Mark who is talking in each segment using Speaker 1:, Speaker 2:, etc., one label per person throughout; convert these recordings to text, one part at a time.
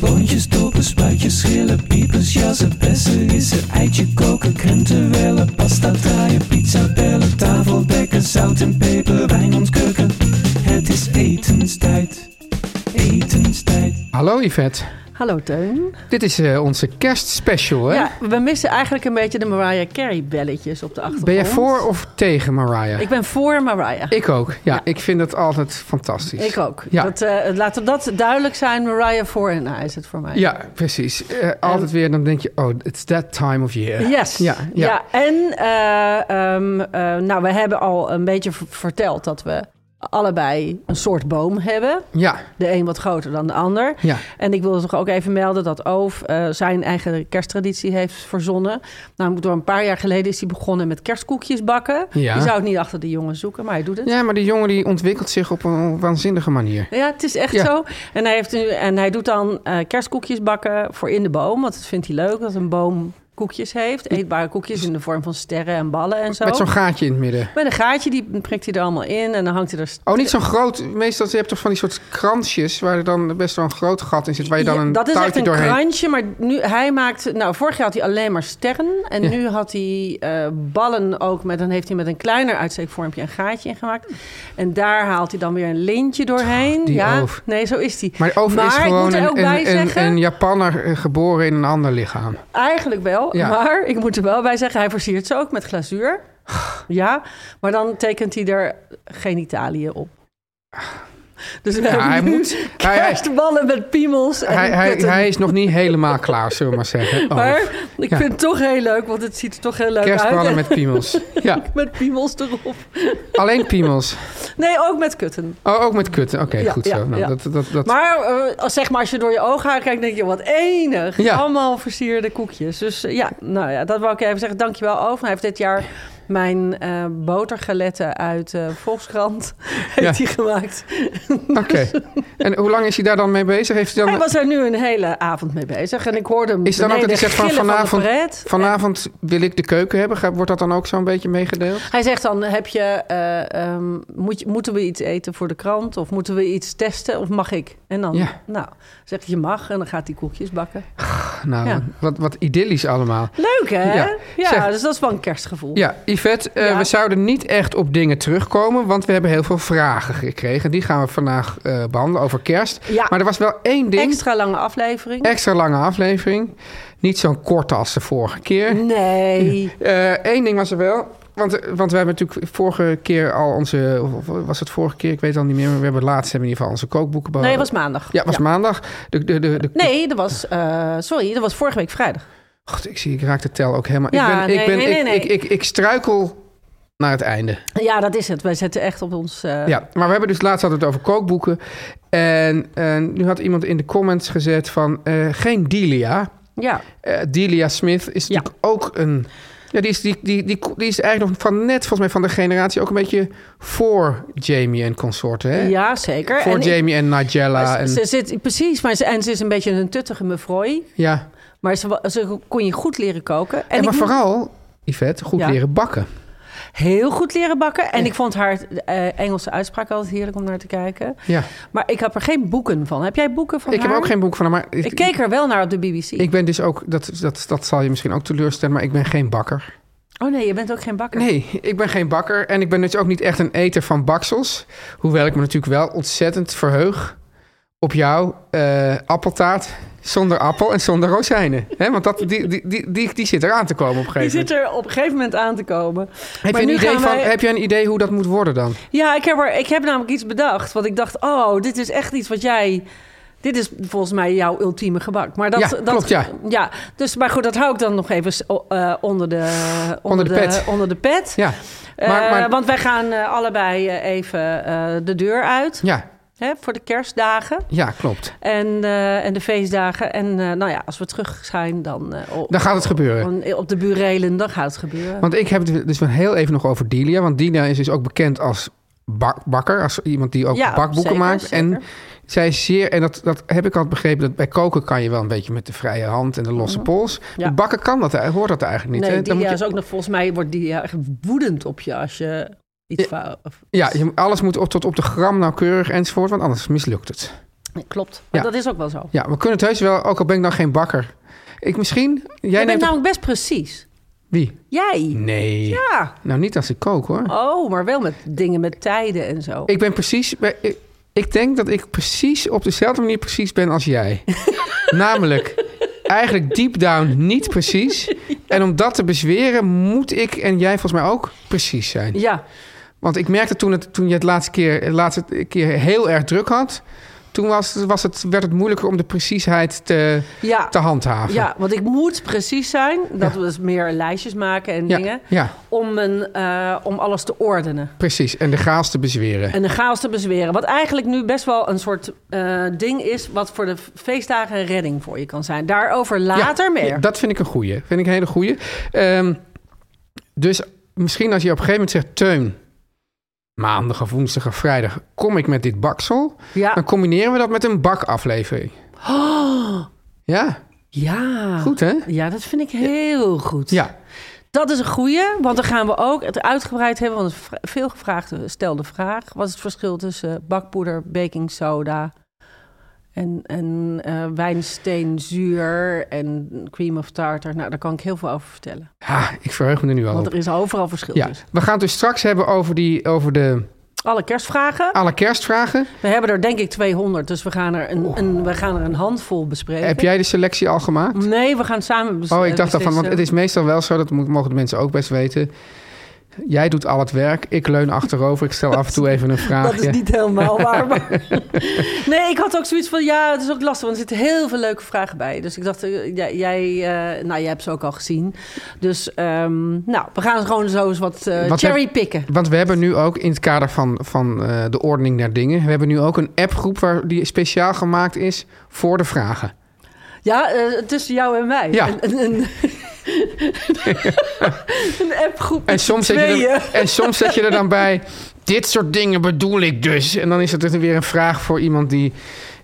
Speaker 1: Boontjes, dopen, spuitjes, schillen, piepers, jassen, bessen, rissen, eitje koken, krenten wellen, pasta draaien, pizza bellen, tafel dekken, zout en peper, wijn ontkurken. Het is etenstijd, etenstijd.
Speaker 2: Hallo Yvette.
Speaker 3: Hallo Teun.
Speaker 2: Dit is eh, onze kerstspecial, hè?
Speaker 3: Ja, we missen eigenlijk een beetje de Mariah Carey belletjes op de achtergrond.
Speaker 2: ben je voor of tegen Mariah?
Speaker 3: Ik ben voor Mariah.
Speaker 2: Ik ook. Ja,
Speaker 3: Ja.
Speaker 2: ik vind dat altijd fantastisch.
Speaker 3: Ik ook.
Speaker 2: Ja,
Speaker 3: Dat, eh, laten we dat duidelijk zijn. Mariah voor en na is het voor mij.
Speaker 2: ja precies. Eh, altijd weer, dan denk je, oh, it's that time of year.
Speaker 3: Yes.
Speaker 2: Ja, ja.
Speaker 3: en eh, ehm, eh, nou, we hebben al een beetje v- verteld dat we allebei een soort boom hebben.
Speaker 2: Ja,
Speaker 3: De een wat groter dan de ander.
Speaker 2: ja.
Speaker 3: En ik wil toch ook even melden dat Oof eh, zijn eigen kersttraditie heeft verzonnen. Nou, door een paar jaar geleden is hij begonnen met kerstkoekjes bakken.
Speaker 2: Ja.
Speaker 3: Je zou het niet achter de jongen zoeken, maar hij doet het.
Speaker 2: Ja, maar die jongen die ontwikkelt zich op een waanzinnige manier.
Speaker 3: Ja, het is echt
Speaker 2: Ja.
Speaker 3: zo. En hij, heeft nu, en hij doet dan eh, kerstkoekjes bakken voor in de boom. Want dat vindt hij leuk, dat een boom koekjes heeft. Eetbare koekjes in de vorm van sterren en ballen en zo.
Speaker 2: Met zo'n gaatje in het midden.
Speaker 3: Met een gaatje, die prikt hij er allemaal in. En dan hangt hij er...
Speaker 2: Oh, niet zo'n groot. Meestal je hebt toch van die soort kransjes waar er dan best wel een groot gat in zit, waar je dan
Speaker 3: Ja,
Speaker 2: een
Speaker 3: dat is echt
Speaker 2: touwtje
Speaker 3: een
Speaker 2: doorheen.
Speaker 3: krantje, maar nu hij maakt. Nou, vorig jaar had hij alleen maar sterren. En nu had hij eh, ballen ook met. Dan heeft hij met een kleiner uitsteekvormpje een gaatje in gemaakt. En daar haalt hij dan weer een lintje doorheen.
Speaker 2: die
Speaker 3: ja,
Speaker 2: Oof.
Speaker 3: nee, zo is die.
Speaker 2: Maar over is
Speaker 3: ik moet
Speaker 2: gewoon
Speaker 3: er ook
Speaker 2: een,
Speaker 3: bij
Speaker 2: een, een,
Speaker 3: zeggen-
Speaker 2: een Japanner eh, geboren in een ander lichaam.
Speaker 3: Eigenlijk wel,
Speaker 2: Ja.
Speaker 3: maar ik moet er wel bij zeggen, hij versiert ze ook met glazuur. Ja, maar dan tekent hij er genitaliën op. Dus we hebben
Speaker 2: Ah. hij
Speaker 3: nu
Speaker 2: moet- hij- hij-
Speaker 3: kerstballen met piemels en
Speaker 2: Hij, hij,
Speaker 3: kutten.
Speaker 2: hij is nog niet helemaal klaar, zullen we maar zeggen. Oh,
Speaker 3: Maar ik
Speaker 2: Ja.
Speaker 3: vind het toch heel leuk, want het ziet er toch heel leuk
Speaker 2: kerstballen
Speaker 3: uit.
Speaker 2: met piemels. Ja,
Speaker 3: Met piemels erop.
Speaker 2: alleen piemels.
Speaker 3: Nee, ook met kutten.
Speaker 2: Oh, ook met kutten. Oké,
Speaker 3: Ja,
Speaker 2: goed
Speaker 3: ja,
Speaker 2: zo. Nou,
Speaker 3: ja.
Speaker 2: dat, dat, dat,
Speaker 3: Maar eh, als, zeg maar, als je door je ogen heen kijkt, denk je, wat enig.
Speaker 2: Ja.
Speaker 3: Allemaal versierde koekjes. Dus eh, ja, nou ja, dat wou ik even zeggen. Dankjewel, Over. Hij heeft dit jaar mijn eh botergaletten uit eh, Volkskrant heeft hij gemaakt.
Speaker 2: Oké. En hoe lang is hij daar dan mee bezig? Heeft hij dan,
Speaker 3: Hij was er nu een hele avond mee bezig. En ik hoorde hem
Speaker 2: is het dan ook dat hij
Speaker 3: beneden
Speaker 2: zegt van
Speaker 3: gillen van de
Speaker 2: vanavond,
Speaker 3: pret.
Speaker 2: vanavond wil ik de keuken hebben? Ga- Wordt dat dan ook zo'n beetje meegedeeld?
Speaker 3: Hij zegt dan, heb je, eh, ehm, moet je, moeten we iets eten voor de krant? Of moeten we iets testen? Of mag ik? En dan,
Speaker 2: Ja.
Speaker 3: nou, zegt hij, je mag. En dan gaat hij koekjes bakken.
Speaker 2: Nou,
Speaker 3: Ja.
Speaker 2: wat, wat idyllisch allemaal.
Speaker 3: Leuk, hè?
Speaker 2: Ja.
Speaker 3: Ja,
Speaker 2: Zeg-
Speaker 3: dus dat is wel een kerstgevoel.
Speaker 2: Ja, Yvette, eh,
Speaker 3: Ja.
Speaker 2: we zouden niet echt op dingen terugkomen, want we hebben heel veel vragen gekregen. Die gaan we vandaag eh, behandelen over kerst.
Speaker 3: Ja.
Speaker 2: Maar er was wel één ding, extra,
Speaker 3: Extra lange aflevering.
Speaker 2: lange aflevering. Niet zo'n korte als de vorige keer.
Speaker 3: Mm. Nee.
Speaker 2: Eén ding was er wel. Want, eh, want we hebben natuurlijk vorige keer al onze... of Was het vorige keer? Ik weet het al niet meer. Maar we hebben laatst hebben we in ieder geval onze kookboeken
Speaker 3: Nee,
Speaker 2: behandeld.
Speaker 3: dat was maandag.
Speaker 2: Ja, was maandag. De, de, de, de,
Speaker 3: Nee, dat was, eh, sorry, dat was vorige week vrijdag.
Speaker 2: God, ik, zie, ik raak de tel ook helemaal...
Speaker 3: Ja,
Speaker 2: ik, ben, ik, ben,
Speaker 3: nee, nee, nee, nee.
Speaker 2: Ik, ik, ik, ik struikel naar het einde.
Speaker 3: Ja, dat is het. Wij zetten echt op ons... eh,
Speaker 2: Ja, maar we hebben dus laatst hadden we het over kookboeken. En, en nu had iemand in de comments gezet van eh, geen Delia.
Speaker 3: ja.
Speaker 2: Eh, Delia Smith is
Speaker 3: Ja.
Speaker 2: natuurlijk ook een... Ja, die is, die, die, die, die is eigenlijk nog van net, volgens mij van de generatie... ook een beetje voor Jamie en consorten, hè?
Speaker 3: ja zeker.
Speaker 2: Eh, Voor
Speaker 3: En ik-
Speaker 2: Jamie en Nigella. En,
Speaker 3: Ze zit, precies, maar ze, en ze is een beetje een tuttige mevrooi.
Speaker 2: ja.
Speaker 3: Maar ze, wa- ze kon je goed leren koken. En,
Speaker 2: en
Speaker 3: ik
Speaker 2: maar
Speaker 3: moet
Speaker 2: vooral, Yvette, goed
Speaker 3: Ja.
Speaker 2: leren bakken.
Speaker 3: heel goed leren bakken. En ik vond haar eh, Engelse uitspraak altijd heerlijk om naar te kijken.
Speaker 2: Ja.
Speaker 3: Maar ik heb er geen boeken van. Heb jij boeken van
Speaker 2: Ik heb
Speaker 3: haar?
Speaker 2: ook geen boek van haar, maar...
Speaker 3: Ik keek er wel naar op de BBC.
Speaker 2: Ik ben dus ook, dat, dat, dat zal je misschien ook teleurstellen, maar ik ben geen bakker.
Speaker 3: Oh nee, je bent ook geen bakker.
Speaker 2: Nee, ik ben geen bakker en ik ben dus ook niet echt een eter van baksels. Hoewel ik me natuurlijk wel ontzettend verheug op jouw eh, appeltaart zonder appel en zonder rozijnen. Hè, want dat, die, die, die, die, die zit eraan te komen op een
Speaker 3: Die
Speaker 2: gegeven
Speaker 3: zit
Speaker 2: moment.
Speaker 3: er op een gegeven moment aan te komen.
Speaker 2: Heb
Speaker 3: maar
Speaker 2: je, een
Speaker 3: nu
Speaker 2: idee
Speaker 3: gaan
Speaker 2: van,
Speaker 3: wij-
Speaker 2: heb je een idee hoe dat moet worden dan?
Speaker 3: Ja, ik heb, er, ik heb namelijk iets bedacht. Want ik dacht, oh, dit is echt iets wat jij Dit is volgens mij jouw ultieme gebak. Maar dat,
Speaker 2: Ja,
Speaker 3: dat,
Speaker 2: klopt, ja.
Speaker 3: ja. Dus, maar goed, dat hou ik dan nog even eh, onder, de, onder,
Speaker 2: de pet.
Speaker 3: onder de pet.
Speaker 2: Ja.
Speaker 3: Eh,
Speaker 2: Maar- maar-
Speaker 3: want wij gaan eh, allebei eh, even eh, de deur uit
Speaker 2: Ja,
Speaker 3: hè, voor de kerstdagen
Speaker 2: ja klopt.
Speaker 3: en, eh, en de feestdagen. En eh, nou ja, als we terug zijn, dan, eh, op,
Speaker 2: Dan gaat het gebeuren.
Speaker 3: dan- op de burelen, dan gaat het gebeuren.
Speaker 2: Want ik heb het dus wel heel even nog over Delia. Want Delia is dus ook bekend als bak- bakker. Als iemand die ook
Speaker 3: Ja,
Speaker 2: bakboeken
Speaker 3: zeker,
Speaker 2: maakt. En
Speaker 3: zeker.
Speaker 2: zij is zeer... En dat, dat heb ik altijd begrepen. Dat bij koken kan je wel een beetje met de vrije hand en de losse pols.
Speaker 3: Mhm. Ja.
Speaker 2: Met bakken kan dat, hoort dat eigenlijk niet.
Speaker 3: nee,
Speaker 2: hè?
Speaker 3: die
Speaker 2: Dan moet je-
Speaker 3: is ook nog, volgens mij wordt die ja, echt woedend op je als je iets fout... of-
Speaker 2: Ja, je, alles moet op, tot op de gram nauwkeurig enzovoort. Want anders mislukt het.
Speaker 3: Nee, Klopt, maar
Speaker 2: Ja.
Speaker 3: dat is ook wel zo.
Speaker 2: Ja, we kunnen het heus wel. Ook al ben ik nou geen bakker. Ik misschien... Jij
Speaker 3: Jij
Speaker 2: neemt...
Speaker 3: bent namelijk best precies.
Speaker 2: Wie?
Speaker 3: Jij.
Speaker 2: Nee.
Speaker 3: Ja.
Speaker 2: Nou, niet als ik kook hoor.
Speaker 3: Oh, maar wel met dingen met tijden en zo.
Speaker 2: Ik ben precies. bij- Ik, ik denk dat ik precies op dezelfde manier precies ben als jij. Namelijk, eigenlijk deep down niet precies. En om dat te bezweren, moet ik en jij volgens mij ook precies zijn.
Speaker 3: Ja,
Speaker 2: Want ik merkte toen, het, toen je het laatste keer, de laatste keer heel erg druk had. Toen was, het- was het, werd het moeilijker om de preciesheid te,
Speaker 3: ja.
Speaker 2: te handhaven.
Speaker 3: ja, want ik moet precies zijn. Dat we dus meer lijstjes maken en
Speaker 2: ja,
Speaker 3: dingen.
Speaker 2: ja,
Speaker 3: Om, een, eh, om alles te ordenen.
Speaker 2: precies. En de chaos te bezweren.
Speaker 3: En de chaos te bezweren. Wat eigenlijk nu best wel een soort eh, ding is... wat voor de feestdagen een redding voor je kan zijn. Daarover later
Speaker 2: ja,
Speaker 3: meer.
Speaker 2: ja, dat vind ik een goeie. Vind ik een hele goeie. Ehm, dus misschien als je op een gegeven moment zegt... Teun, maandag of woensdag of vrijdag kom ik met dit baksel.
Speaker 3: ja.
Speaker 2: Dan combineren we dat met een bakaflevering.
Speaker 3: Oh.
Speaker 2: Ja,
Speaker 3: ja.
Speaker 2: goed hè?
Speaker 3: Ja, dat vind ik heel goed.
Speaker 2: Ja,
Speaker 3: Dat is een goeie, want dan gaan we ook het uitgebreid hebben. Want het is vra- veel gevraagde stelde vraag. Wat is het verschil tussen eh, bakpoeder, baking soda en, en eh, wijnsteenzuur en cream of tartar? Nou, daar kan ik heel veel over vertellen.
Speaker 2: ha, ik verheug me er nu al
Speaker 3: Want
Speaker 2: op.
Speaker 3: er is overal verschil
Speaker 2: Ja,
Speaker 3: tussen.
Speaker 2: we gaan het dus straks hebben over, die, over de
Speaker 3: Alle kerstvragen.
Speaker 2: alle kerstvragen.
Speaker 3: We hebben er denk ik 200, dus we gaan er een, een, we gaan er een handvol bespreken.
Speaker 2: Heb jij de selectie al gemaakt?
Speaker 3: Nee, we gaan samen bes-
Speaker 2: Oh,
Speaker 3: eh,
Speaker 2: ik dacht al van, want
Speaker 3: beslissen.
Speaker 2: het is meestal wel zo, dat mo- mogen de mensen ook best weten. Jij doet al het werk, ik leun achterover, ik stel af en toe even een vraagje.
Speaker 3: Dat is niet helemaal waar. Maar... Nee, ik had ook zoiets van, ja, het is ook lastig, want er zitten heel veel leuke vragen bij. Dus ik dacht, eh, jij, jij, eh, nou, jij hebt ze ook al gezien. Dus, ehm, nou, we gaan gewoon zo eens wat eh
Speaker 2: Wat
Speaker 3: cherrypicken.
Speaker 2: Want we hebben nu ook in het kader van, van eh, de ordening naar dingen, we hebben nu ook een appgroep waar die speciaal gemaakt is voor de vragen.
Speaker 3: Ja, eh, tussen jou en mij.
Speaker 2: Ja.
Speaker 3: Een, een, een... een appgroep
Speaker 2: En
Speaker 3: met
Speaker 2: soms,
Speaker 3: z'n
Speaker 2: zet je
Speaker 3: tweeën.
Speaker 2: er, en soms zet je er dan bij, dit soort dingen bedoel ik dus. En dan is het dus weer een vraag voor iemand die,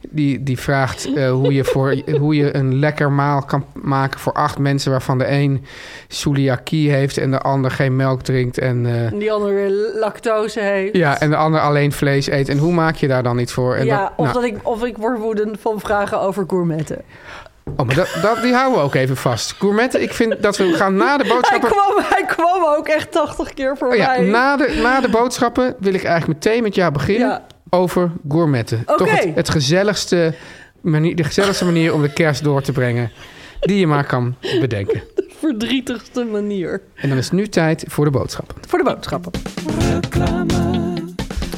Speaker 2: die, die vraagt eh, hoe, je voor, hoe je een lekker maal kan maken voor acht mensen, waarvan de een celiakie heeft en de ander geen melk drinkt. En, eh,
Speaker 3: En die andere weer lactose heeft.
Speaker 2: ja, en de ander alleen vlees eet. En hoe maak je daar dan iets voor? En
Speaker 3: Ja,
Speaker 2: dat-
Speaker 3: of,
Speaker 2: nou,
Speaker 3: dat ik, of ik word woedend van vragen over gourmetten.
Speaker 2: Oh, maar dat, dat, die houden we ook even vast. Gourmetten, ik vind dat we gaan na de
Speaker 3: Hij
Speaker 2: boodschappen...
Speaker 3: kwam, hij kwam ook echt 80 keer
Speaker 2: Oh
Speaker 3: voorbij.
Speaker 2: ja, na de, na de boodschappen wil ik eigenlijk meteen met jou beginnen
Speaker 3: Ja.
Speaker 2: over gourmetten. Toch het, het gezelligste manier, de gezelligste manier om de kerst door te brengen die je maar kan bedenken.
Speaker 3: verdrietigste manier.
Speaker 2: En dan is het nu tijd voor de boodschappen.
Speaker 3: Voor de boodschappen.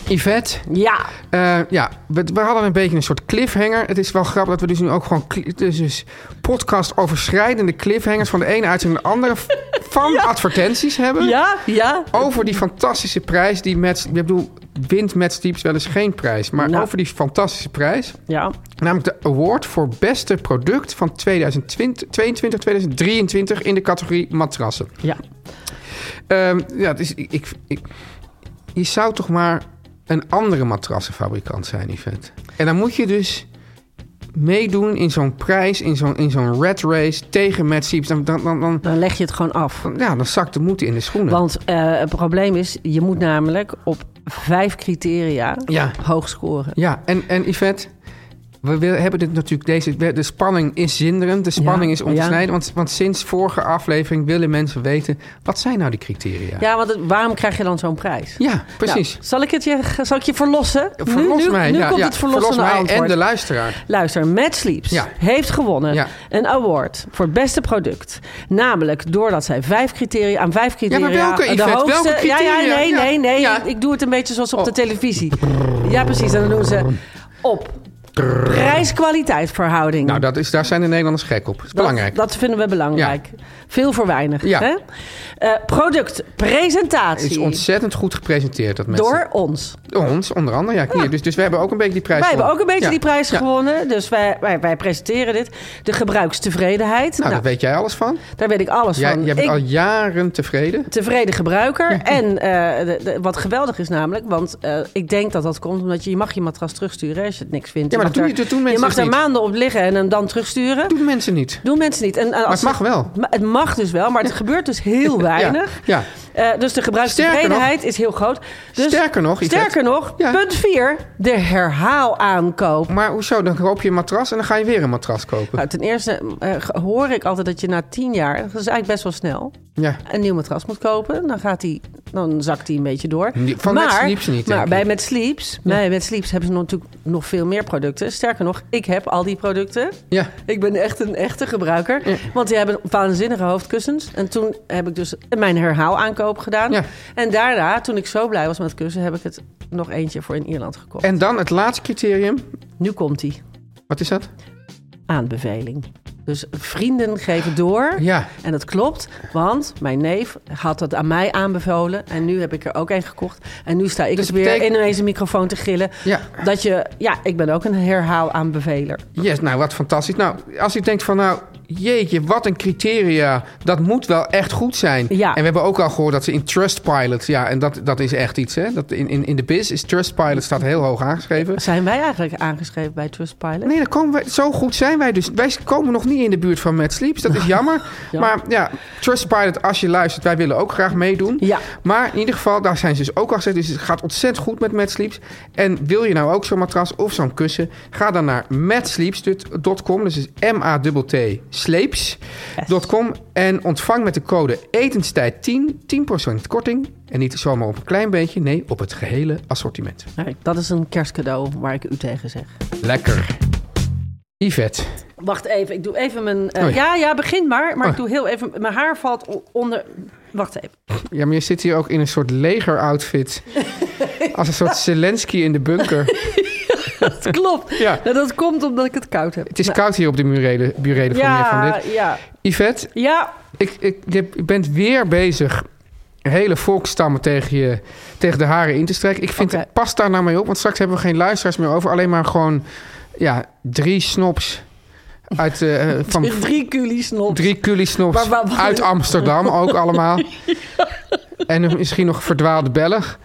Speaker 2: Yvette,
Speaker 3: Ja.
Speaker 2: Eh, ja, we, we hadden een beetje een soort cliffhanger. Het is wel grappig dat we dus nu ook gewoon cli- dus, dus podcast overschrijdende cliffhangers van de ene uitzending naar de andere v- van advertenties hebben.
Speaker 3: Ja, ja.
Speaker 2: Over die fantastische prijs die Mets, ik bedoel, wint Mets Types wel eens geen prijs, maar
Speaker 3: Nou.
Speaker 2: over die fantastische prijs,
Speaker 3: Ja.
Speaker 2: namelijk de award voor beste product van 2022-2023 in de categorie matrassen.
Speaker 3: Ja.
Speaker 2: Ehm, ja, dus ik, ik, ik- je zou toch maar een andere matrassenfabrikant zijn, Yvette. En dan moet je dus meedoen in zo'n prijs, in zo'n, in zo'n red race tegen Matt Siebes. Dan, dan, dan, dan,
Speaker 3: Dan leg je het gewoon af.
Speaker 2: ja, dan zakt de moed in de schoenen.
Speaker 3: Want eh, het probleem is, je moet namelijk op vijf criteria
Speaker 2: Ja.
Speaker 3: hoog scoren.
Speaker 2: Ja, en, en Yvette, we wil- hebben dit natuurlijk deze. De spanning is zinderend, de spanning
Speaker 3: Ja,
Speaker 2: is ontsnijden.
Speaker 3: ja.
Speaker 2: Want, want sinds vorige aflevering willen mensen weten. wat zijn nou die criteria?
Speaker 3: Ja, want het- waarom krijg je dan zo'n prijs?
Speaker 2: Ja, precies.
Speaker 3: Nou, zal, ik het je, zal ik je verlossen?
Speaker 2: Verlos
Speaker 3: Nou, nu, nu,
Speaker 2: mij.
Speaker 3: Nu
Speaker 2: ja,
Speaker 3: komt
Speaker 2: ja,
Speaker 3: het verlossende
Speaker 2: verlos mij
Speaker 3: antwoord.
Speaker 2: en de luisteraar.
Speaker 3: Luister, Mad Sleeps
Speaker 2: Ja.
Speaker 3: heeft gewonnen
Speaker 2: Ja.
Speaker 3: een award voor het beste product. Namelijk doordat zij vijf criteria aan vijf criteria.
Speaker 2: welke,
Speaker 3: de
Speaker 2: Yvette?
Speaker 3: hoogste.
Speaker 2: Welke
Speaker 3: Ja, ja,
Speaker 2: criteria?
Speaker 3: nee,
Speaker 2: Ja.
Speaker 3: nee, nee.
Speaker 2: Ja.
Speaker 3: Ik doe het een beetje zoals op
Speaker 2: Oh.
Speaker 3: de televisie. Ja, precies. En dan doen ze op Prijs-kwaliteit verhouding.
Speaker 2: Nou, dat is, daar zijn de Nederlanders gek op. Dat is
Speaker 3: Dat-
Speaker 2: belangrijk.
Speaker 3: Dat, vinden we belangrijk. Veel voor weinig.
Speaker 2: Ja.
Speaker 3: Hè? Eh, productpresentatie.
Speaker 2: is ontzettend goed gepresenteerd. Dat mensen.
Speaker 3: door ons.
Speaker 2: Door ons, onder andere. Ja, hier. Dus, dus we hebben ook een beetje die prijs
Speaker 3: Wij hebben ook
Speaker 2: gewonnen.
Speaker 3: een beetje
Speaker 2: Ja.
Speaker 3: die prijs
Speaker 2: Ja.
Speaker 3: gewonnen. Dus wij, wij, wij presenteren dit. De gebruikstevredenheid.
Speaker 2: Nou,
Speaker 3: Nou,
Speaker 2: daar weet jij alles van.
Speaker 3: daar weet ik alles
Speaker 2: Jij,
Speaker 3: van.
Speaker 2: jij bent
Speaker 3: Ik-
Speaker 2: al jaren tevreden.
Speaker 3: tevreden gebruiker. En eh, de- de- wat geweldig is namelijk, want eh, ik denk dat dat komt omdat je, je mag je matras terugsturen hè, als je het niks vindt.
Speaker 2: Ja, maar
Speaker 3: je
Speaker 2: dat
Speaker 3: mag
Speaker 2: doen- dat doen mensen
Speaker 3: Je mag
Speaker 2: dus
Speaker 3: daar
Speaker 2: niet.
Speaker 3: maanden op liggen en hem dan terugsturen.
Speaker 2: Dat doen mensen niet.
Speaker 3: Doen mensen niet. En, eh, als
Speaker 2: Maar het mag wel.
Speaker 3: Ma- Het mag dus wel, maar het gebeurt dus heel weinig.
Speaker 2: Ja.
Speaker 3: Eh, dus de gebruikstevredenheid is heel groot. Dus,
Speaker 2: Sterker nog, Yvette.
Speaker 3: sterker nog
Speaker 2: Ja.
Speaker 3: punt 4, de herhaalaankoop.
Speaker 2: Maar hoezo? Dan koop je een matras en dan ga je weer een matras kopen.
Speaker 3: Nou, ten eerste eh, ge- hoor ik altijd dat je na tien jaar, dat is eigenlijk best wel snel,
Speaker 2: Ja.
Speaker 3: een nieuw matras moet kopen. Dan, gaat die, dan zakt die een beetje door.
Speaker 2: Nee, van Mad Sleeps niet, denk
Speaker 3: Maar
Speaker 2: ik.
Speaker 3: bij Met Sleeps, bij Met Sleeps hebben ze natuurlijk nog veel meer producten. Sterker nog, ik heb al die producten.
Speaker 2: Ja.
Speaker 3: Ik ben echt een echte gebruiker. Want die hebben waanzinnige hoofdkussens. En toen heb ik dus mijn herhaalaankoop gedaan.
Speaker 2: Ja.
Speaker 3: En daarna, toen ik zo blij was met het kussen, heb ik het nog eentje voor in Ierland gekocht.
Speaker 2: En dan het laatste criterium.
Speaker 3: Nu komt die
Speaker 2: Wat is dat?
Speaker 3: aanbeveling. Dus vrienden geven door.
Speaker 2: Ja.
Speaker 3: En dat klopt, want mijn neef had dat aan mij aanbevolen. En nu heb ik er ook een gekocht. En nu sta ik
Speaker 2: Dus
Speaker 3: dus
Speaker 2: het
Speaker 3: weer
Speaker 2: betekent-
Speaker 3: in deze microfoon te gillen.
Speaker 2: Ja.
Speaker 3: Dat je, ja, ik ben ook een herhaalaanbeveler.
Speaker 2: Yes, nou wat fantastisch. Nou, als u denkt van nou, jeetje, wat een criteria. Dat moet wel echt goed zijn.
Speaker 3: Ja.
Speaker 2: En we hebben ook al gehoord dat ze in Trustpilot, ja, en dat, dat is echt iets hè. Dat in, in, in de biz is Trustpilot staat heel hoog aangeschreven.
Speaker 3: Zijn wij eigenlijk aangeschreven bij Trustpilot?
Speaker 2: Nee, dan komen wij, zo goed zijn wij dus. Wij komen nog niet in de buurt van Mad Sleeps. Dat is jammer. Maar ja, Trustpilot, als je luistert, wij willen ook graag meedoen.
Speaker 3: Ja.
Speaker 2: Maar in ieder geval, daar zijn ze dus ook al gezegd. Dus het gaat ontzettend goed met Mad Sleeps. En wil je nou ook zo'n matras of zo'n kussen? Ga dan naar madsleeps.com. Dus is M-A-T-T sleeps.com. En ontvang met de code etenstijd 10 10% korting. En niet zomaar op een klein beetje. Nee, op het gehele assortiment.
Speaker 3: Nou, dat is een kerstcadeau waar ik u tegen zeg.
Speaker 2: Lekker. Yvette.
Speaker 3: Wacht even, ik doe even mijn... eh,
Speaker 2: Oh ja.
Speaker 3: ja. ja, begin maar. Maar
Speaker 2: Oh.
Speaker 3: ik doe heel even... Mijn haar valt o- onder... Wacht even.
Speaker 2: Ja, maar je zit hier ook in een soort legeroutfit. Als een soort Zelensky in de bunker.
Speaker 3: Dat klopt.
Speaker 2: Ja.
Speaker 3: Nou, dat komt omdat ik het koud heb. Nou,
Speaker 2: Het is koud hier op de bureden bureden van meneer
Speaker 3: ja,
Speaker 2: Van Dit.
Speaker 3: ja,
Speaker 2: Yvette,
Speaker 3: ja.
Speaker 2: ik, ik, je bent weer bezig hele volkstammen tegen, je, tegen de haren in te strijken. Ik vind,
Speaker 3: Oké.
Speaker 2: pas daar nou mee op, want straks hebben we geen luisteraars meer over. Alleen maar gewoon ja, drie snobs uit, eh, van,
Speaker 3: Drie culies nog.
Speaker 2: Drie culisnops
Speaker 3: Waar- waar- waar-
Speaker 2: uit Amsterdam ook allemaal. En misschien nog verdwaalde Belg.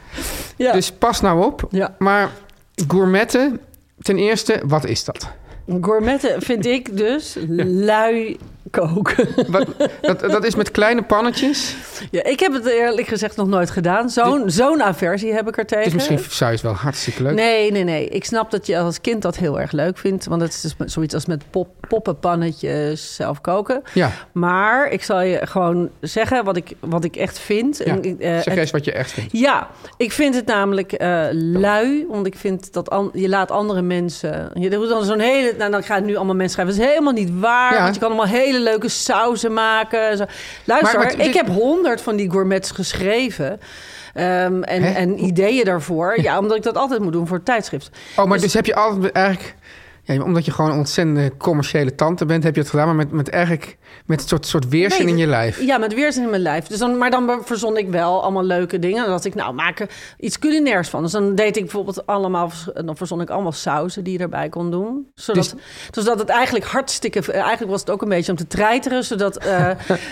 Speaker 3: Ja.
Speaker 2: Dus pas nou op.
Speaker 3: Ja.
Speaker 2: Maar gourmetten, ten eerste, wat is dat?
Speaker 3: Gourmetten vind ik dus lui koken.
Speaker 2: Wat, dat, dat is met kleine pannetjes.
Speaker 3: Ja, ik heb het eerlijk gezegd nog nooit gedaan. Zo'n zo'n aversie heb ik er tegen.
Speaker 2: Dus misschien zou je het wel hartstikke leuk.
Speaker 3: Nee, nee, nee. Ik snap dat je als kind dat heel erg leuk vindt. Want het is dus zoiets als met pop, poppenpannetjes zelf koken.
Speaker 2: Ja.
Speaker 3: Maar ik zal je gewoon zeggen wat ik, wat ik echt vind.
Speaker 2: Ja.
Speaker 3: En ik, eh,
Speaker 2: zeg
Speaker 3: en-
Speaker 2: eens wat je echt vindt.
Speaker 3: Ja, ik vind het namelijk eh, lui. Want ik vind dat an- je laat andere mensen. Je doet dan zo'n hele. Nou, dan gaan nu allemaal mensen schrijven. Dat is helemaal niet waar.
Speaker 2: Ja.
Speaker 3: Want je kan allemaal hele leuke sauzen maken. Zo. Luister,
Speaker 2: Maar- maar dit-
Speaker 3: ik heb honderd van die gourmets geschreven. ehm, en,
Speaker 2: Hè?
Speaker 3: en ideeën daarvoor. Ja, omdat ik dat altijd moet doen voor het tijdschrift.
Speaker 2: Oh, maar dus, heb je altijd eigenlijk... Ja, omdat je gewoon een ontzettende commerciële tante bent, heb je het gedaan. Maar met, met eigenlijk met een soort, soort weerzin
Speaker 3: Nee,
Speaker 2: in je
Speaker 3: dat-
Speaker 2: lijf.
Speaker 3: Ja, met weerzin in mijn lijf. Dus dan, maar dan be- verzon ik wel allemaal leuke dingen. Dan dacht ik, nou, maak er iets culinairs van. Dus dan deed ik bijvoorbeeld allemaal... eh, Dan verzon ik allemaal sauzen die je erbij kon doen. Zodat,
Speaker 2: Dus-
Speaker 3: zodat het eigenlijk hartstikke... eh, Eigenlijk was het ook een beetje om te treiteren. Zodat, eh,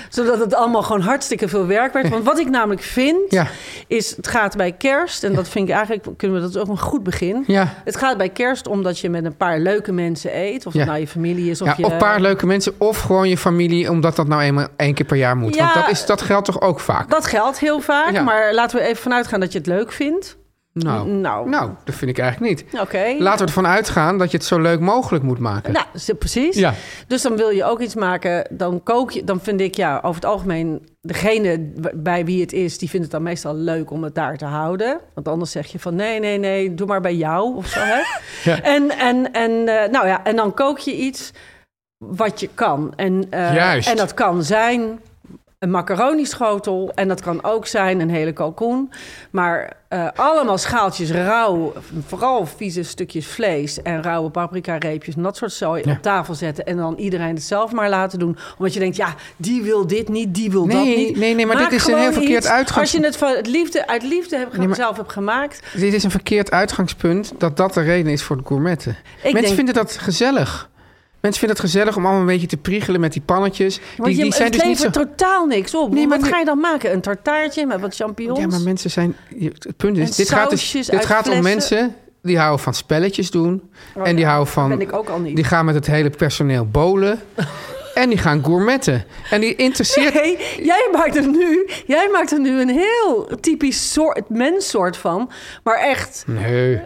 Speaker 3: zodat het allemaal gewoon hartstikke veel werk werd. Want wat ik namelijk vind,
Speaker 2: Ja.
Speaker 3: is het gaat bij kerst... En dat vind ik eigenlijk... Kunnen we dat is ook een goed begin.
Speaker 2: Ja.
Speaker 3: Het gaat bij kerst omdat je met een paar leuke mensen eet. Of
Speaker 2: Ja.
Speaker 3: het nou je familie is of
Speaker 2: ja,
Speaker 3: je...
Speaker 2: of een paar leuke mensen of gewoon je familie, omdat dat nou eenmaal één keer per jaar moet.
Speaker 3: Ja.
Speaker 2: Want dat, is, dat geldt toch ook vaak?
Speaker 3: Dat geldt heel vaak,
Speaker 2: Ja.
Speaker 3: maar laten we even vanuit gaan dat je het leuk vindt.
Speaker 2: nou,
Speaker 3: nou.
Speaker 2: nou, dat vind ik eigenlijk niet.
Speaker 3: Oké.
Speaker 2: Laten we ervan uitgaan dat je het zo leuk mogelijk moet maken.
Speaker 3: Nou, ze- precies.
Speaker 2: Ja.
Speaker 3: Dus dan wil je ook iets maken, dan kook je. Dan vind ik, ja, over het algemeen, degene w- bij wie het is, die vindt het dan meestal leuk om het daar te houden. Want anders zeg je van, nee, nee, nee, doe maar bij jou of zo. Hè? En, en, en, eh, nou ja, en dan kook je iets wat je kan. En, eh,
Speaker 2: Juist.
Speaker 3: en dat kan zijn een macaroni-schotel. En dat kan ook zijn een hele kalkoen. Maar eh, allemaal schaaltjes rauw, vooral vieze stukjes vlees... en rauwe paprika-reepjes en dat soort zooi
Speaker 2: Ja.
Speaker 3: op tafel zetten. En dan iedereen het zelf maar laten doen. Omdat je denkt, ja, die wil dit niet, die wil dat
Speaker 2: Nee,
Speaker 3: niet.
Speaker 2: nee, nee, maar
Speaker 3: Maak
Speaker 2: dit is een heel
Speaker 3: gewoon
Speaker 2: verkeerd
Speaker 3: iets.
Speaker 2: uitgangs-
Speaker 3: Als je het van het liefde, uit liefde hebt,
Speaker 2: Nee, maar-
Speaker 3: zelf hebt gemaakt...
Speaker 2: Dit is een verkeerd uitgangspunt dat dat de reden is voor de gourmetten. Mensen
Speaker 3: denk-
Speaker 2: vinden dat gezellig. Mensen vinden het gezellig om allemaal een beetje te priegelen met die pannetjes.
Speaker 3: Want
Speaker 2: die,
Speaker 3: je,
Speaker 2: die zijn
Speaker 3: het
Speaker 2: dus niet zo...
Speaker 3: levert totaal niks op.
Speaker 2: Nee, maar
Speaker 3: wat
Speaker 2: nu-
Speaker 3: ga je dan maken? Een tartaartje met wat champignons?
Speaker 2: Ja, maar mensen zijn. je- Het punt is,
Speaker 3: En
Speaker 2: dit gaat, dus,
Speaker 3: sausjes
Speaker 2: dit
Speaker 3: uit
Speaker 2: gaat om
Speaker 3: flessen.
Speaker 2: mensen die houden van spelletjes doen.
Speaker 3: Oh
Speaker 2: en die
Speaker 3: ja,
Speaker 2: houden van.
Speaker 3: ben ik ook al niet.
Speaker 2: Die gaan met het hele personeel bolen. en die gaan gourmetten. En die interesseert.
Speaker 3: Nee, jij maakt er nu, jij maakt er nu een heel typisch soort, menssoort van. Maar echt,
Speaker 2: Nee.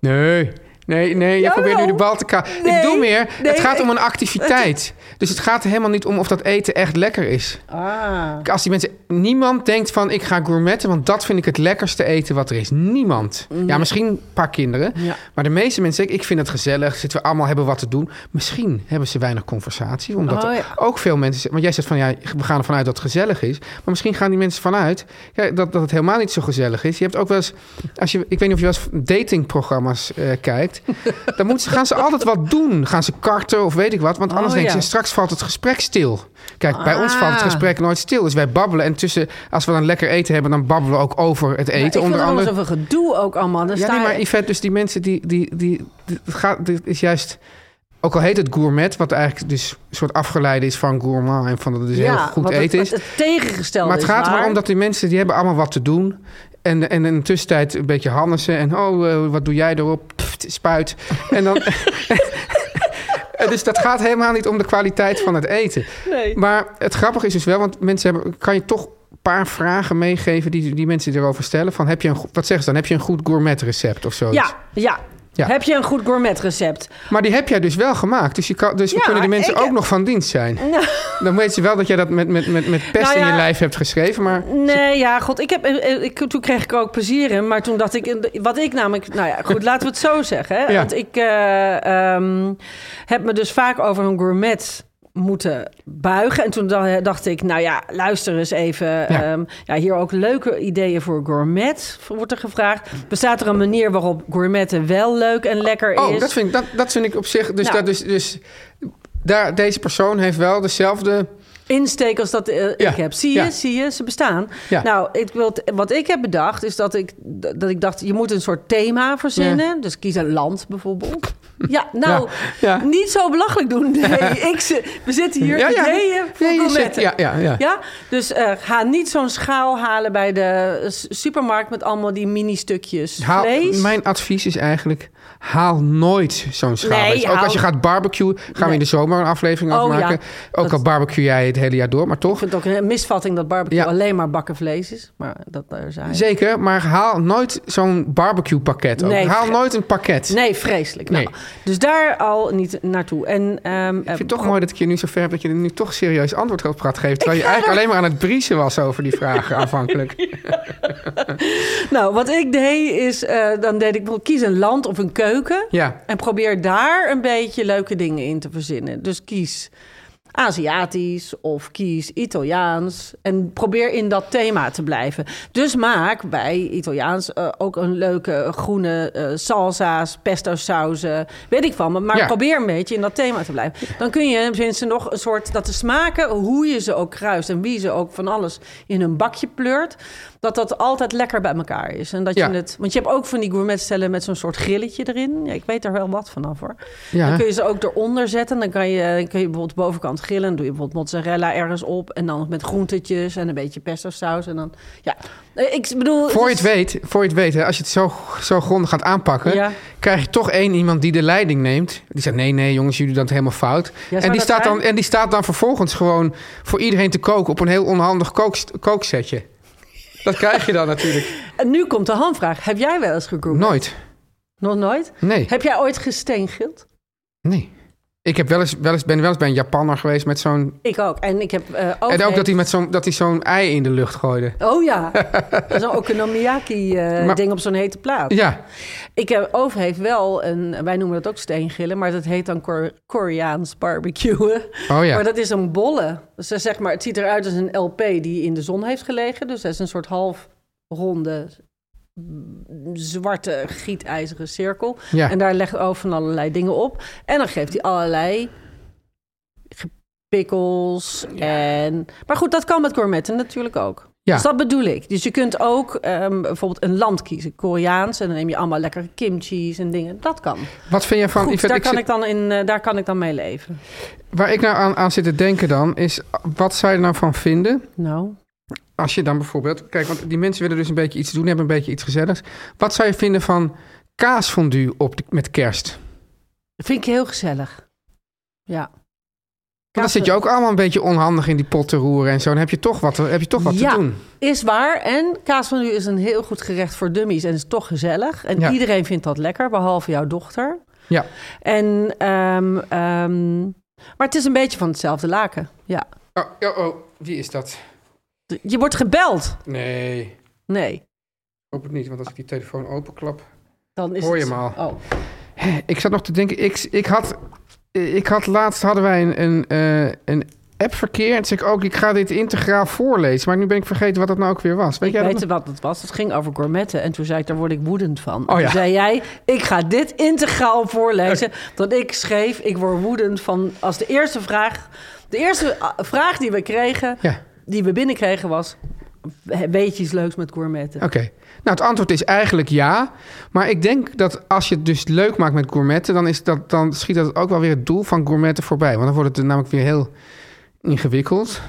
Speaker 2: Nee. Nee, nee, je
Speaker 3: Jawel.
Speaker 2: probeert nu de bal te ka.
Speaker 3: Nee,
Speaker 2: ik doe meer.
Speaker 3: nee,
Speaker 2: het gaat om
Speaker 3: ik-
Speaker 2: een activiteit. Dus het gaat er helemaal niet om of dat eten echt lekker is.
Speaker 3: ah,
Speaker 2: Als die mensen... Niemand denkt van, ik ga gourmetten... want dat vind ik het lekkerste eten wat er is. Niemand. Ja, misschien een paar kinderen.
Speaker 3: Mm. Ja.
Speaker 2: Maar de meeste mensen denken, ik vind het gezellig. Zitten we allemaal, hebben wat te doen. Misschien hebben ze weinig conversatie. Omdat
Speaker 3: Oh,
Speaker 2: er
Speaker 3: ja.
Speaker 2: ook veel mensen... zeggen- Want jij zegt van, ja, we gaan ervan uit dat het gezellig is. Maar misschien gaan die mensen vanuit ja, dat, dat het helemaal niet zo gezellig is. Je hebt ook wel eens... Als je, ik weet niet of je wel eens datingprogramma's eh, kijkt. dan moeten ze, gaan ze altijd wat doen. Gaan ze karten of weet ik wat. Want anders
Speaker 3: Oh,
Speaker 2: denken
Speaker 3: ja.
Speaker 2: ze, straks valt het gesprek stil. Kijk, bij ons valt het
Speaker 3: Ah.
Speaker 2: gesprek nooit stil. Dus wij babbelen. En tussen, als we dan lekker eten hebben, dan babbelen we ook over het
Speaker 3: Maar ik
Speaker 2: eten.
Speaker 3: vind
Speaker 2: onder
Speaker 3: het
Speaker 2: andere.
Speaker 3: allemaal zoveel gedoe ook allemaal. Dan
Speaker 2: Ja,
Speaker 3: sta
Speaker 2: nee,
Speaker 3: je-
Speaker 2: maar Yvette, dus die mensen die... die, die, die- het gaat, dit is juist... Ook al heet het gourmet, wat eigenlijk dus een soort afgeleide is van gourmand... en van dat het dus
Speaker 3: Ja,
Speaker 2: heel goed
Speaker 3: want het-
Speaker 2: eten is.
Speaker 3: Het, tegengestelde
Speaker 2: maar het
Speaker 3: is
Speaker 2: gaat
Speaker 3: waar.
Speaker 2: erom dat die mensen, die hebben allemaal wat te doen... En, en in de tussentijd een beetje hannesen en... oh, eh, wat doe jij erop? Pff, spuit. En dan... Eh, dus dat gaat helemaal niet om de kwaliteit van het eten.
Speaker 3: Nee.
Speaker 2: Maar het grappige is dus wel, want mensen hebben, kan je toch een paar vragen meegeven die, die mensen erover stellen. Van heb je een, go- wat zeggen ze dan? Heb je een goed gourmet recept of zo?
Speaker 3: Ja, ja.
Speaker 2: Ja.
Speaker 3: Heb je een goed gourmetrecept?
Speaker 2: Maar die heb jij dus wel gemaakt. Dus, je kan, dus we
Speaker 3: Ja,
Speaker 2: kunnen de mensen
Speaker 3: ik-
Speaker 2: ook nog van dienst zijn.
Speaker 3: Nou.
Speaker 2: Dan weet je wel dat jij dat met, met, met, met pest
Speaker 3: Nou
Speaker 2: in je
Speaker 3: ja.
Speaker 2: lijf hebt geschreven. Maar
Speaker 3: Nee, ja, god. Ik heb, eh, eh, ik, toen kreeg ik er ook plezier in. Maar toen dacht ik... eh, Wat ik namelijk... Nou ja, goed. laten we het zo zeggen. Hè?
Speaker 2: Ja.
Speaker 3: Want ik eh, ehm, heb me dus vaak over een gourmet moeten buigen. En toen da- dacht ik, nou ja, luister eens even.
Speaker 2: Ja.
Speaker 3: ehm, ja, hier ook leuke ideeën voor gourmet wordt er gevraagd. Bestaat er een manier waarop gourmetten wel leuk en lekker is?
Speaker 2: oh, dat vind, ik, dat, dat vind ik op zich. Dus,
Speaker 3: Nou.
Speaker 2: dat, dus, dus daar, deze persoon heeft wel dezelfde.
Speaker 3: insteek als dat eh,
Speaker 2: Ja,
Speaker 3: ik heb. Zie je,
Speaker 2: ja.
Speaker 3: zie je, ze bestaan.
Speaker 2: Ja.
Speaker 3: Nou, ik wil t- wat ik heb bedacht is dat ik, dat ik dacht, je moet een soort thema verzinnen. Dus kies een land bijvoorbeeld. Ja, nou,
Speaker 2: Ja, ja.
Speaker 3: niet zo belachelijk doen. Nee, ik, zit- we zitten hier
Speaker 2: Ja, ja.
Speaker 3: ideeën voor
Speaker 2: Nee, je zit-
Speaker 3: gourmetten.
Speaker 2: ja, ja, ja.
Speaker 3: Ja? Dus eh, ga niet zo'n schaal halen bij de eh, s- supermarkt met allemaal die mini-stukjes
Speaker 2: Haal,
Speaker 3: vlees.
Speaker 2: mijn advies is eigenlijk: haal nooit zo'n schaal.
Speaker 3: Nee,
Speaker 2: Weet je, ook
Speaker 3: haal-
Speaker 2: als je gaat barbecuen, gaan we
Speaker 3: Nee.
Speaker 2: in de zomer een aflevering
Speaker 3: Oh,
Speaker 2: afmaken.
Speaker 3: ja.
Speaker 2: Ook al
Speaker 3: Dat-
Speaker 2: barbecue jij het hele jaar door, maar toch.
Speaker 3: Ik vind het ook een misvatting dat barbecue
Speaker 2: Ja.
Speaker 3: alleen maar bakken vlees is. Maar dat daar zijn.
Speaker 2: Zeker, maar haal nooit zo'n barbecue pakket. Ook.
Speaker 3: Nee,
Speaker 2: haal
Speaker 3: verge-
Speaker 2: nooit een pakket.
Speaker 3: Nee, vreselijk.
Speaker 2: Nee.
Speaker 3: Nou, dus daar al niet naartoe. En, ehm,
Speaker 2: Ik vind het toch
Speaker 3: eh,
Speaker 2: mooi dat ik je nu zo ver heb dat je er nu toch serieus antwoord op gaat geven. Terwijl je eigenlijk alleen maar aan het briezen was over die vragen aanvankelijk.
Speaker 3: Nou, wat ik deed is, eh, dan deed ik wel kies een land of een keuken.
Speaker 2: Ja.
Speaker 3: En probeer daar een beetje leuke dingen in te verzinnen. Dus kies Aziatisch of kies Italiaans. En probeer in dat thema te blijven. Dus maak bij Italiaans eh, ook een leuke groene eh, salsa's, pesto sauzen. Weet ik van. Maar, maar
Speaker 2: Ja.
Speaker 3: probeer een beetje in dat thema te blijven. Dan kun je tenminste nog een soort... dat de smaken, hoe je ze ook kruist... en wie ze ook van alles in een bakje pleurt... dat dat altijd lekker bij elkaar is. En dat
Speaker 2: Ja.
Speaker 3: je het... Want je hebt ook van die gourmetstellen met zo'n soort grilletje erin. Ja, ik weet er wel wat vanaf hoor.
Speaker 2: Ja.
Speaker 3: Dan kun je ze ook eronder zetten. Dan kan je, kun je bijvoorbeeld bovenkant grillen. Dan doe je bijvoorbeeld mozzarella ergens op. En dan met groentetjes en een beetje pesto saus. En dan, ja. Eh, Ik bedoel...
Speaker 2: Voor je
Speaker 3: is-
Speaker 2: het weet, voor je het weet hè, als je het zo, zo grondig gaat aanpakken,
Speaker 3: Ja.
Speaker 2: krijg je toch één iemand die de leiding neemt. Die zegt: nee, nee, jongens, jullie doen dat helemaal fout.
Speaker 3: zou
Speaker 2: en, die
Speaker 3: dat
Speaker 2: staat dan,
Speaker 3: zijn?
Speaker 2: en die staat dan vervolgens gewoon voor iedereen te koken op een heel onhandig kookst- kooksetje. Dat krijg je dan natuurlijk.
Speaker 3: En nu komt de hamvraag. Heb jij wel eens gegoogeld?
Speaker 2: Nooit.
Speaker 3: Nog nooit?
Speaker 2: Nee.
Speaker 3: Heb jij ooit gesteengild?
Speaker 2: Nee. Ik heb wel eens, wel eens, ben wel eens bij een Japanner geweest met zo'n...
Speaker 3: Ik ook. En ik heb eh, ook...
Speaker 2: En ook dat hij, met zo'n, dat hij zo'n ei in de lucht gooide.
Speaker 3: Oh ja, zo'n okonomiyaki-ding
Speaker 2: Maar-
Speaker 3: eh, op zo'n hete plaat.
Speaker 2: Ja,
Speaker 3: Ik heb over heeft wel een, wij noemen dat ook steengillen, maar dat heet dan Kor- Koreaans barbecuen.
Speaker 2: oh ja.
Speaker 3: Maar dat is een bolle. Dus dat is zeg maar, het ziet eruit als een LP die in de zon heeft gelegen. Dus dat is een soort half ronde mm, zwarte gietijzeren cirkel.
Speaker 2: ja.
Speaker 3: En daar legt ook van allerlei dingen op. En dan geeft hij allerlei ge- pickles en... Maar goed, dat kan met gourmetten natuurlijk ook.
Speaker 2: Ja.
Speaker 3: Dus dat bedoel ik. Dus je kunt ook ehm, bijvoorbeeld een land kiezen, Koreaans. En dan neem je allemaal lekkere kimchi's en dingen. Dat kan.
Speaker 2: Wat vind jij van...
Speaker 3: Goed,
Speaker 2: ik vind-
Speaker 3: daar,
Speaker 2: ik
Speaker 3: kan
Speaker 2: zit-
Speaker 3: ik dan in, eh, daar kan ik dan mee leven.
Speaker 2: Waar ik nou aan, aan zit te denken dan, is wat zou je er nou van vinden...
Speaker 3: Nou,
Speaker 2: Als je dan bijvoorbeeld... Kijk, want die mensen willen dus een beetje iets doen, hebben een beetje iets gezelligs. Wat zou je vinden van kaasfondue op de- met kerst?
Speaker 3: dat vind ik heel gezellig. Ja.
Speaker 2: Want dan zit je ook allemaal een beetje onhandig in die pot te roeren en zo. Dan heb je toch wat, heb je toch wat
Speaker 3: Ja.
Speaker 2: te doen.
Speaker 3: Is waar. En kaas van u is een heel goed gerecht voor dummies. En is toch gezellig. En
Speaker 2: Ja.
Speaker 3: iedereen vindt dat lekker, behalve jouw dochter.
Speaker 2: Ja.
Speaker 3: En, ehm, ehm, maar het is een beetje van hetzelfde laken. Ja.
Speaker 2: Oh, oh, oh, wie is dat?
Speaker 3: Je wordt gebeld.
Speaker 2: Nee,
Speaker 3: Nee.
Speaker 2: hoop het niet, want als ik die telefoon openklap...
Speaker 3: Dan is
Speaker 2: Hoor je
Speaker 3: het...
Speaker 2: hem
Speaker 3: Oh.
Speaker 2: Ik zat nog te denken, ik, ik, had, ik had laatst hadden wij een, een, eh, een appverkeer. En toen zei ik ook, ik ga dit integraal voorlezen. Maar nu ben ik vergeten wat dat nou ook weer was. Weet
Speaker 3: Ik
Speaker 2: jij dat
Speaker 3: weet
Speaker 2: nog?
Speaker 3: wat het was. Het ging over gourmetten. En toen zei ik, daar word ik woedend van.
Speaker 2: Oh ja.
Speaker 3: Toen zei jij, ik ga dit integraal voorlezen. Dat ik schreef, ik word woedend van... Als de eerste vraag... De eerste ah, vraag die we kregen,
Speaker 2: Ja,
Speaker 3: die we binnenkregen was... Weet je iets leuks met gourmetten?
Speaker 2: oké. Nou, het antwoord is eigenlijk ja. Maar ik denk dat als je het dus leuk maakt met gourmetten... dan, is dat, dan schiet dat ook wel weer het doel van gourmetten voorbij. Want dan wordt het namelijk weer heel ingewikkeld.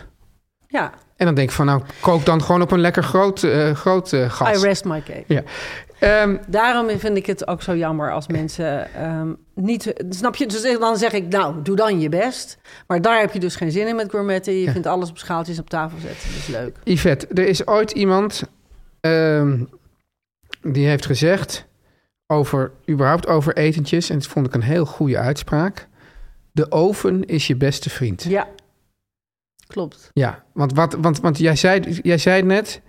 Speaker 3: Ja,
Speaker 2: En dan denk ik van, nou, kook dan gewoon op een lekker groot, eh, groot eh, gas.
Speaker 3: I rest my case.
Speaker 2: Ja. Ehm,
Speaker 3: Daarom vind ik het ook zo jammer als mensen ehm, niet... Snap je? Dus dan zeg ik, nou, doe dan je best. Maar daar heb je dus geen zin in met gourmetten. Je
Speaker 2: Ja.
Speaker 3: vindt alles op schaaltjes op tafel zetten. Dat is leuk.
Speaker 2: Yvette, er is ooit iemand ehm, die heeft gezegd over, überhaupt over etentjes, en dat vond ik een heel goede uitspraak. De oven is je beste vriend.
Speaker 3: Ja, klopt.
Speaker 2: Ja, want, wat, want, want jij, zei, jij zei net,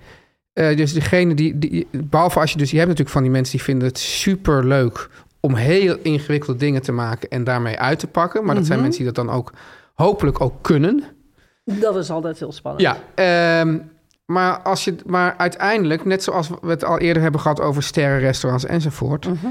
Speaker 2: eh, dus degene die, die, behalve als je dus, je hebt natuurlijk van die mensen die vinden het super leuk om heel ingewikkelde dingen te maken en daarmee uit te pakken. Maar dat
Speaker 3: Mhm.
Speaker 2: zijn mensen die dat dan ook hopelijk ook kunnen.
Speaker 3: Dat is altijd heel spannend.
Speaker 2: Ja, ehm, maar, als je, maar uiteindelijk, net zoals we het al eerder hebben gehad over sterrenrestaurants enzovoort.
Speaker 3: Mhm.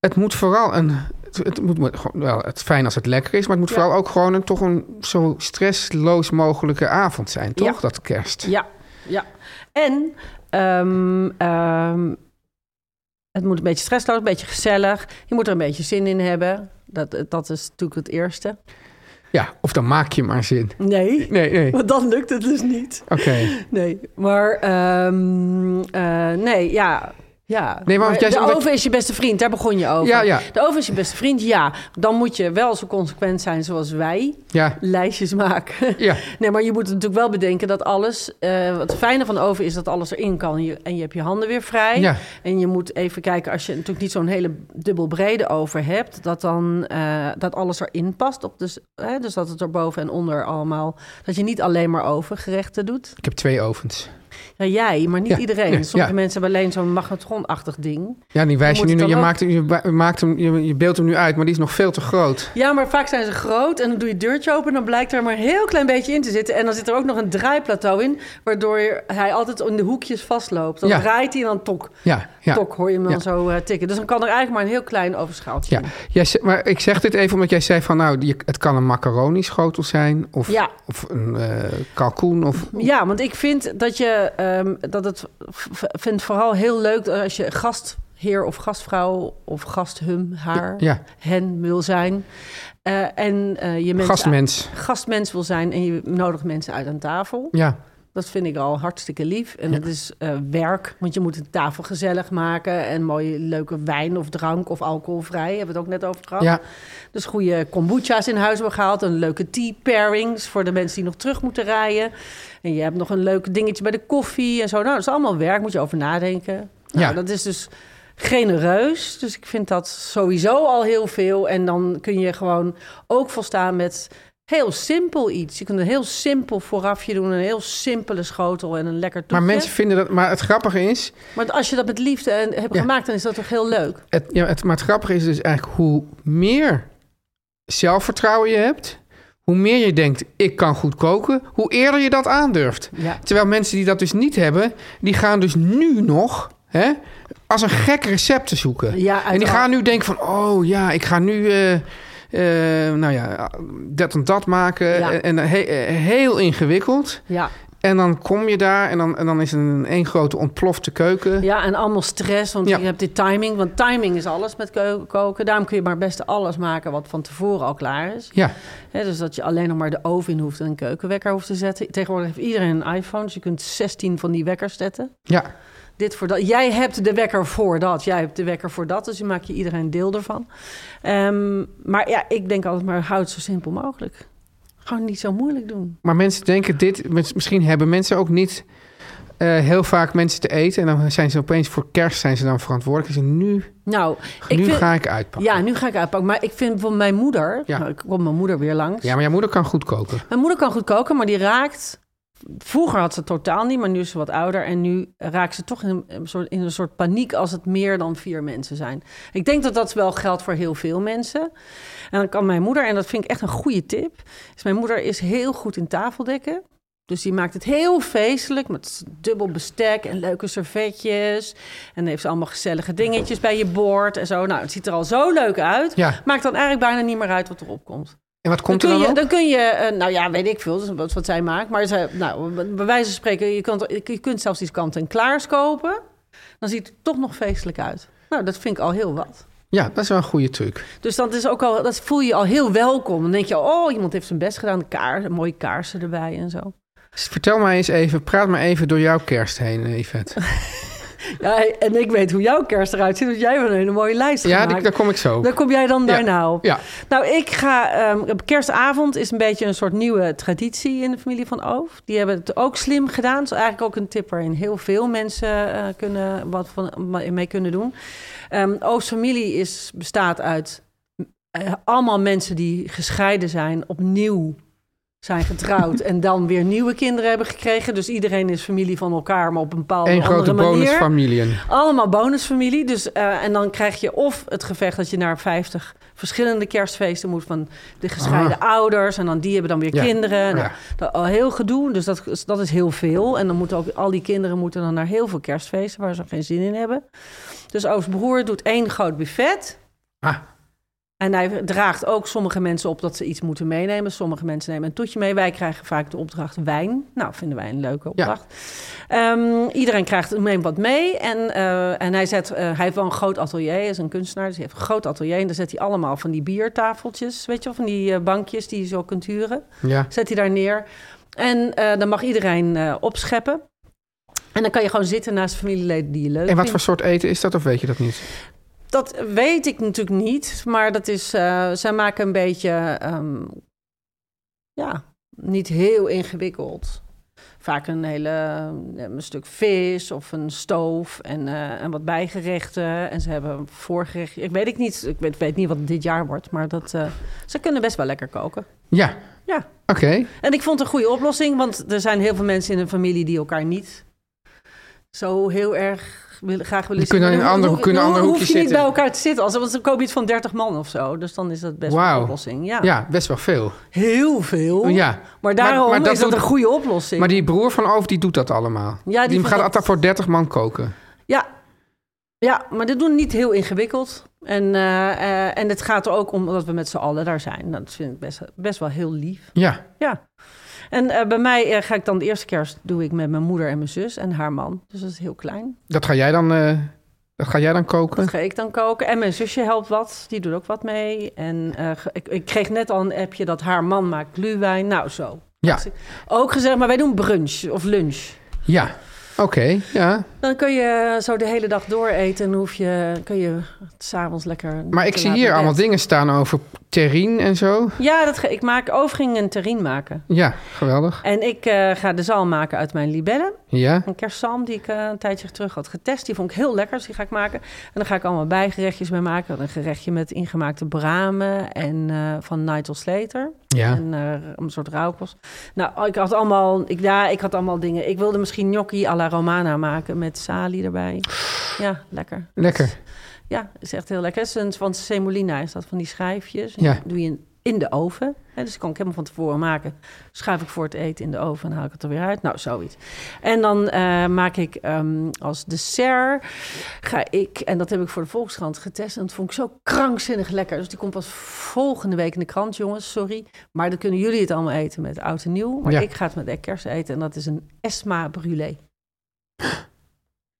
Speaker 2: Het moet vooral een. Het, het moet maar gewoon- wel het fijn als het lekker is, maar het moet
Speaker 3: Ja.
Speaker 2: vooral ook gewoon een, toch een zo stressloos mogelijke avond zijn, toch?
Speaker 3: Ja.
Speaker 2: Dat kerst.
Speaker 3: Ja, ja. En ehm, ehm, het moet een beetje stressloos, een beetje gezellig. Je moet er een beetje zin in hebben. Dat, dat is natuurlijk het eerste.
Speaker 2: Ja, of dan maak je maar zin.
Speaker 3: Nee,
Speaker 2: Nee, nee. Oké.
Speaker 3: want dan lukt het dus niet. Nee, maar ehm, eh, nee, ja. Ja,
Speaker 2: Nee, maar want jij
Speaker 3: de
Speaker 2: zei dat-
Speaker 3: oven is je beste vriend, daar begon je over.
Speaker 2: Ja, ja.
Speaker 3: De oven is je beste vriend, ja. Dan moet je wel zo consequent zijn zoals wij.
Speaker 2: Ja.
Speaker 3: Lijstjes maken.
Speaker 2: Ja.
Speaker 3: Nee, maar je moet natuurlijk wel bedenken dat alles... eh, wat het fijne van de oven is dat alles erin kan. Je, en je hebt je handen weer vrij.
Speaker 2: Ja.
Speaker 3: En je moet even kijken, als je natuurlijk niet zo'n hele dubbelbrede oven hebt... dat dan eh, dat alles erin past. Op dus, hè, dus dat het er boven en onder allemaal... dat je niet alleen maar ovengerechten doet.
Speaker 2: Ik heb twee ovens.
Speaker 3: Ja, jij, maar niet
Speaker 2: Ja,
Speaker 3: iedereen.
Speaker 2: nee,
Speaker 3: Sommige
Speaker 2: ja.
Speaker 3: mensen hebben alleen zo'n magnetronachtig ding.
Speaker 2: Ja, die wijs je
Speaker 3: Moet
Speaker 2: nu.
Speaker 3: het
Speaker 2: Je,
Speaker 3: dan ook-
Speaker 2: maakt, hem- je, ba- je maakt hem, je, je beeldt hem nu uit, maar die is nog veel te groot.
Speaker 3: Ja, maar vaak zijn ze groot en dan doe je het deurtje open... en dan blijkt er maar een heel klein beetje in te zitten. En dan zit er ook nog een draaiplateau in... waardoor hij altijd in de hoekjes vastloopt. Dan
Speaker 2: Ja.
Speaker 3: draait hij en dan tok,
Speaker 2: Ja, ja.
Speaker 3: tok hoor je hem dan
Speaker 2: Ja.
Speaker 3: zo eh, tikken. Dus dan kan er eigenlijk maar een heel klein overschaaltje
Speaker 2: Ja,
Speaker 3: in.
Speaker 2: jij, ze- maar ik zeg dit even omdat jij zei van nou, je- het kan een macaroni schotel zijn of,
Speaker 3: Ja.
Speaker 2: of een eh, kalkoen of
Speaker 3: Ja, want ik vind dat je ehm, dat het v- v- vindt vooral heel leuk als je gastheer of gastvrouw of gasthum, haar,
Speaker 2: ja,
Speaker 3: hen wil zijn. Eh, en eh, je mensen
Speaker 2: gastmens.
Speaker 3: gastmens wil zijn en je nodigt mensen uit aan tafel.
Speaker 2: Ja,
Speaker 3: Dat vind ik al hartstikke lief. En het is eh, werk, want je moet de tafel gezellig maken en mooie leuke wijn of drank of alcoholvrij. Hebben we het ook net over gehad.
Speaker 2: ja,
Speaker 3: Dus goede kombucha's in huis hebben gehaald. Een leuke tea pairings voor de mensen die nog terug moeten rijden. En je hebt nog een leuk dingetje bij de koffie en zo. Nou, dat is allemaal werk, moet je over nadenken. Nou,
Speaker 2: Ja.
Speaker 3: Dat is dus genereus. Dus ik vind dat sowieso al heel veel. En dan kun je gewoon ook volstaan met heel simpel iets. Je kunt een heel simpel voorafje doen, een heel simpele schotel en een lekker toetje.
Speaker 2: Maar mensen vinden dat. Maar het grappige is.
Speaker 3: Maar als je dat met liefde en, hebt
Speaker 2: Ja.
Speaker 3: gemaakt, dan is dat toch heel leuk.
Speaker 2: Het, ja, het, maar het grappige is dus eigenlijk hoe meer zelfvertrouwen je hebt. Hoe meer je denkt, ik kan goed koken, hoe eerder je dat aandurft.
Speaker 3: Ja.
Speaker 2: Terwijl mensen die dat dus niet hebben, die gaan dus nu nog hè, als een gek recepten zoeken.
Speaker 3: Ja,
Speaker 2: en die
Speaker 3: uiteraard.
Speaker 2: gaan nu denken van, oh ja, ik ga nu eh, eh, nou ja, dat en dat maken.
Speaker 3: Ja.
Speaker 2: En, en he- eh, heel ingewikkeld.
Speaker 3: Ja.
Speaker 2: En dan kom je daar en dan, en dan is het een één grote ontplofte keuken.
Speaker 3: ja, en allemaal stress, want
Speaker 2: Ja.
Speaker 3: je hebt die timing. Want timing is alles met keu- koken. Daarom kun je maar best alles maken wat van tevoren al klaar is.
Speaker 2: Ja.
Speaker 3: Hè, dus dat je alleen nog maar de oven in hoeft en een keukenwekker hoeft te zetten. Tegenwoordig heeft iedereen een iPhone, dus je kunt 16 van die wekkers zetten.
Speaker 2: ja.
Speaker 3: Dit voor dat. Jij hebt de wekker voor dat, jij hebt de wekker voor dat. Dus je maakt je iedereen deel ervan. Ehm, maar ja, ik denk altijd maar houd het zo simpel mogelijk. Gewoon niet zo moeilijk doen.
Speaker 2: Maar mensen denken dit, mis- misschien hebben mensen ook niet eh, heel vaak mensen te eten. En dan zijn ze opeens voor kerst zijn ze dan verantwoordelijk. Dus nu,
Speaker 3: Nou,
Speaker 2: nu
Speaker 3: ik vind,
Speaker 2: ga ik uitpakken.
Speaker 3: Ja, nu ga ik uitpakken. Maar ik vind bijvoorbeeld mijn moeder...
Speaker 2: Ja.
Speaker 3: Nou, ik kom mijn moeder weer langs.
Speaker 2: Ja, maar jouw moeder kan goed koken.
Speaker 3: Mijn moeder kan goed koken, maar die raakt... Vroeger had ze het totaal niet, maar nu is ze wat ouder. En nu raakt ze toch in een, soort, in een soort paniek als het meer dan vier mensen zijn. Ik denk dat dat wel geldt voor heel veel mensen. En dan kan mijn moeder, en dat vind ik echt een goede tip... Is mijn moeder is heel goed in tafeldekken. Dus die maakt het heel feestelijk met dubbel bestek en leuke servetjes. En heeft ze allemaal gezellige dingetjes bij je bord en zo. Nou, het ziet er al zo leuk uit.
Speaker 2: Ja.
Speaker 3: Maakt dan eigenlijk bijna niet meer uit wat erop komt.
Speaker 2: En wat komt
Speaker 3: dan
Speaker 2: er
Speaker 3: kun
Speaker 2: dan
Speaker 3: je,
Speaker 2: op?
Speaker 3: dan kun je eh, nou ja, weet ik veel, dat is wat, wat zij maakt. Maar ze, nou, bij wijze van spreken, je, kunt, je kunt zelfs iets kant-en-klaars kopen. Dan ziet het toch nog feestelijk uit. Nou, dat vind ik al heel wat.
Speaker 2: Ja, dat is wel een goede truc.
Speaker 3: Dus dat, is ook al, dat voel je al heel welkom. Dan denk je, al, oh, iemand heeft zijn best gedaan. Kaar, mooie kaarsen erbij en zo.
Speaker 2: Dus vertel mij eens even, praat maar even door jouw kerst heen, eh, Yvette.
Speaker 3: Ja, en ik weet hoe jouw kerst eruit ziet, want jij hebt een hele mooie lijst
Speaker 2: Ja, die-
Speaker 3: gemaakt.
Speaker 2: daar kom ik zo.
Speaker 3: Daar kom jij dan daarna op.
Speaker 2: Ja,
Speaker 3: Nou, ik ga. ehm, op kerstavond is een beetje een soort nieuwe traditie in de familie van Oof. Die hebben het ook slim gedaan. Dat is eigenlijk ook een tip waarin heel veel mensen eh, kunnen, wat van, mee kunnen doen. Ehm Oof's familie is, bestaat uit eh, allemaal mensen die gescheiden zijn, opnieuw zijn getrouwd en dan weer nieuwe kinderen hebben gekregen. Dus iedereen is familie van elkaar, maar op een bepaalde
Speaker 2: één
Speaker 3: andere
Speaker 2: grote
Speaker 3: manier.
Speaker 2: bonusfamiliën.
Speaker 3: Allemaal bonusfamilie. Dus, eh, en dan krijg je of het gevecht dat je naar 50 verschillende kerstfesten moet van de gescheiden ouders. En dan die hebben dan weer
Speaker 2: Ah. Ja.
Speaker 3: kinderen. Nou,
Speaker 2: Ja.
Speaker 3: dat- al heel gedoe. Dus dat, is- dat is heel veel. En dan moeten ook al die kinderen moeten dan naar heel veel kerstfeesten waar ze geen zin in hebben. Dus Oost broer doet één groot buffet.
Speaker 2: Ah,
Speaker 3: En hij draagt ook sommige mensen op dat ze iets moeten meenemen. Sommige mensen nemen een toetje mee. Wij krijgen vaak de opdracht wijn. Nou, vinden wij een leuke opdracht. Ehm, iedereen krijgt neemt wat mee. En, eh, en hij, zet, eh, hij heeft wel een groot atelier. Hij is een kunstenaar, dus hij heeft een groot atelier. En daar zet hij allemaal van die biertafeltjes, weet je wel, van die eh, bankjes die je zo kunt huren.
Speaker 2: ja.
Speaker 3: Zet hij daar neer. En eh, dan mag iedereen eh, opscheppen. En dan kan je gewoon zitten naast familieleden die je leuk
Speaker 2: En wat
Speaker 3: vindt.
Speaker 2: voor soort eten is dat of weet je dat niet?
Speaker 3: Dat weet ik natuurlijk niet, maar dat is, eh, zij maken een beetje, ehm, ja, niet heel ingewikkeld. Vaak een hele eh, een stuk vis of een stoof en, eh, en wat bijgerechten. En ze hebben een voorgerecht. Ik weet ik niet, ik weet, weet niet wat het dit jaar wordt, maar dat, eh, ze kunnen best wel lekker koken.
Speaker 2: Ja,
Speaker 3: Ja.
Speaker 2: oké.
Speaker 3: En ik vond het een goede oplossing, want er zijn heel veel mensen in een familie die elkaar niet zo heel erg willen, graag willen
Speaker 2: Die kunnen in een
Speaker 3: Dan
Speaker 2: ander-
Speaker 3: hoef-
Speaker 2: kunnen in een ander
Speaker 3: hoef
Speaker 2: hoekje
Speaker 3: je niet bij
Speaker 2: zitten.
Speaker 3: elkaar te zitten, als, want dan koop je iets van 30 man of zo. Dus dan is dat best wel
Speaker 2: Wauw.
Speaker 3: een oplossing. Ja.
Speaker 2: Ja, best wel veel.
Speaker 3: Heel veel.
Speaker 2: Ja.
Speaker 3: Maar daarom
Speaker 2: maar dat
Speaker 3: is dat
Speaker 2: doet-
Speaker 3: een goede oplossing.
Speaker 2: Maar die broer van Oof, die doet dat allemaal.
Speaker 3: Ja, die
Speaker 2: die gaat
Speaker 3: vergat-
Speaker 2: altijd voor 30 man koken.
Speaker 3: Ja. ja, maar dat doen niet heel ingewikkeld. En, eh, eh, en het gaat er ook om dat we met z'n allen daar zijn. Dat vind ik best, best wel heel lief.
Speaker 2: Ja.
Speaker 3: Ja. En eh, bij mij eh, ga ik dan de eerste kerst doe ik met mijn moeder en mijn zus en haar man. Dus dat is heel klein.
Speaker 2: Dat ga jij dan, eh, dat ga jij dan koken?
Speaker 3: Dat ga ik dan koken. En mijn zusje helpt wat. Die doet ook wat mee. En eh, ge- ik, ik kreeg net al een appje dat haar man maakt gluwijn. Nou, zo.
Speaker 2: Ja.
Speaker 3: Ook gezegd, maar wij doen brunch of lunch.
Speaker 2: Ja. Oké. Oké, ja.
Speaker 3: Dan kun je zo de hele dag door eten en hoef je, kun je het s'avonds lekker...
Speaker 2: Maar ik
Speaker 3: te
Speaker 2: zie
Speaker 3: laat
Speaker 2: hier
Speaker 3: naar
Speaker 2: allemaal
Speaker 3: bed.
Speaker 2: dingen staan over terrine en zo.
Speaker 3: Ja, dat ge- ik maak overing en terrine maken.
Speaker 2: Ja, geweldig.
Speaker 3: En ik eh, ga de zalm maken uit mijn libellen.
Speaker 2: Ja.
Speaker 3: Een kerstzalm die ik eh, een tijdje terug had getest. Die vond ik heel lekker, dus die ga ik maken. En dan ga ik allemaal bijgerechtjes mee maken. Een gerechtje met ingemaakte bramen en eh, van Nigel Slater.
Speaker 2: Ja.
Speaker 3: En eh, een soort rauwkost. Nou, ik had allemaal, ik, ja, ik had allemaal dingen. Ik wilde misschien gnocchi alla romana maken met salie erbij. Ja, lekker.
Speaker 2: Lekker.
Speaker 3: Ja, is echt heel lekker. Het is een- van semolina is dat, van die schijfjes.
Speaker 2: Ja.
Speaker 3: Die doe je in- in de oven. Hè, dus die kan ik helemaal van tevoren maken. Schuif ik voor het eten in de oven en haal ik het er weer uit. Nou, zoiets. En dan eh, maak ik ehm, als dessert, ga ik, en dat heb ik voor de Volkskrant getest. En dat vond ik zo krankzinnig lekker. Dus die komt pas volgende week in de krant, jongens, sorry. Maar dan kunnen jullie het allemaal eten met oud en nieuw. Maar
Speaker 2: Ja.
Speaker 3: ik ga het met de kerst eten. En dat is een Esma Brûlée.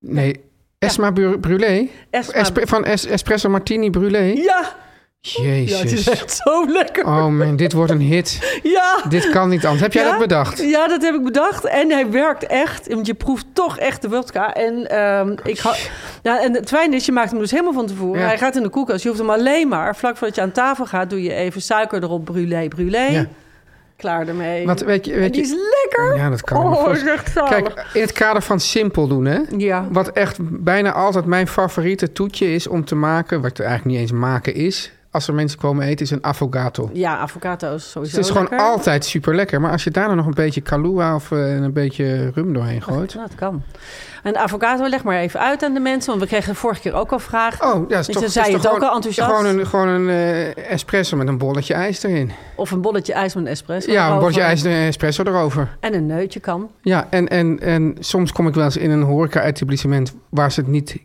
Speaker 2: Nee, Esma Bru- Brûlé.
Speaker 3: Esma
Speaker 2: Espe- van Es- Espresso Martini Brûlé.
Speaker 3: ja, ja, het is
Speaker 2: Jezus.
Speaker 3: echt zo lekker.
Speaker 2: Oh man, dit wordt een hit.
Speaker 3: Ja.
Speaker 2: Dit kan niet anders. Heb jij
Speaker 3: Ja?
Speaker 2: dat bedacht?
Speaker 3: Ja, dat heb ik bedacht. En hij werkt echt. Want je proeft toch echt de wodka. En, ehm, ik had, nou, en het fijn is, je maakt hem dus helemaal van tevoren.
Speaker 2: Oh, Ja.
Speaker 3: Hij gaat in de koelkast. Je hoeft hem alleen maar, vlak voordat je aan tafel gaat... doe je even suiker erop, brûlé, brûlé.
Speaker 2: Ja.
Speaker 3: Klaar ermee.
Speaker 2: Want weet je...
Speaker 3: en
Speaker 2: Weet
Speaker 3: die is
Speaker 2: je
Speaker 3: lekker.
Speaker 2: ja, dat kan ik me
Speaker 3: oh, is
Speaker 2: voorstellen.
Speaker 3: echt zalig.
Speaker 2: Kijk, in het kader van simpel doen, hè?
Speaker 3: ja.
Speaker 2: Wat echt bijna altijd mijn favoriete toetje is om te maken... wat er eigenlijk niet eens maken is... als er mensen komen eten, is een affogato.
Speaker 3: ja, avocado's sowieso
Speaker 2: het is gewoon
Speaker 3: lekker.
Speaker 2: altijd super lekker. Maar als je daar dan nog een beetje kalua of eh, een beetje rum doorheen gooit...
Speaker 3: Nou, dat kan. En avocado, leg maar even uit aan de mensen. Want we kregen vorige keer ook al vragen.
Speaker 2: Oh, ja, dat
Speaker 3: Dus
Speaker 2: is toch,
Speaker 3: dan zei
Speaker 2: is
Speaker 3: je
Speaker 2: toch
Speaker 3: het ook
Speaker 2: gewoon,
Speaker 3: al enthousiast.
Speaker 2: Gewoon een, gewoon een eh, espresso met een bolletje ijs erin.
Speaker 3: Of een bolletje ijs met een espresso.
Speaker 2: Ja, een
Speaker 3: erover.
Speaker 2: bolletje ijs en een espresso erover.
Speaker 3: En een neutje kan.
Speaker 2: Ja, en, en, en soms kom ik wel eens in een horeca-etablissement waar ze het niet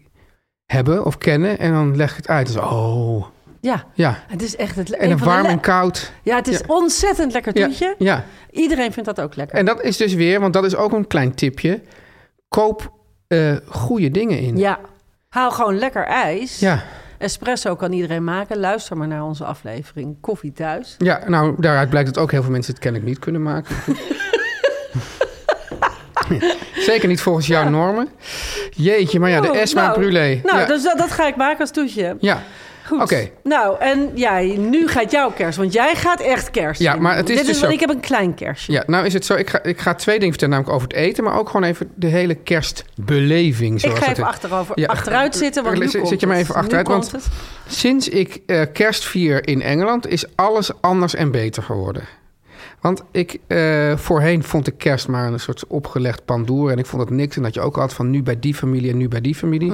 Speaker 2: hebben of kennen. En dan leg ik het uit. Dus, oh,
Speaker 3: Ja,
Speaker 2: ja.
Speaker 3: het is echt het
Speaker 2: En
Speaker 3: een
Speaker 2: een
Speaker 3: van de
Speaker 2: warm
Speaker 3: le-
Speaker 2: en koud.
Speaker 3: Ja, het is
Speaker 2: Ja.
Speaker 3: ontzettend lekker
Speaker 2: Ja,
Speaker 3: toetje.
Speaker 2: ja,
Speaker 3: Iedereen vindt dat ook lekker.
Speaker 2: en dat is dus weer, want dat is ook een klein tipje. Koop eh, goede dingen in.
Speaker 3: Ja. Haal gewoon lekker ijs.
Speaker 2: ja,
Speaker 3: Espresso kan iedereen maken. Luister maar naar onze aflevering Koffie Thuis.
Speaker 2: Ja, nou, daaruit blijkt dat ook heel veel mensen het kennelijk niet kunnen maken. Zeker niet volgens jouw normen. Jeetje, maar ja, de
Speaker 3: Oh,
Speaker 2: Esma
Speaker 3: nou,
Speaker 2: Brûlé.
Speaker 3: Nou,
Speaker 2: ja.
Speaker 3: dus dat, dat ga ik maken als toetje.
Speaker 2: ja.
Speaker 3: Goed.
Speaker 2: Oké.
Speaker 3: Nou, en jij, nu gaat jouw kerst. Want jij gaat echt kerst.
Speaker 2: Ja,
Speaker 3: in.
Speaker 2: maar het is
Speaker 3: Dit
Speaker 2: dus
Speaker 3: is want
Speaker 2: zo.
Speaker 3: ik heb een klein kerstje.
Speaker 2: ja, nou is het zo. Ik ga, ik ga twee dingen vertellen, namelijk over het eten, maar ook gewoon even de hele kerstbeleving. Zoals
Speaker 3: ik ga
Speaker 2: het
Speaker 3: even
Speaker 2: heet.
Speaker 3: achterover,
Speaker 2: Ja. eh,
Speaker 3: achteruit zitten, want nu
Speaker 2: Zit-
Speaker 3: komt
Speaker 2: zit je maar
Speaker 3: het.
Speaker 2: even
Speaker 3: Nu
Speaker 2: achteruit,
Speaker 3: komt
Speaker 2: want-
Speaker 3: het.
Speaker 2: Sinds ik eh, kerst vier in Engeland is alles anders en beter geworden. Want ik, eh, voorheen vond ik kerst maar een soort opgelegd pandoer. En ik vond het niks. En dat je ook had van nu bij die familie en nu bij die familie.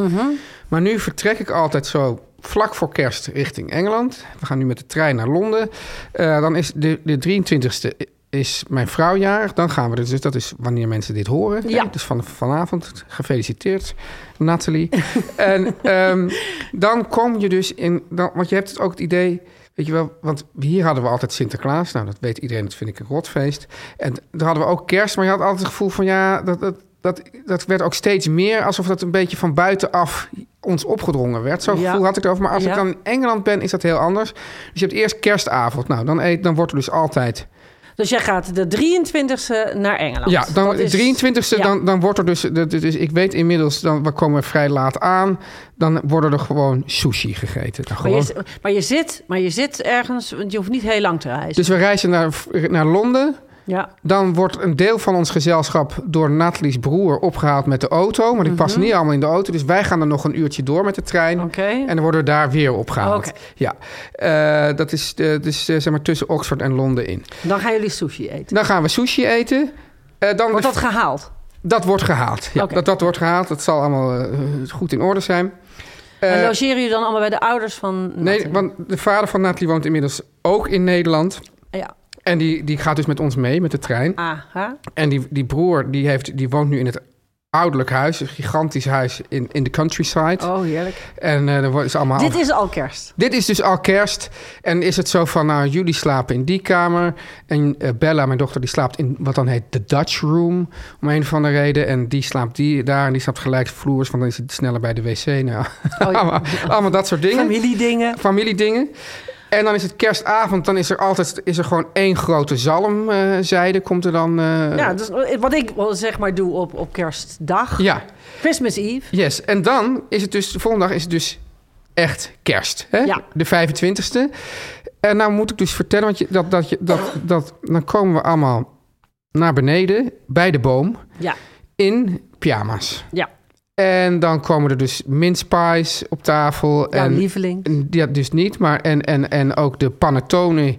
Speaker 2: Maar nu vertrek ik altijd zo vlak voor kerst richting Engeland. We gaan nu met de trein naar Londen. Eh, dan is de, de 23e is mijn vrouw jarig. Dan gaan we dus, dus dat is wanneer mensen dit horen.
Speaker 3: Ja.
Speaker 2: Hè? Dus van, vanavond gefeliciteerd, Nathalie. en ehm, dan kom je dus in... Dan, want je hebt ook het idee... Weet je wel, want hier hadden we altijd Sinterklaas. Nou, dat weet iedereen, dat vind ik een rotfeest. En daar hadden we ook kerst, maar je had altijd het gevoel van... ja, dat, dat, dat, dat werd ook steeds meer alsof dat een beetje van buitenaf ons opgedrongen werd. Zo'n
Speaker 3: Ja.
Speaker 2: gevoel had ik erover. Maar als
Speaker 3: Ja.
Speaker 2: ik dan in Engeland ben, is dat heel anders. Dus je hebt eerst kerstavond. Nou, dan, eet, dan wordt er dus altijd...
Speaker 3: Dus jij gaat de 23e naar Engeland.
Speaker 2: Ja, dan
Speaker 3: Oh, Dat is-
Speaker 2: 23e,
Speaker 3: ja.
Speaker 2: dan, dan wordt er dus, dat- dus... Ik weet inmiddels, dan, we komen vrij laat aan. Dan worden er gewoon sushi gegeten. Dan
Speaker 3: Maar
Speaker 2: gewoon,
Speaker 3: je, maar, je zit, maar je zit ergens, want je hoeft niet heel lang te reizen.
Speaker 2: Dus we reizen naar, naar Londen.
Speaker 3: ja.
Speaker 2: Dan wordt een deel van ons gezelschap door Nathalie's broer opgehaald met de auto. Maar die passen niet allemaal in de auto. Dus wij gaan er nog een uurtje door met de trein.
Speaker 3: Mhm. Oké.
Speaker 2: En dan worden we daar weer opgehaald.
Speaker 3: Oké.
Speaker 2: Ja. Eh, dat is eh, dus eh, zeg maar tussen Oxford en Londen in.
Speaker 3: Dan gaan jullie sushi eten.
Speaker 2: Dan gaan we sushi eten. Eh, dan
Speaker 3: Wordt
Speaker 2: de-
Speaker 3: dat gehaald?
Speaker 2: dat wordt gehaald. Ja,
Speaker 3: Oké.
Speaker 2: dat, dat wordt gehaald. Dat zal allemaal eh, goed in orde zijn. Eh,
Speaker 3: en logeren jullie dan allemaal bij de ouders van...
Speaker 2: nee,
Speaker 3: Nathan?
Speaker 2: want de vader van Nathalie woont inmiddels ook in Nederland.
Speaker 3: Ja.
Speaker 2: En die, die gaat dus met ons mee, met de trein.
Speaker 3: Aha.
Speaker 2: En die, die broer die heeft, die woont nu in het ouderlijk huis, een gigantisch huis in, in de countryside.
Speaker 3: Oh, heerlijk.
Speaker 2: En eh dan worden ze allemaal.
Speaker 3: Dit is al kerst.
Speaker 2: Dit is dus al kerst. En is het zo van, nou, jullie slapen in die kamer. En eh, Bella, mijn dochter, die slaapt in wat dan heet de Dutch Room. Om een of andere reden. En die slaapt die, daar. En die slaapt gelijk vloers, want dan is het sneller bij de wc. Nou,
Speaker 3: Oh, ja.
Speaker 2: allemaal, allemaal dat soort dingen.
Speaker 3: Familiedingen.
Speaker 2: Familiedingen. En dan is het kerstavond, dan is er altijd is er gewoon één grote zalmzijde. komt er dan. eh,
Speaker 3: Ja, dus wat ik wel zeg maar doe op, op kerstdag.
Speaker 2: ja,
Speaker 3: Christmas Eve.
Speaker 2: yes. En dan is het dus, de volgende dag is het dus echt kerst. Hè?
Speaker 3: Ja.
Speaker 2: De 25e. En nou moet ik dus vertellen, want je, dat, dat, je, dat, dat, dan komen we allemaal naar beneden bij de boom
Speaker 3: Ja,
Speaker 2: in pyjama's.
Speaker 3: ja.
Speaker 2: En dan komen er dus mince pies op tafel.
Speaker 3: Jouw
Speaker 2: en
Speaker 3: lieveling.
Speaker 2: En Ja, dus niet, maar en, en, en ook de panettone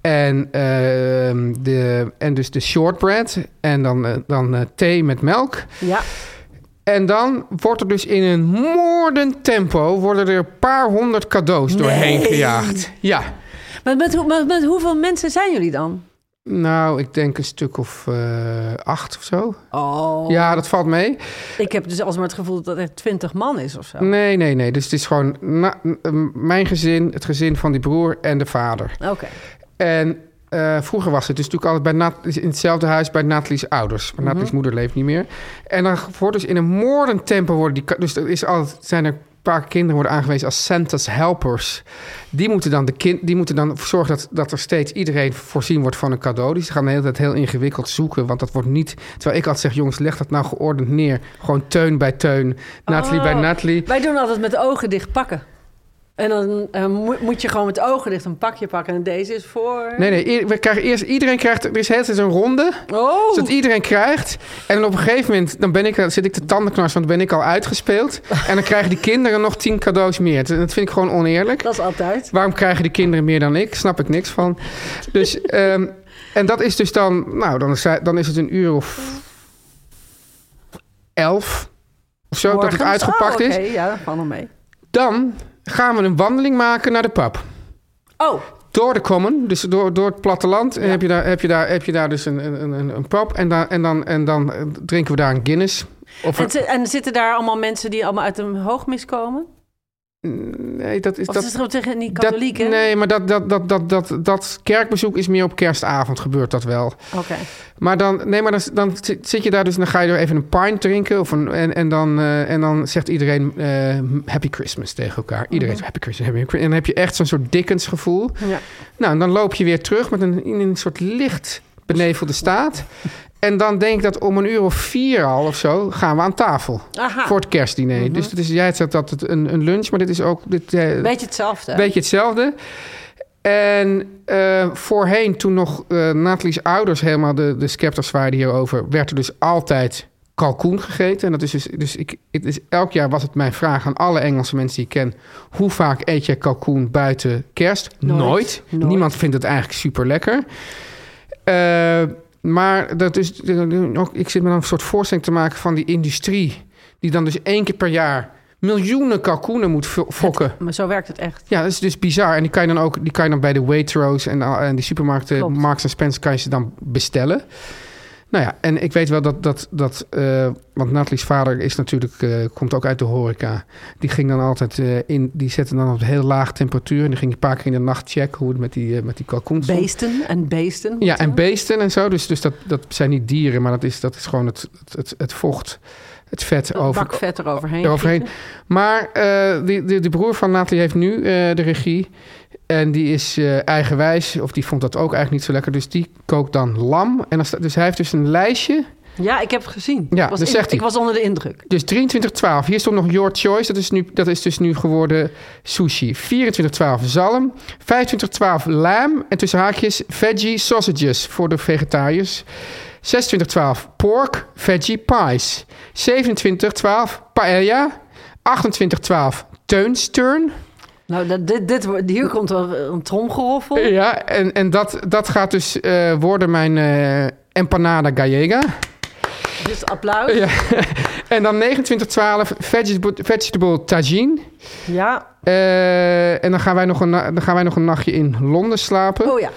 Speaker 2: en, ehm, de, en dus de shortbread en dan, eh, dan eh, thee met melk.
Speaker 3: Ja,
Speaker 2: En dan wordt er dus in een moordend tempo worden er een paar honderd cadeaus doorheen gejaagd. Ja,
Speaker 3: maar met, hoe- met, met hoeveel mensen zijn jullie dan?
Speaker 2: nou, ik denk een stuk of eh, acht of zo.
Speaker 3: Oh.
Speaker 2: Ja, dat valt mee.
Speaker 3: Ik heb dus alsmaar het gevoel dat er twintig man is of zo.
Speaker 2: Nee, nee, nee. Dus het is gewoon na- m- mijn gezin, het gezin van die broer en de vader.
Speaker 3: Oké.
Speaker 2: En eh, vroeger was het dus natuurlijk altijd bij Nat- in hetzelfde huis bij Natalie's ouders. Maar Natalie's moeder leeft niet meer. En dan wordt dus in een moordend tempo worden die... ka- Dus er is altijd, zijn er een paar kinderen worden aangewezen als Santa's helpers. Die moeten dan, de kind, die moeten dan zorgen dat, dat er steeds iedereen voorzien wordt van een cadeau. Dus ze gaan de hele tijd heel ingewikkeld zoeken. Want dat wordt niet... Terwijl ik altijd zeg, jongens, leg dat nou geordend neer. Gewoon teun bij teun. Natalie bij
Speaker 3: Oh.
Speaker 2: Natalie.
Speaker 3: Wij doen altijd met de ogen dicht pakken. En dan eh, moe- moet je gewoon met de ogen dicht een pakje pakken. En deze is voor...
Speaker 2: Nee, nee. ieder- We krijgen eerst, iedereen krijgt... Er is heel tijd een ronde.
Speaker 3: Oh!
Speaker 2: Zodat iedereen krijgt. En dan op een gegeven moment dan ben ik, dan zit ik te tandenknars, want dan ben ik al uitgespeeld. En dan krijgen die kinderen nog tien cadeaus meer. Dat vind ik gewoon oneerlijk.
Speaker 3: Dat is altijd.
Speaker 2: Waarom krijgen die kinderen meer dan ik? Snap ik niks van. Dus, ehm, en dat is dus dan, nou, dan is, hij- dan is het een uur of elf of zo dat het
Speaker 3: Morgens.
Speaker 2: uitgepakt
Speaker 3: Oh,
Speaker 2: is.
Speaker 3: oké, Ja, dat valt nog mee.
Speaker 2: Dan gaan we een wandeling maken naar de pub.
Speaker 3: Oh,
Speaker 2: Door de common, dus door, door het platteland, heb, je daar, heb, je daar, heb je daar dus een, een, een, een pub. En dan, en, dan, en dan eh, drinken we daar een Guinness. Of
Speaker 3: en,
Speaker 2: een,
Speaker 3: zi- en zitten daar allemaal mensen die allemaal uit een hoogmis komen?
Speaker 2: nee, dat is
Speaker 3: Of
Speaker 2: dat.
Speaker 3: is het gewoon tegen niet
Speaker 2: dat-
Speaker 3: katholiek, hè?
Speaker 2: nee, maar dat, dat, dat, dat, dat, dat kerkbezoek is meer op kerstavond, gebeurt dat wel.
Speaker 3: Oké.
Speaker 2: Maar dan, nee, maar dan, dan zit zit je daar dus, dan ga je er even een pint drinken. Of een, en, en, dan, eh, en dan zegt iedereen eh, Happy Christmas tegen elkaar. Iedereen zegt
Speaker 3: Mhm.
Speaker 2: Happy Christmas, Happy Christmas. En dan heb je echt zo'n soort Dickens gevoel.
Speaker 3: Ja.
Speaker 2: Nou, en dan loop je weer terug met een, in een soort licht benevelde staat. En dan denk ik dat om een uur of vier al of zo gaan we aan tafel.
Speaker 3: Aha.
Speaker 2: Voor het kerstdiner. Dus dat is, jij zegt dat het een, een lunch, maar dit is ook dit, eh,
Speaker 3: Beetje hetzelfde.
Speaker 2: beetje hetzelfde. En eh, voorheen, toen nog eh Natalie's ouders helemaal de, de scepters waren hierover, werd er dus altijd kalkoen gegeten. En dat is dus, dus ik, het is, elk jaar was het mijn vraag aan alle Engelse mensen die ik ken: hoe vaak eet je kalkoen buiten kerst?
Speaker 3: Nooit. Nooit.
Speaker 2: Niemand vindt het eigenlijk super lekker. maar dat is, eh, ook, ik zit me dan een soort voorstelling te maken van die industrie, die dan dus één keer per jaar miljoenen kalkoenen moet vo- fokken.
Speaker 3: Maar zo werkt het echt.
Speaker 2: Ja, dat is dus bizar. En die kan je dan ook die kan je dan bij de Waitrose en, al- en die supermarkten,
Speaker 3: Klopt.
Speaker 2: Marks Spencer, kan je ze dan bestellen. Nou ja, en ik weet wel dat, dat, dat eh, want Natalie's vader is natuurlijk, eh, komt ook uit de horeca. Die ging dan altijd eh, in, die zette dan op heel laag temperatuur. En die ging een paar keer in de nacht checken hoe het met die, eh, met die kalkoen stond.
Speaker 3: Beesten en beesten.
Speaker 2: Ja, en beesten en zo. Dus, dus dat, dat zijn niet dieren, maar dat is, dat is gewoon het, het, het, het vocht, het vet over,
Speaker 3: Bak vet eroverheen.
Speaker 2: eroverheen. Maar eh die, die, die broer van Nathalie heeft nu eh, de regie. En die is eh, eigenwijs, of die vond dat ook eigenlijk niet zo lekker. Dus die kookt dan lam. En dan sta- dus hij heeft dus een lijstje.
Speaker 3: Ja, ik heb het gezien.
Speaker 2: Ja,
Speaker 3: ik was,
Speaker 2: dat
Speaker 3: in-
Speaker 2: zegt hij.
Speaker 3: ik was onder de indruk.
Speaker 2: Dus 2312. Hier stond nog Your Choice. Dat is, nu, dat is dus nu geworden sushi. 2412 zalm. 2512 lam. En tussen haakjes veggie sausages voor de vegetariërs. 2612 pork veggie pies. 2712 paella. 2812 teunstern.
Speaker 3: Nou, dat, dit, dit, wordt- hier komt wel een tromgeroffel.
Speaker 2: Ja, en, en dat, dat gaat dus eh, worden mijn eh, empanada gallega.
Speaker 3: Dus applaus.
Speaker 2: Ja. en dan 2912 vegetable, vegetable tagine.
Speaker 3: Ja.
Speaker 2: Eh, en dan gaan, wij nog een, na- dan gaan wij nog een nachtje in Londen slapen.
Speaker 3: Oh ja.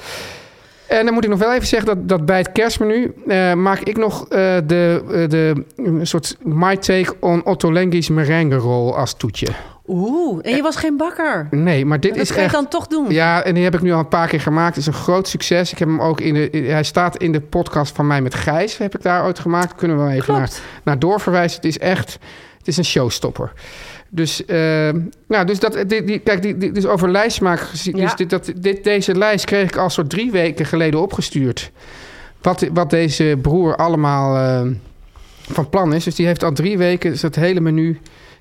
Speaker 2: En dan moet ik nog wel even zeggen dat, dat bij het kerstmenu eh, maak ik nog eh, de, eh, de een soort my take on Otto Lengi's merengue roll als toetje.
Speaker 3: Oeh, en je was geen bakker.
Speaker 2: Nee, maar dit
Speaker 3: Dat
Speaker 2: is
Speaker 3: ga je
Speaker 2: echt...
Speaker 3: dan toch doen.
Speaker 2: Ja, en die heb ik nu al een paar keer gemaakt. Het is een groot succes. Ik heb hem ook in de. in- hij staat in de podcast van mij met Gijs. Heb ik daar ooit gemaakt. Kunnen we wel even naar,
Speaker 3: Klopt.
Speaker 2: naar doorverwijzen. Nou, Het is echt. Het is een showstopper. Dus, eh, nou, dus, dat, die, die- kijk, die, die- dus over lijstmaker gezien.
Speaker 3: Ja.
Speaker 2: Dus dit, dat, dit, deze lijst kreeg ik al zo drie weken geleden opgestuurd. Wat, wat deze broer allemaal eh, van plan is. Dus die heeft al drie weken dus dat hele menu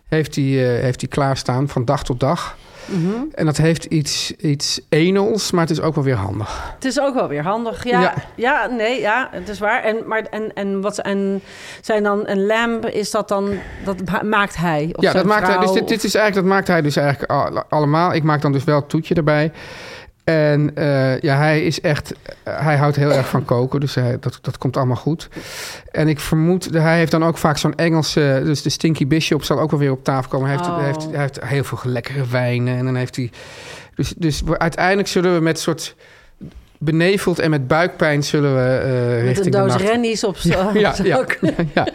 Speaker 2: heeft hij eh, heeft hij klaarstaan van dag tot dag.
Speaker 3: Mhm.
Speaker 2: En dat heeft iets, iets enels, maar het is ook wel weer handig.
Speaker 3: Het is ook wel weer handig. Ja,
Speaker 2: Ja.
Speaker 3: ja. nee, ja, het is waar. En, maar, en, en wat en zijn dan een lamp? Is dat dan dat ma- maakt hij? Of
Speaker 2: ja,
Speaker 3: zijn
Speaker 2: dat maakt hij, dus
Speaker 3: vrouw,
Speaker 2: dit, dit is eigenlijk, dat maakt hij dus eigenlijk al- allemaal. Ik maak dan dus wel het toetje erbij. En eh, ja, hij is echt, hij houdt heel erg van koken, dus hij, dat, dat komt allemaal goed. En ik vermoed, hij heeft dan ook vaak zo'n Engelse, dus de Stinky Bishop zal ook wel weer op tafel komen. Hij heeft,
Speaker 3: Oh.
Speaker 2: hij heeft, hij heeft heel veel lekkere wijnen en dan heeft hij, dus, dus we- uiteindelijk zullen we met soort beneveld en met buikpijn zullen we eh
Speaker 3: of- met een
Speaker 2: richting de
Speaker 3: doos
Speaker 2: nacht-
Speaker 3: rennies op zo.
Speaker 2: ja, Nou,
Speaker 3: zo-
Speaker 2: ja, ja,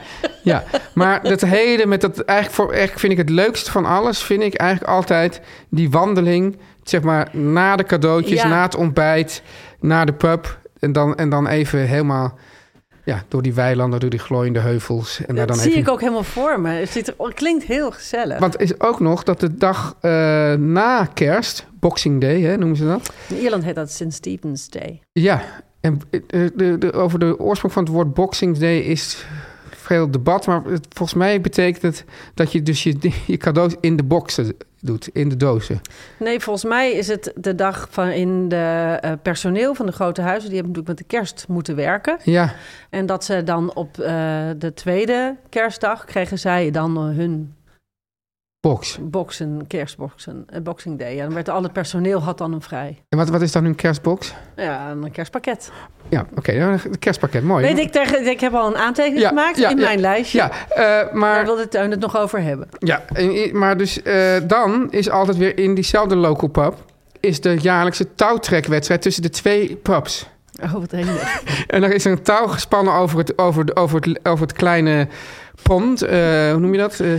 Speaker 2: ja. Maar dat hele met dat eigenlijk voor echt vind ik het leukste van alles vind ik eigenlijk altijd die wandeling zeg maar na de cadeautjes,
Speaker 3: Ja.
Speaker 2: na het ontbijt, naar de pub en dan en dan even helemaal ja, door die weilanden, door die glooiende heuvels en daar
Speaker 3: Dat
Speaker 2: dan
Speaker 3: zie
Speaker 2: even
Speaker 3: ik ook helemaal voor me. Het ziet er- klinkt heel gezellig.
Speaker 2: want is ook nog dat de dag eh, na kerst, Boxing Day hè, noemen ze dat.
Speaker 3: In Ierland heet dat St. Stephen's Day.
Speaker 2: Ja, en eh, de, de, over de oorsprong van het woord Boxing Day is veel debat. Maar het, volgens mij betekent het dat je dus je, je cadeaus in de boxen doet, in de dozen.
Speaker 3: Nee, volgens mij is het de dag van in de eh, personeel van de grote huizen. Die hebben natuurlijk met de kerst moeten werken.
Speaker 2: Ja,
Speaker 3: En dat ze dan op eh, de tweede kerstdag kregen zij dan eh, hun
Speaker 2: box.
Speaker 3: boksen, kerstboksen, eh, Boxing Day. Ja, dan werd al het personeel had dan een vrij. nou
Speaker 2: En wat, wat is dan hun kerstbox?
Speaker 3: Ja, een kerstpakket.
Speaker 2: Ja, oké, nou, een kerstpakket, mooi.
Speaker 3: Weet ik, tegen- ik heb al een aantekening
Speaker 2: Ja,
Speaker 3: gemaakt
Speaker 2: ja,
Speaker 3: in
Speaker 2: ja.
Speaker 3: mijn lijstje.
Speaker 2: Ja, eh,
Speaker 3: Daar
Speaker 2: maar,
Speaker 3: wilde Teun het nog over hebben.
Speaker 2: ja, en- maar dus eh, dan is altijd weer in diezelfde local pub... is de jaarlijkse touwtrekwedstrijd tussen de twee pubs.
Speaker 3: Oh, wat heen.
Speaker 2: En er is een touw gespannen over het, over de- over het, over het kleine pond. eh, hoe noem je dat? Eh,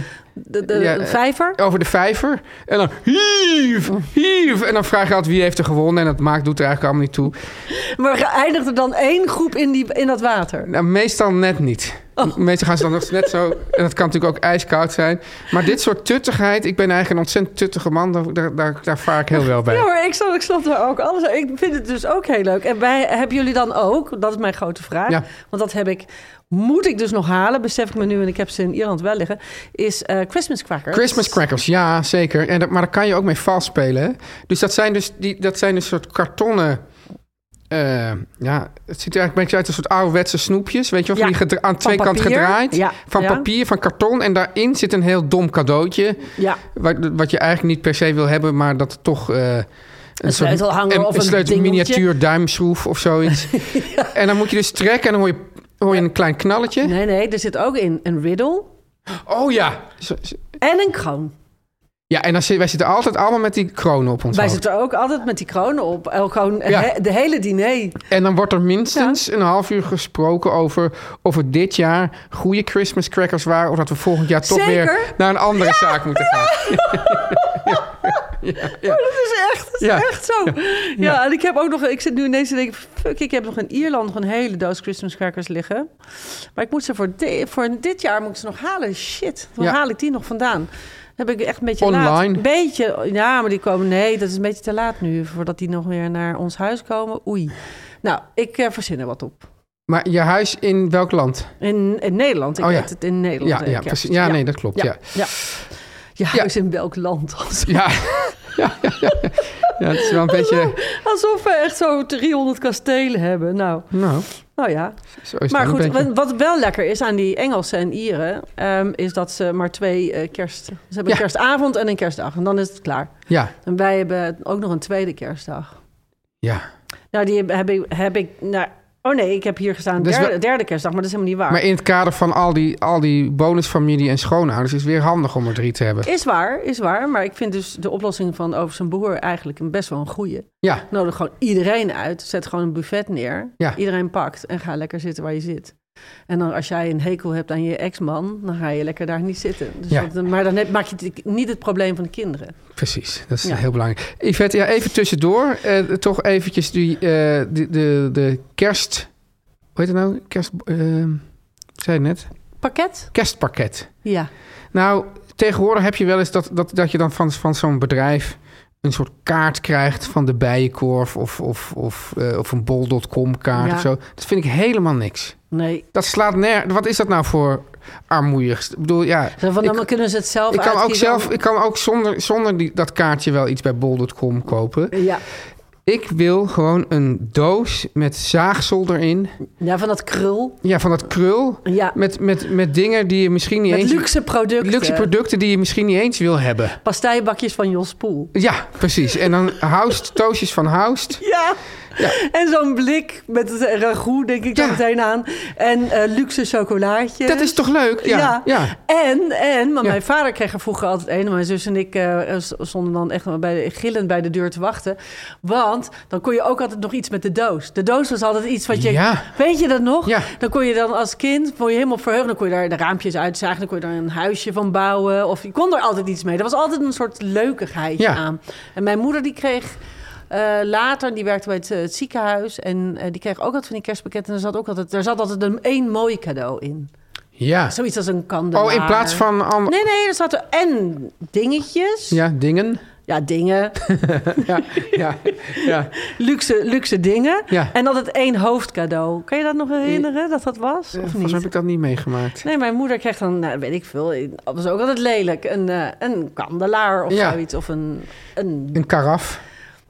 Speaker 3: De, de,
Speaker 2: Ja,
Speaker 3: de
Speaker 2: eh,
Speaker 3: vijver.
Speaker 2: over de vijver. En dan hief, hief. En dan vraag je altijd wie heeft er gewonnen. En dat maakt, doet er eigenlijk allemaal niet toe.
Speaker 3: Maar eindigt er dan één groep in, die, in dat water?
Speaker 2: Nou, meestal net niet. Meestal gaan ze dan nog net zo... En dat kan natuurlijk ook ijskoud zijn. Maar dit soort tuttigheid... Ik ben eigenlijk een ontzettend tuttige man. Daar, daar, daar, daar vaar ik heel wel bij.
Speaker 3: Ja, maar ik snap, ik snap daar ook alles. Ik vind het dus ook heel leuk. En wij, hebben jullie dan ook, dat is mijn grote vraag,
Speaker 2: Ja.
Speaker 3: want dat heb ik, moet ik dus nog halen, besef ik me nu, en ik heb ze in Ierland wel liggen, is eh, Christmas crackers.
Speaker 2: Christmas crackers, ja, zeker. En dat, maar daar kan je ook mee vals spelen. hè. Dus dat zijn dus, die, dat zijn dus soort kartonnen... eh, ja, het ziet er eigenlijk een beetje uit als een soort ouderwetse snoepjes. Weet je wel, van
Speaker 3: Ja,
Speaker 2: die gedra- aan
Speaker 3: van
Speaker 2: twee kanten
Speaker 3: papier.
Speaker 2: gedraaid.
Speaker 3: Ja,
Speaker 2: Van
Speaker 3: ja.
Speaker 2: papier, van karton. En daarin zit een heel dom cadeautje.
Speaker 3: Ja,
Speaker 2: Wat, wat je eigenlijk niet per se wil hebben, maar dat toch... eh, een, soort-
Speaker 3: sleutelhanger
Speaker 2: een, een
Speaker 3: of een
Speaker 2: sleutel
Speaker 3: dingeltje.
Speaker 2: miniatuur duimschroef of zoiets. En dan moet je dus trekken en dan hoor je, hoor je een klein knalletje.
Speaker 3: nee, nee, er zit ook in een riddle
Speaker 2: Oh ja. Zo- zo-
Speaker 3: en een kroon.
Speaker 2: Ja, en dan zit, wij zitten altijd allemaal met die kronen op ons
Speaker 3: Wij
Speaker 2: hoofd.
Speaker 3: zitten ook altijd met die kronen op. El- Kroon,
Speaker 2: Ja.
Speaker 3: he- de hele diner.
Speaker 2: En dan wordt er minstens een half uur gesproken over of het dit jaar goede Christmas crackers waren. Of dat we volgend jaar toch
Speaker 3: Zeker.
Speaker 2: weer naar een andere zaak moeten gaan.
Speaker 3: Dat is echt, dat is
Speaker 2: Ja.
Speaker 3: echt zo. Ja. en ik heb ook nog, ik zit nu ineens te denken, fuck, ik heb nog in Ierland nog een hele doos Christmas crackers liggen. Maar ik moet ze voor, di- voor dit jaar moet ik ze nog halen. Shit, waar
Speaker 2: Ja.
Speaker 3: haal ik die nog vandaan? Dan heb ik echt een beetje laat.
Speaker 2: Online?
Speaker 3: Een beetje, ja, maar die komen, nee, dat is een beetje te laat nu, voordat die nog weer naar ons huis komen. Oei. Nou, ik eh, verzin er wat op.
Speaker 2: Maar je huis in welk land?
Speaker 3: In, in Nederland, ik
Speaker 2: Oh ja.
Speaker 3: weet het in Nederland.
Speaker 2: Ja,
Speaker 3: eh,
Speaker 2: ja,
Speaker 3: kerst.
Speaker 2: precies. Ja, nee, dat klopt. Ja.
Speaker 3: ja. Je
Speaker 2: Ja.
Speaker 3: huis in welk land?
Speaker 2: Ja. Ja, ja, ja, ja. ja, het is wel een beetje...
Speaker 3: Alsof we echt zo 300 kastelen hebben. Nou,
Speaker 2: Nou,
Speaker 3: nou ja.
Speaker 2: zo is het
Speaker 3: Maar
Speaker 2: wel
Speaker 3: goed,
Speaker 2: een beetje.
Speaker 3: wat- wat wel lekker is aan die Engelsen en Ieren... ehm, is dat ze maar twee eh, kerst... Ze hebben
Speaker 2: Ja.
Speaker 3: een kerstavond en een kerstdag. En dan is het klaar.
Speaker 2: Ja,
Speaker 3: En wij hebben ook nog een tweede kerstdag.
Speaker 2: ja.
Speaker 3: Nou, die heb, heb ik... Heb ik nou, oh nee, ik heb hier gestaan
Speaker 2: Dat is
Speaker 3: derde,
Speaker 2: wel-
Speaker 3: derde kerstdag. Maar dat is helemaal niet waar.
Speaker 2: Maar in het kader van al die, al die bonusfamilie en schoonouders... is het weer handig om er drie te hebben.
Speaker 3: Is waar, is waar. Maar ik vind dus de oplossing van Over zijn Boer eigenlijk een best wel een goeie.
Speaker 2: Ja,
Speaker 3: Nodig gewoon iedereen uit. Zet gewoon een buffet neer.
Speaker 2: Ja.
Speaker 3: Iedereen pakt en ga lekker zitten waar je zit. En dan als jij een hekel hebt aan je ex-man, dan ga je lekker daar niet zitten. Dus
Speaker 2: Ja.
Speaker 3: dat- maar dan heb- maak je het- niet het probleem van de kinderen.
Speaker 2: precies. Dat is
Speaker 3: Ja.
Speaker 2: heel belangrijk. Yvette, ja, even tussendoor. eh, toch eventjes die, eh, die- de, de kerst... Hoe heet het nou? Kerst... eh, ik ehm, zei het net.
Speaker 3: Pakket?
Speaker 2: Kerstpakket.
Speaker 3: Ja.
Speaker 2: Nou, tegenwoordig heb je wel eens dat, dat, dat je dan van, van zo'n bedrijf een soort kaart krijgt van de bijenkorf of, of, of, eh, of een bol.com kaart
Speaker 3: Ja.
Speaker 2: of zo. Dat vind ik helemaal niks.
Speaker 3: Nee.
Speaker 2: Dat slaat nergens. Wat is dat nou voor armoeigs? Ik bedoel, ja.
Speaker 3: Zo Van,
Speaker 2: ik-
Speaker 3: dan kunnen ze het zelf
Speaker 2: ik kan ook
Speaker 3: uitkiezen.
Speaker 2: zelf, ik kan ook zonder, zonder die, dat kaartje wel iets bij bol.com kopen.
Speaker 3: Ja.
Speaker 2: Ik wil gewoon een doos met zaagsel erin.
Speaker 3: ja, van dat krul.
Speaker 2: Ja, van dat krul.
Speaker 3: Ja.
Speaker 2: Met, met, met dingen die je misschien niet
Speaker 3: Met
Speaker 2: eens...
Speaker 3: luxe producten.
Speaker 2: luxe producten die je misschien niet eens wil hebben.
Speaker 3: Pastijbakjes van Jos Poel.
Speaker 2: Ja, precies. En dan houst, toosjes van houst.
Speaker 3: Ja. En zo'n blik met het ragout, denk ik
Speaker 2: Ja.
Speaker 3: dan meteen aan. En eh, luxe chocolaatje.
Speaker 2: Dat is toch leuk? Ja. ja.
Speaker 3: En, en want
Speaker 2: Ja.
Speaker 3: mijn vader kreeg er vroeger altijd een. maar Mijn zus en ik eh, s- stonden dan echt wel bij de, gillend bij de deur te wachten. Want dan kon je ook altijd nog iets met de doos. De doos was altijd iets wat je...
Speaker 2: Ja.
Speaker 3: Weet je dat nog?
Speaker 2: Ja.
Speaker 3: Dan kon je dan als kind kon je helemaal verheugen. Dan kon je daar de raampjes uitzagen. Dan kon je daar een huisje van bouwen. Of je kon er altijd iets mee. Er was altijd een soort leukigheidje
Speaker 2: Ja.
Speaker 3: aan. En mijn moeder die kreeg... eh, later, die werkte bij het, eh, het ziekenhuis en eh, die kreeg ook altijd van die kerstpakketten. En er zat ook altijd, er zat altijd een één mooi cadeau in.
Speaker 2: Ja.
Speaker 3: Zoiets als een kandelaar.
Speaker 2: Oh, in plaats van... an-
Speaker 3: Nee, nee, er zaten en dingetjes. Ja,
Speaker 2: Ja, dingen.
Speaker 3: dingen.
Speaker 2: Ja, ja, ja.
Speaker 3: luxe, luxe dingen.
Speaker 2: Ja.
Speaker 3: En altijd één hoofdcadeau. Kan je dat nog herinneren, dat dat was? Of
Speaker 2: Eh, Volgens mij heb
Speaker 3: niet?
Speaker 2: ik dat niet meegemaakt.
Speaker 3: Nee, mijn moeder kreeg dan, nou, weet ik veel, dat was ook altijd lelijk. Een, eh, een kandelaar of
Speaker 2: Ja.
Speaker 3: zoiets. Of een, een...
Speaker 2: Een karaf.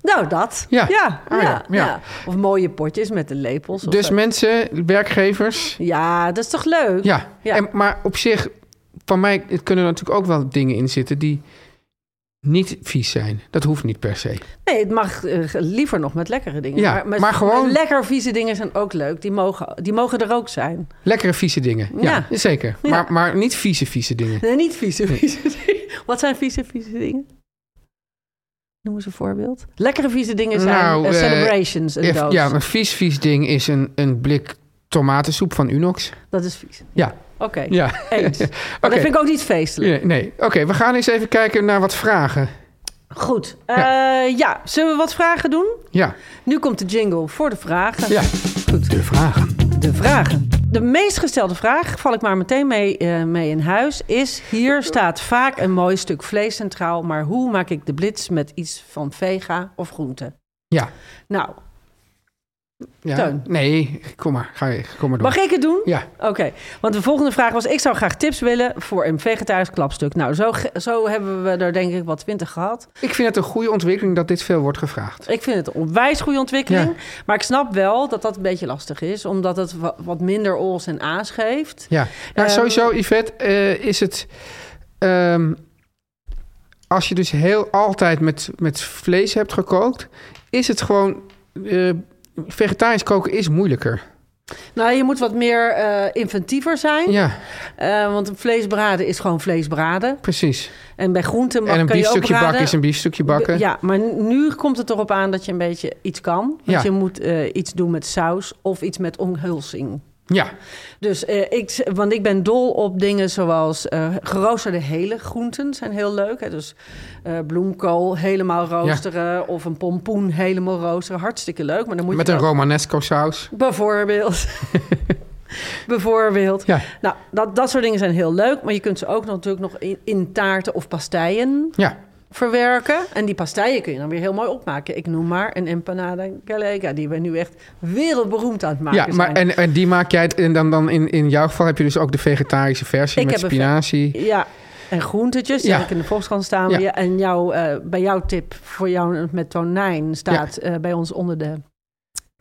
Speaker 3: Nou, dat.
Speaker 2: Ja.
Speaker 3: Ja,
Speaker 2: Oh, ja, ja.
Speaker 3: Of mooie potjes met de lepels. Of
Speaker 2: Dus
Speaker 3: zo.
Speaker 2: mensen, werkgevers...
Speaker 3: Ja, dat is toch leuk?
Speaker 2: Ja,
Speaker 3: Ja.
Speaker 2: En, maar op zich, van mij het kunnen er natuurlijk ook wel dingen in zitten die niet vies zijn. Dat hoeft niet per se.
Speaker 3: Nee, het mag eh, liever nog met lekkere dingen.
Speaker 2: Ja,
Speaker 3: met-
Speaker 2: maar gewoon-
Speaker 3: met lekker vieze dingen zijn ook leuk. Die mogen, die mogen er ook zijn.
Speaker 2: Lekkere vieze dingen. Ja,
Speaker 3: Ja.
Speaker 2: zeker.
Speaker 3: Ja.
Speaker 2: Maar, maar niet vieze vieze dingen.
Speaker 3: Nee, niet vieze, vieze dingen. Wat zijn vieze, vieze dingen? Noem eens een voorbeeld. Lekkere vieze dingen zijn
Speaker 2: Nou,
Speaker 3: eh,
Speaker 2: eh,
Speaker 3: celebrations, een
Speaker 2: Eff-
Speaker 3: doos.
Speaker 2: Ja, een vies vies ding is een, een blik tomatensoep van Unox.
Speaker 3: Dat is vies.
Speaker 2: Ja.
Speaker 3: Oké,
Speaker 2: Ja.
Speaker 3: eens.
Speaker 2: Oké.
Speaker 3: Maar Oh, dat vind ik ook niet feestelijk.
Speaker 2: Nee, nee. Oké, we gaan eens even kijken naar wat vragen.
Speaker 3: Goed. Eh, ja, zullen we wat vragen doen?
Speaker 2: Ja.
Speaker 3: Nu komt de jingle voor de vragen.
Speaker 2: Ja.
Speaker 3: Goed.
Speaker 2: De vragen.
Speaker 3: De vragen. De meest gestelde vraag, val ik maar meteen mee, eh, mee in huis, is... Hier staat vaak een mooi stuk vlees centraal... maar hoe maak ik de blitz met iets van vega of groente?
Speaker 2: Ja.
Speaker 3: Nou,
Speaker 2: ja.
Speaker 3: Teun.
Speaker 2: Nee, kom maar. Ga, je- kom maar door.
Speaker 3: mag ik het doen?
Speaker 2: Ja.
Speaker 3: Oké, want de volgende vraag was... ik zou graag tips willen voor een vegetarisch klapstuk. Nou, zo, ge- zo hebben we er denk ik wat twintig gehad.
Speaker 2: Ik vind het een goede ontwikkeling dat dit veel wordt gevraagd.
Speaker 3: Ik vind het een onwijs goede ontwikkeling.
Speaker 2: Ja.
Speaker 3: Maar ik snap wel dat dat een beetje lastig is... omdat het wa- wat minder ols en a's geeft.
Speaker 2: Ja, nou,
Speaker 3: Ehm,
Speaker 2: sowieso, Yvette, eh, is het. ehm, als je dus heel altijd met, met vlees hebt gekookt, is het gewoon. eh, vegetarisch koken is moeilijker.
Speaker 3: Nou, je moet wat meer eh, inventiever zijn.
Speaker 2: Ja,
Speaker 3: Eh, want vleesbraden is gewoon vleesbraden.
Speaker 2: precies.
Speaker 3: En bij groenten mag,
Speaker 2: en een
Speaker 3: kan je ook
Speaker 2: biefstukje
Speaker 3: braden.
Speaker 2: bakken is een biefstukje bakken.
Speaker 3: Ja, maar nu komt het erop aan dat je een beetje iets kan. Dus
Speaker 2: Ja.
Speaker 3: je moet eh, iets doen met saus of iets met omhulsing.
Speaker 2: Ja,
Speaker 3: Dus eh, ik, want ik ben dol op dingen zoals eh, geroosterde hele groenten zijn heel leuk. Hè? Dus eh, bloemkool helemaal roosteren of een pompoen helemaal roosteren. Hartstikke leuk, maar dan moet
Speaker 2: met
Speaker 3: je
Speaker 2: een
Speaker 3: wel-
Speaker 2: Romanesco saus.
Speaker 3: Bijvoorbeeld. Bijvoorbeeld.
Speaker 2: Ja.
Speaker 3: Nou, dat, dat soort dingen zijn heel leuk. Maar je kunt ze ook nog, natuurlijk nog in, in taarten of pasteien
Speaker 2: Ja,
Speaker 3: verwerken. En die pasteien kun je dan weer heel mooi opmaken. Ik noem maar een empanada gallega, die we nu echt wereldberoemd aan het maken
Speaker 2: ja maar
Speaker 3: zijn.
Speaker 2: en, en die maak jij. En dan, dan in, in jouw geval heb je dus ook de vegetarische versie
Speaker 3: Ik
Speaker 2: met
Speaker 3: heb een
Speaker 2: spinazie.
Speaker 3: Ja, en groentetjes, die
Speaker 2: Ja.
Speaker 3: heb ik in de Volkskrant staan.
Speaker 2: Ja.
Speaker 3: Ja, En jou, eh, bij jouw tip voor jou met tonijn staat eh, bij ons onder de...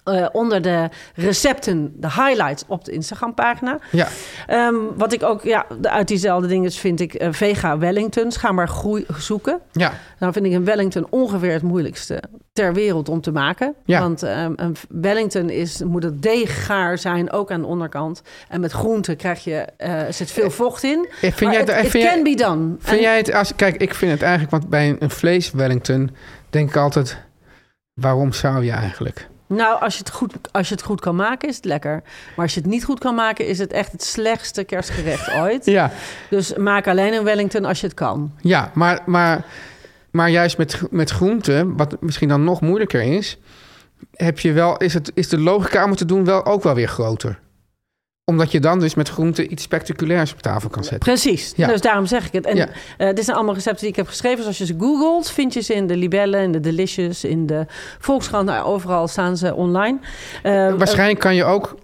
Speaker 3: eh, onder de recepten, de highlights op de Instagram-pagina.
Speaker 2: Ja,
Speaker 3: Ehm, wat ik ook ja, de- uit diezelfde dingen vind ik eh, vega Wellingtons. Ga maar groei zoeken.
Speaker 2: ja, Eh,
Speaker 3: Nou vind ik een Wellington ongeveer het moeilijkste ter wereld om te maken.
Speaker 2: Ja.
Speaker 3: Want ehm, een Wellington is, moet het deeggaar zijn, ook aan de onderkant. En met groente krijg je, eh, zit veel vocht in.
Speaker 2: Eh, vind
Speaker 3: maar
Speaker 2: jij
Speaker 3: het,
Speaker 2: het- eh,
Speaker 3: it
Speaker 2: vind jij-
Speaker 3: can be done.
Speaker 2: Vind
Speaker 3: En-
Speaker 2: jij het, als, kijk, ik vind het eigenlijk, want bij een, een vlees Wellington denk ik altijd, waarom zou je eigenlijk?
Speaker 3: Nou, als je, het goed, als je het goed kan maken, is het lekker. Maar als je het niet goed kan maken, is het echt het slechtste kerstgerecht ooit.
Speaker 2: Ja,
Speaker 3: Dus maak alleen een Wellington als je het kan.
Speaker 2: ja maar, maar, maar juist met, met groenten, wat misschien dan nog moeilijker is, heb je wel, is, het, is de logica om het te doen wel ook wel weer groter. Omdat je dan dus met groenten iets spectaculairs op tafel kan zetten.
Speaker 3: Precies,
Speaker 2: Ja.
Speaker 3: dus daarom zeg ik het. En
Speaker 2: Ja.
Speaker 3: eh, dit zijn allemaal recepten die ik heb geschreven. Dus als je ze googelt, vind je ze in de Libelle, in de Delicious, in de Volkskrant. Nou, overal staan ze online. Eh,
Speaker 2: Waarschijnlijk kan je ook,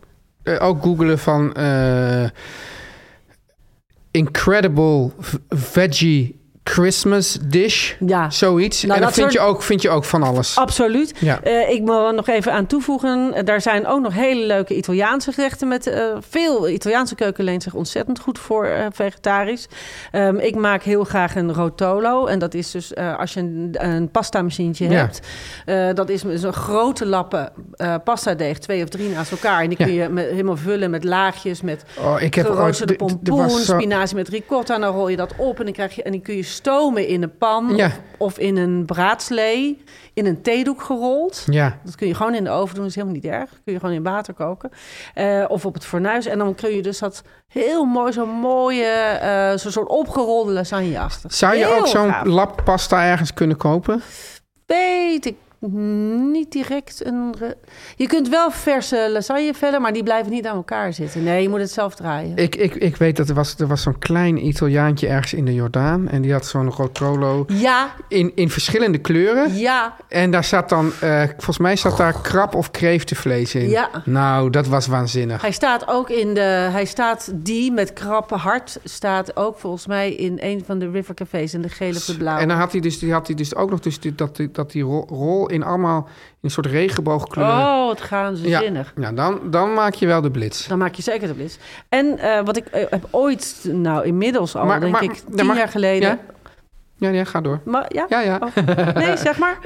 Speaker 2: eh, ook googlen van eh, incredible v- veggie Christmas dish.
Speaker 3: eh, ja,
Speaker 2: Zoiets.
Speaker 3: Nou,
Speaker 2: en dan
Speaker 3: dat
Speaker 2: vind,
Speaker 3: soort- Oh,
Speaker 2: je ook, vind je ook van alles.
Speaker 3: absoluut.
Speaker 2: Ja.
Speaker 3: Eh, ik wil er nog even aan toevoegen. eh, daar zijn ook nog hele leuke Italiaanse gerechten. Met, eh, veel Italiaanse keuken leent zich ontzettend goed voor eh, vegetarisch. Ehm, ik maak heel graag een rotolo. En dat is dus eh, als je een, een pastamachientje
Speaker 2: Ja.
Speaker 3: hebt. eh, dat is zo'n grote lappen eh pastadeeg. Twee of drie naast elkaar. En die
Speaker 2: Ja.
Speaker 3: kun je met, helemaal vullen met laagjes. Met
Speaker 2: Oh, ik heb ooit...
Speaker 3: geroosterde
Speaker 2: d- d- er
Speaker 3: pompoen,
Speaker 2: was zo-
Speaker 3: spinazie met ricotta. En dan rol je dat op en, dan krijg je, en die kun je stomen in een pan
Speaker 2: Ja.
Speaker 3: of, of in een braadslee, in een theedoek gerold.
Speaker 2: Ja.
Speaker 3: Dat kun je gewoon in de oven doen, is helemaal niet erg. Kun je gewoon in water koken. Eh, of op het fornuis. En dan kun je dus dat heel mooi, zo'n mooie, eh, zo'n soort opgerolde lasagne achter.
Speaker 2: Zou je
Speaker 3: Heel
Speaker 2: ook zo'n
Speaker 3: gaaf.
Speaker 2: lap pasta ergens kunnen kopen?
Speaker 3: Weet ik niet direct een... re- Je kunt wel verse lasagne vellen, maar die blijven niet aan elkaar zitten. Nee, je moet het zelf draaien.
Speaker 2: Ik, ik, ik weet dat er was, er was zo'n klein Italiaantje ergens in de Jordaan. En die had zo'n rotolo
Speaker 3: Ja,
Speaker 2: in, in verschillende kleuren.
Speaker 3: ja,
Speaker 2: En daar zat dan, eh, volgens mij zat daar krab of kreeftenvlees in.
Speaker 3: Ja.
Speaker 2: Nou, dat was waanzinnig.
Speaker 3: Hij staat ook in de. Hij staat die met krappe hart. Staat ook volgens mij in een van de River Cafés in de gele of de blauwe.
Speaker 2: En dan had hij dus, die had hij dus ook nog dus die, dat, die, dat die ro- rol in allemaal in een soort regenboogkleuren.
Speaker 3: oh, wat gaan ze
Speaker 2: ja,
Speaker 3: zinnig.
Speaker 2: nou, dan, dan maak je wel de blitz.
Speaker 3: Dan maak je zeker de blitz. En eh, wat ik eh, heb ooit, nou inmiddels al,
Speaker 2: Maar-
Speaker 3: denk
Speaker 2: maar-
Speaker 3: ik,
Speaker 2: dan
Speaker 3: tien
Speaker 2: mag-
Speaker 3: jaar geleden.
Speaker 2: ja? Ja, ja, ga door.
Speaker 3: Maar, ja?
Speaker 2: Ja, ja.
Speaker 3: Oh, nee, zeg maar.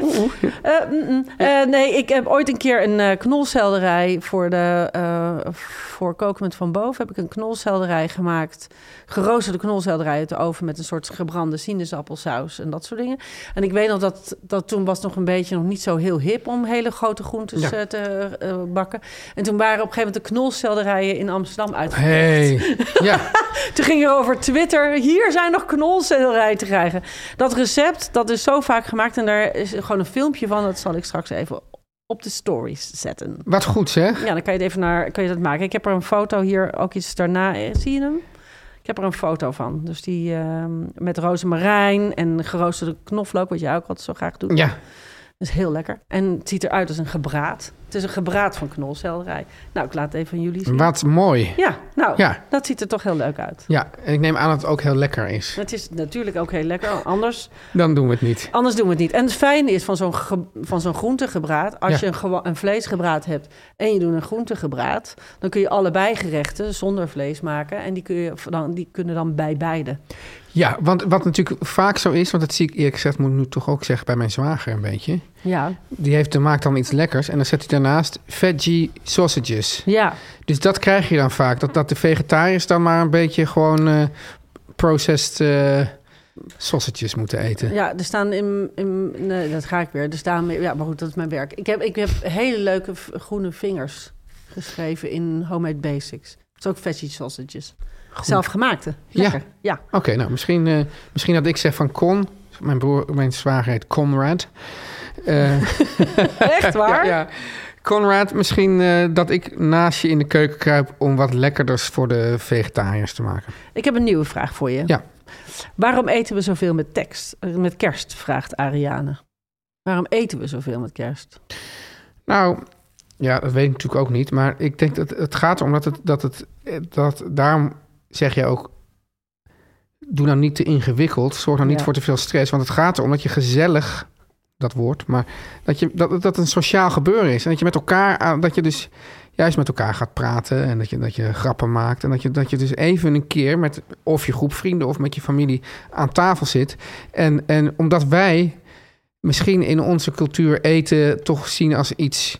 Speaker 3: Eh, mm, mm. Eh, nee, ik heb ooit een keer een eh, knolselderij voor, de, eh voor koken met van boven. Heb ik een knolselderij gemaakt. Geroosterde knolselderij uit de oven met een soort gebrande sinaasappelsaus en dat soort dingen. En ik weet nog dat, dat toen was het nog een beetje nog niet zo heel hip om hele grote groentes
Speaker 2: Ja.
Speaker 3: eh, te eh, bakken. En toen waren op een gegeven moment de knolselderijen in Amsterdam uitgevoerd.
Speaker 2: Hey. Ja,
Speaker 3: Toen ging er over Twitter. Hier zijn nog knolselderij te krijgen. Dat recept, dat is zo vaak gemaakt. En daar is gewoon een filmpje van. Dat zal ik straks even op de stories zetten.
Speaker 2: wat goed zeg.
Speaker 3: Ja, dan kan je het even naar, kan je dat maken. Ik heb er een foto hier, ook iets daarna. Eh, Zie je hem? Ik heb er een foto van. Dus die ehm, met rozemarijn en geroosterde knoflook, wat jij ook altijd zo graag doet.
Speaker 2: Ja,
Speaker 3: Dat is heel lekker. En het ziet eruit als een gebraad. Het is een gebraad van knolselderij. Nou, ik laat het even aan jullie zien.
Speaker 2: wat mooi.
Speaker 3: Ja, nou,
Speaker 2: Ja.
Speaker 3: dat ziet er toch heel leuk uit.
Speaker 2: Ja, en ik neem aan dat het ook heel lekker is.
Speaker 3: Het is natuurlijk ook heel lekker. Anders,
Speaker 2: Dan doen we het niet.
Speaker 3: anders doen we het niet. En het fijne is van zo'n, ge- van zo'n groentegebraad... als
Speaker 2: Ja.
Speaker 3: je een, gewa- een vleesgebraad hebt en je doet een groentegebraad... dan kun je allebei gerechten zonder vlees maken... en die, kun je, dan, die kunnen dan bij beide.
Speaker 2: Ja, want wat natuurlijk vaak zo is, want dat zie ik eerlijk gezegd, moet ik nu toch ook zeggen bij mijn zwager een beetje.
Speaker 3: Ja,
Speaker 2: Die heeft, dan maakt dan iets lekkers en dan zet hij daarnaast veggie sausages.
Speaker 3: ja.
Speaker 2: Dus dat krijg je dan vaak, dat, dat de vegetariërs dan maar een beetje gewoon eh, processed eh, sausages moeten eten.
Speaker 3: ja er staan in, in... Nee, dat ga ik weer. Er staan, ja, maar goed, dat is mijn werk. Ik heb, ik heb hele leuke v- groene vingers geschreven in Homemade Basics. Dat is ook veggie sausages. Zelfgemaakte.
Speaker 2: Ja.
Speaker 3: Lekker. ja.
Speaker 2: Oké, nou misschien, eh, misschien dat ik zeg van Con, mijn broer, mijn zwager heet Conrad. Eh,
Speaker 3: Echt waar?
Speaker 2: Ja, ja. Conrad, misschien eh, dat ik naast je in de keuken kruip om wat lekkerders voor de vegetariërs te maken.
Speaker 3: Ik heb een nieuwe vraag voor je.
Speaker 2: Ja.
Speaker 3: Waarom eten we zoveel met tekst, eh, met kerst? Vraagt Ariane. Waarom eten we zoveel met kerst?
Speaker 2: Nou, ja, dat weet ik natuurlijk ook niet. Maar ik denk dat het gaat erom dat het, dat het eh, dat, daarom zeg je ook, doe nou niet te ingewikkeld. Zorg nou niet
Speaker 3: Ja.
Speaker 2: voor te veel stress. Want het gaat erom dat je gezellig, dat woord, maar dat, je, dat, dat het een sociaal gebeuren is. En dat je met elkaar, aan- dat je dus juist met elkaar gaat praten. En dat je, dat je grappen maakt. En dat je, dat je dus even een keer met of je groep vrienden of met je familie aan tafel zit. En, en omdat wij misschien in onze cultuur eten toch zien als iets.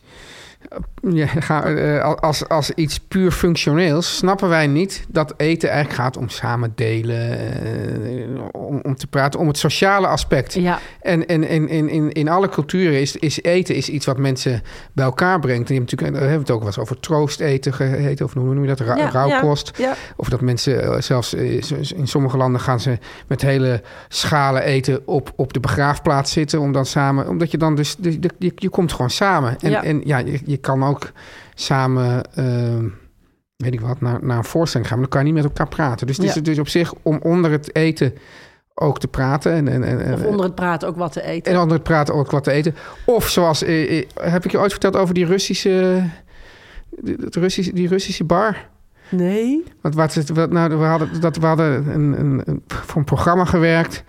Speaker 2: Ja, ga- eh, als, als iets puur functioneels snappen wij niet dat eten eigenlijk gaat om samen delen, eh, om, om te praten, om het sociale aspect.
Speaker 3: Ja,
Speaker 2: En, en, en, en in, in alle culturen is, is eten is iets wat mensen bij elkaar brengt. En je hebt natuurlijk, daar hebben we het ook wel eens over troosteten geheten, of hoe noem je dat? Ra-
Speaker 3: Ja,
Speaker 2: rauwkost.
Speaker 3: ja.
Speaker 2: Of dat mensen eh, zelfs eh, z- z- in sommige landen gaan ze met hele schalen eten op, op de begraafplaats zitten. Om dan samen, omdat je dan dus, de- de- je, je komt gewoon samen. En
Speaker 3: Ja.
Speaker 2: ja, en, ja je, je kan ook samen. ehm, weet ik wat, naar, naar een voorstelling gaan. Maar dan kan je niet met elkaar praten. Dus het is
Speaker 3: Ja.
Speaker 2: dus op zich om onder het eten ook te praten. En, en, en,
Speaker 3: Of
Speaker 2: en-
Speaker 3: onder het praten ook wat te eten.
Speaker 2: Eh, en onder het praten ook wat te eten. Of zoals, eh, eh, heb ik je ooit verteld over die Russische, die- dat Russische, die Russische bar?
Speaker 3: Nee.
Speaker 2: Want wat, is het- wat, nou, we hadden, dat, we hadden een, een, een- voor een programma gewerkt.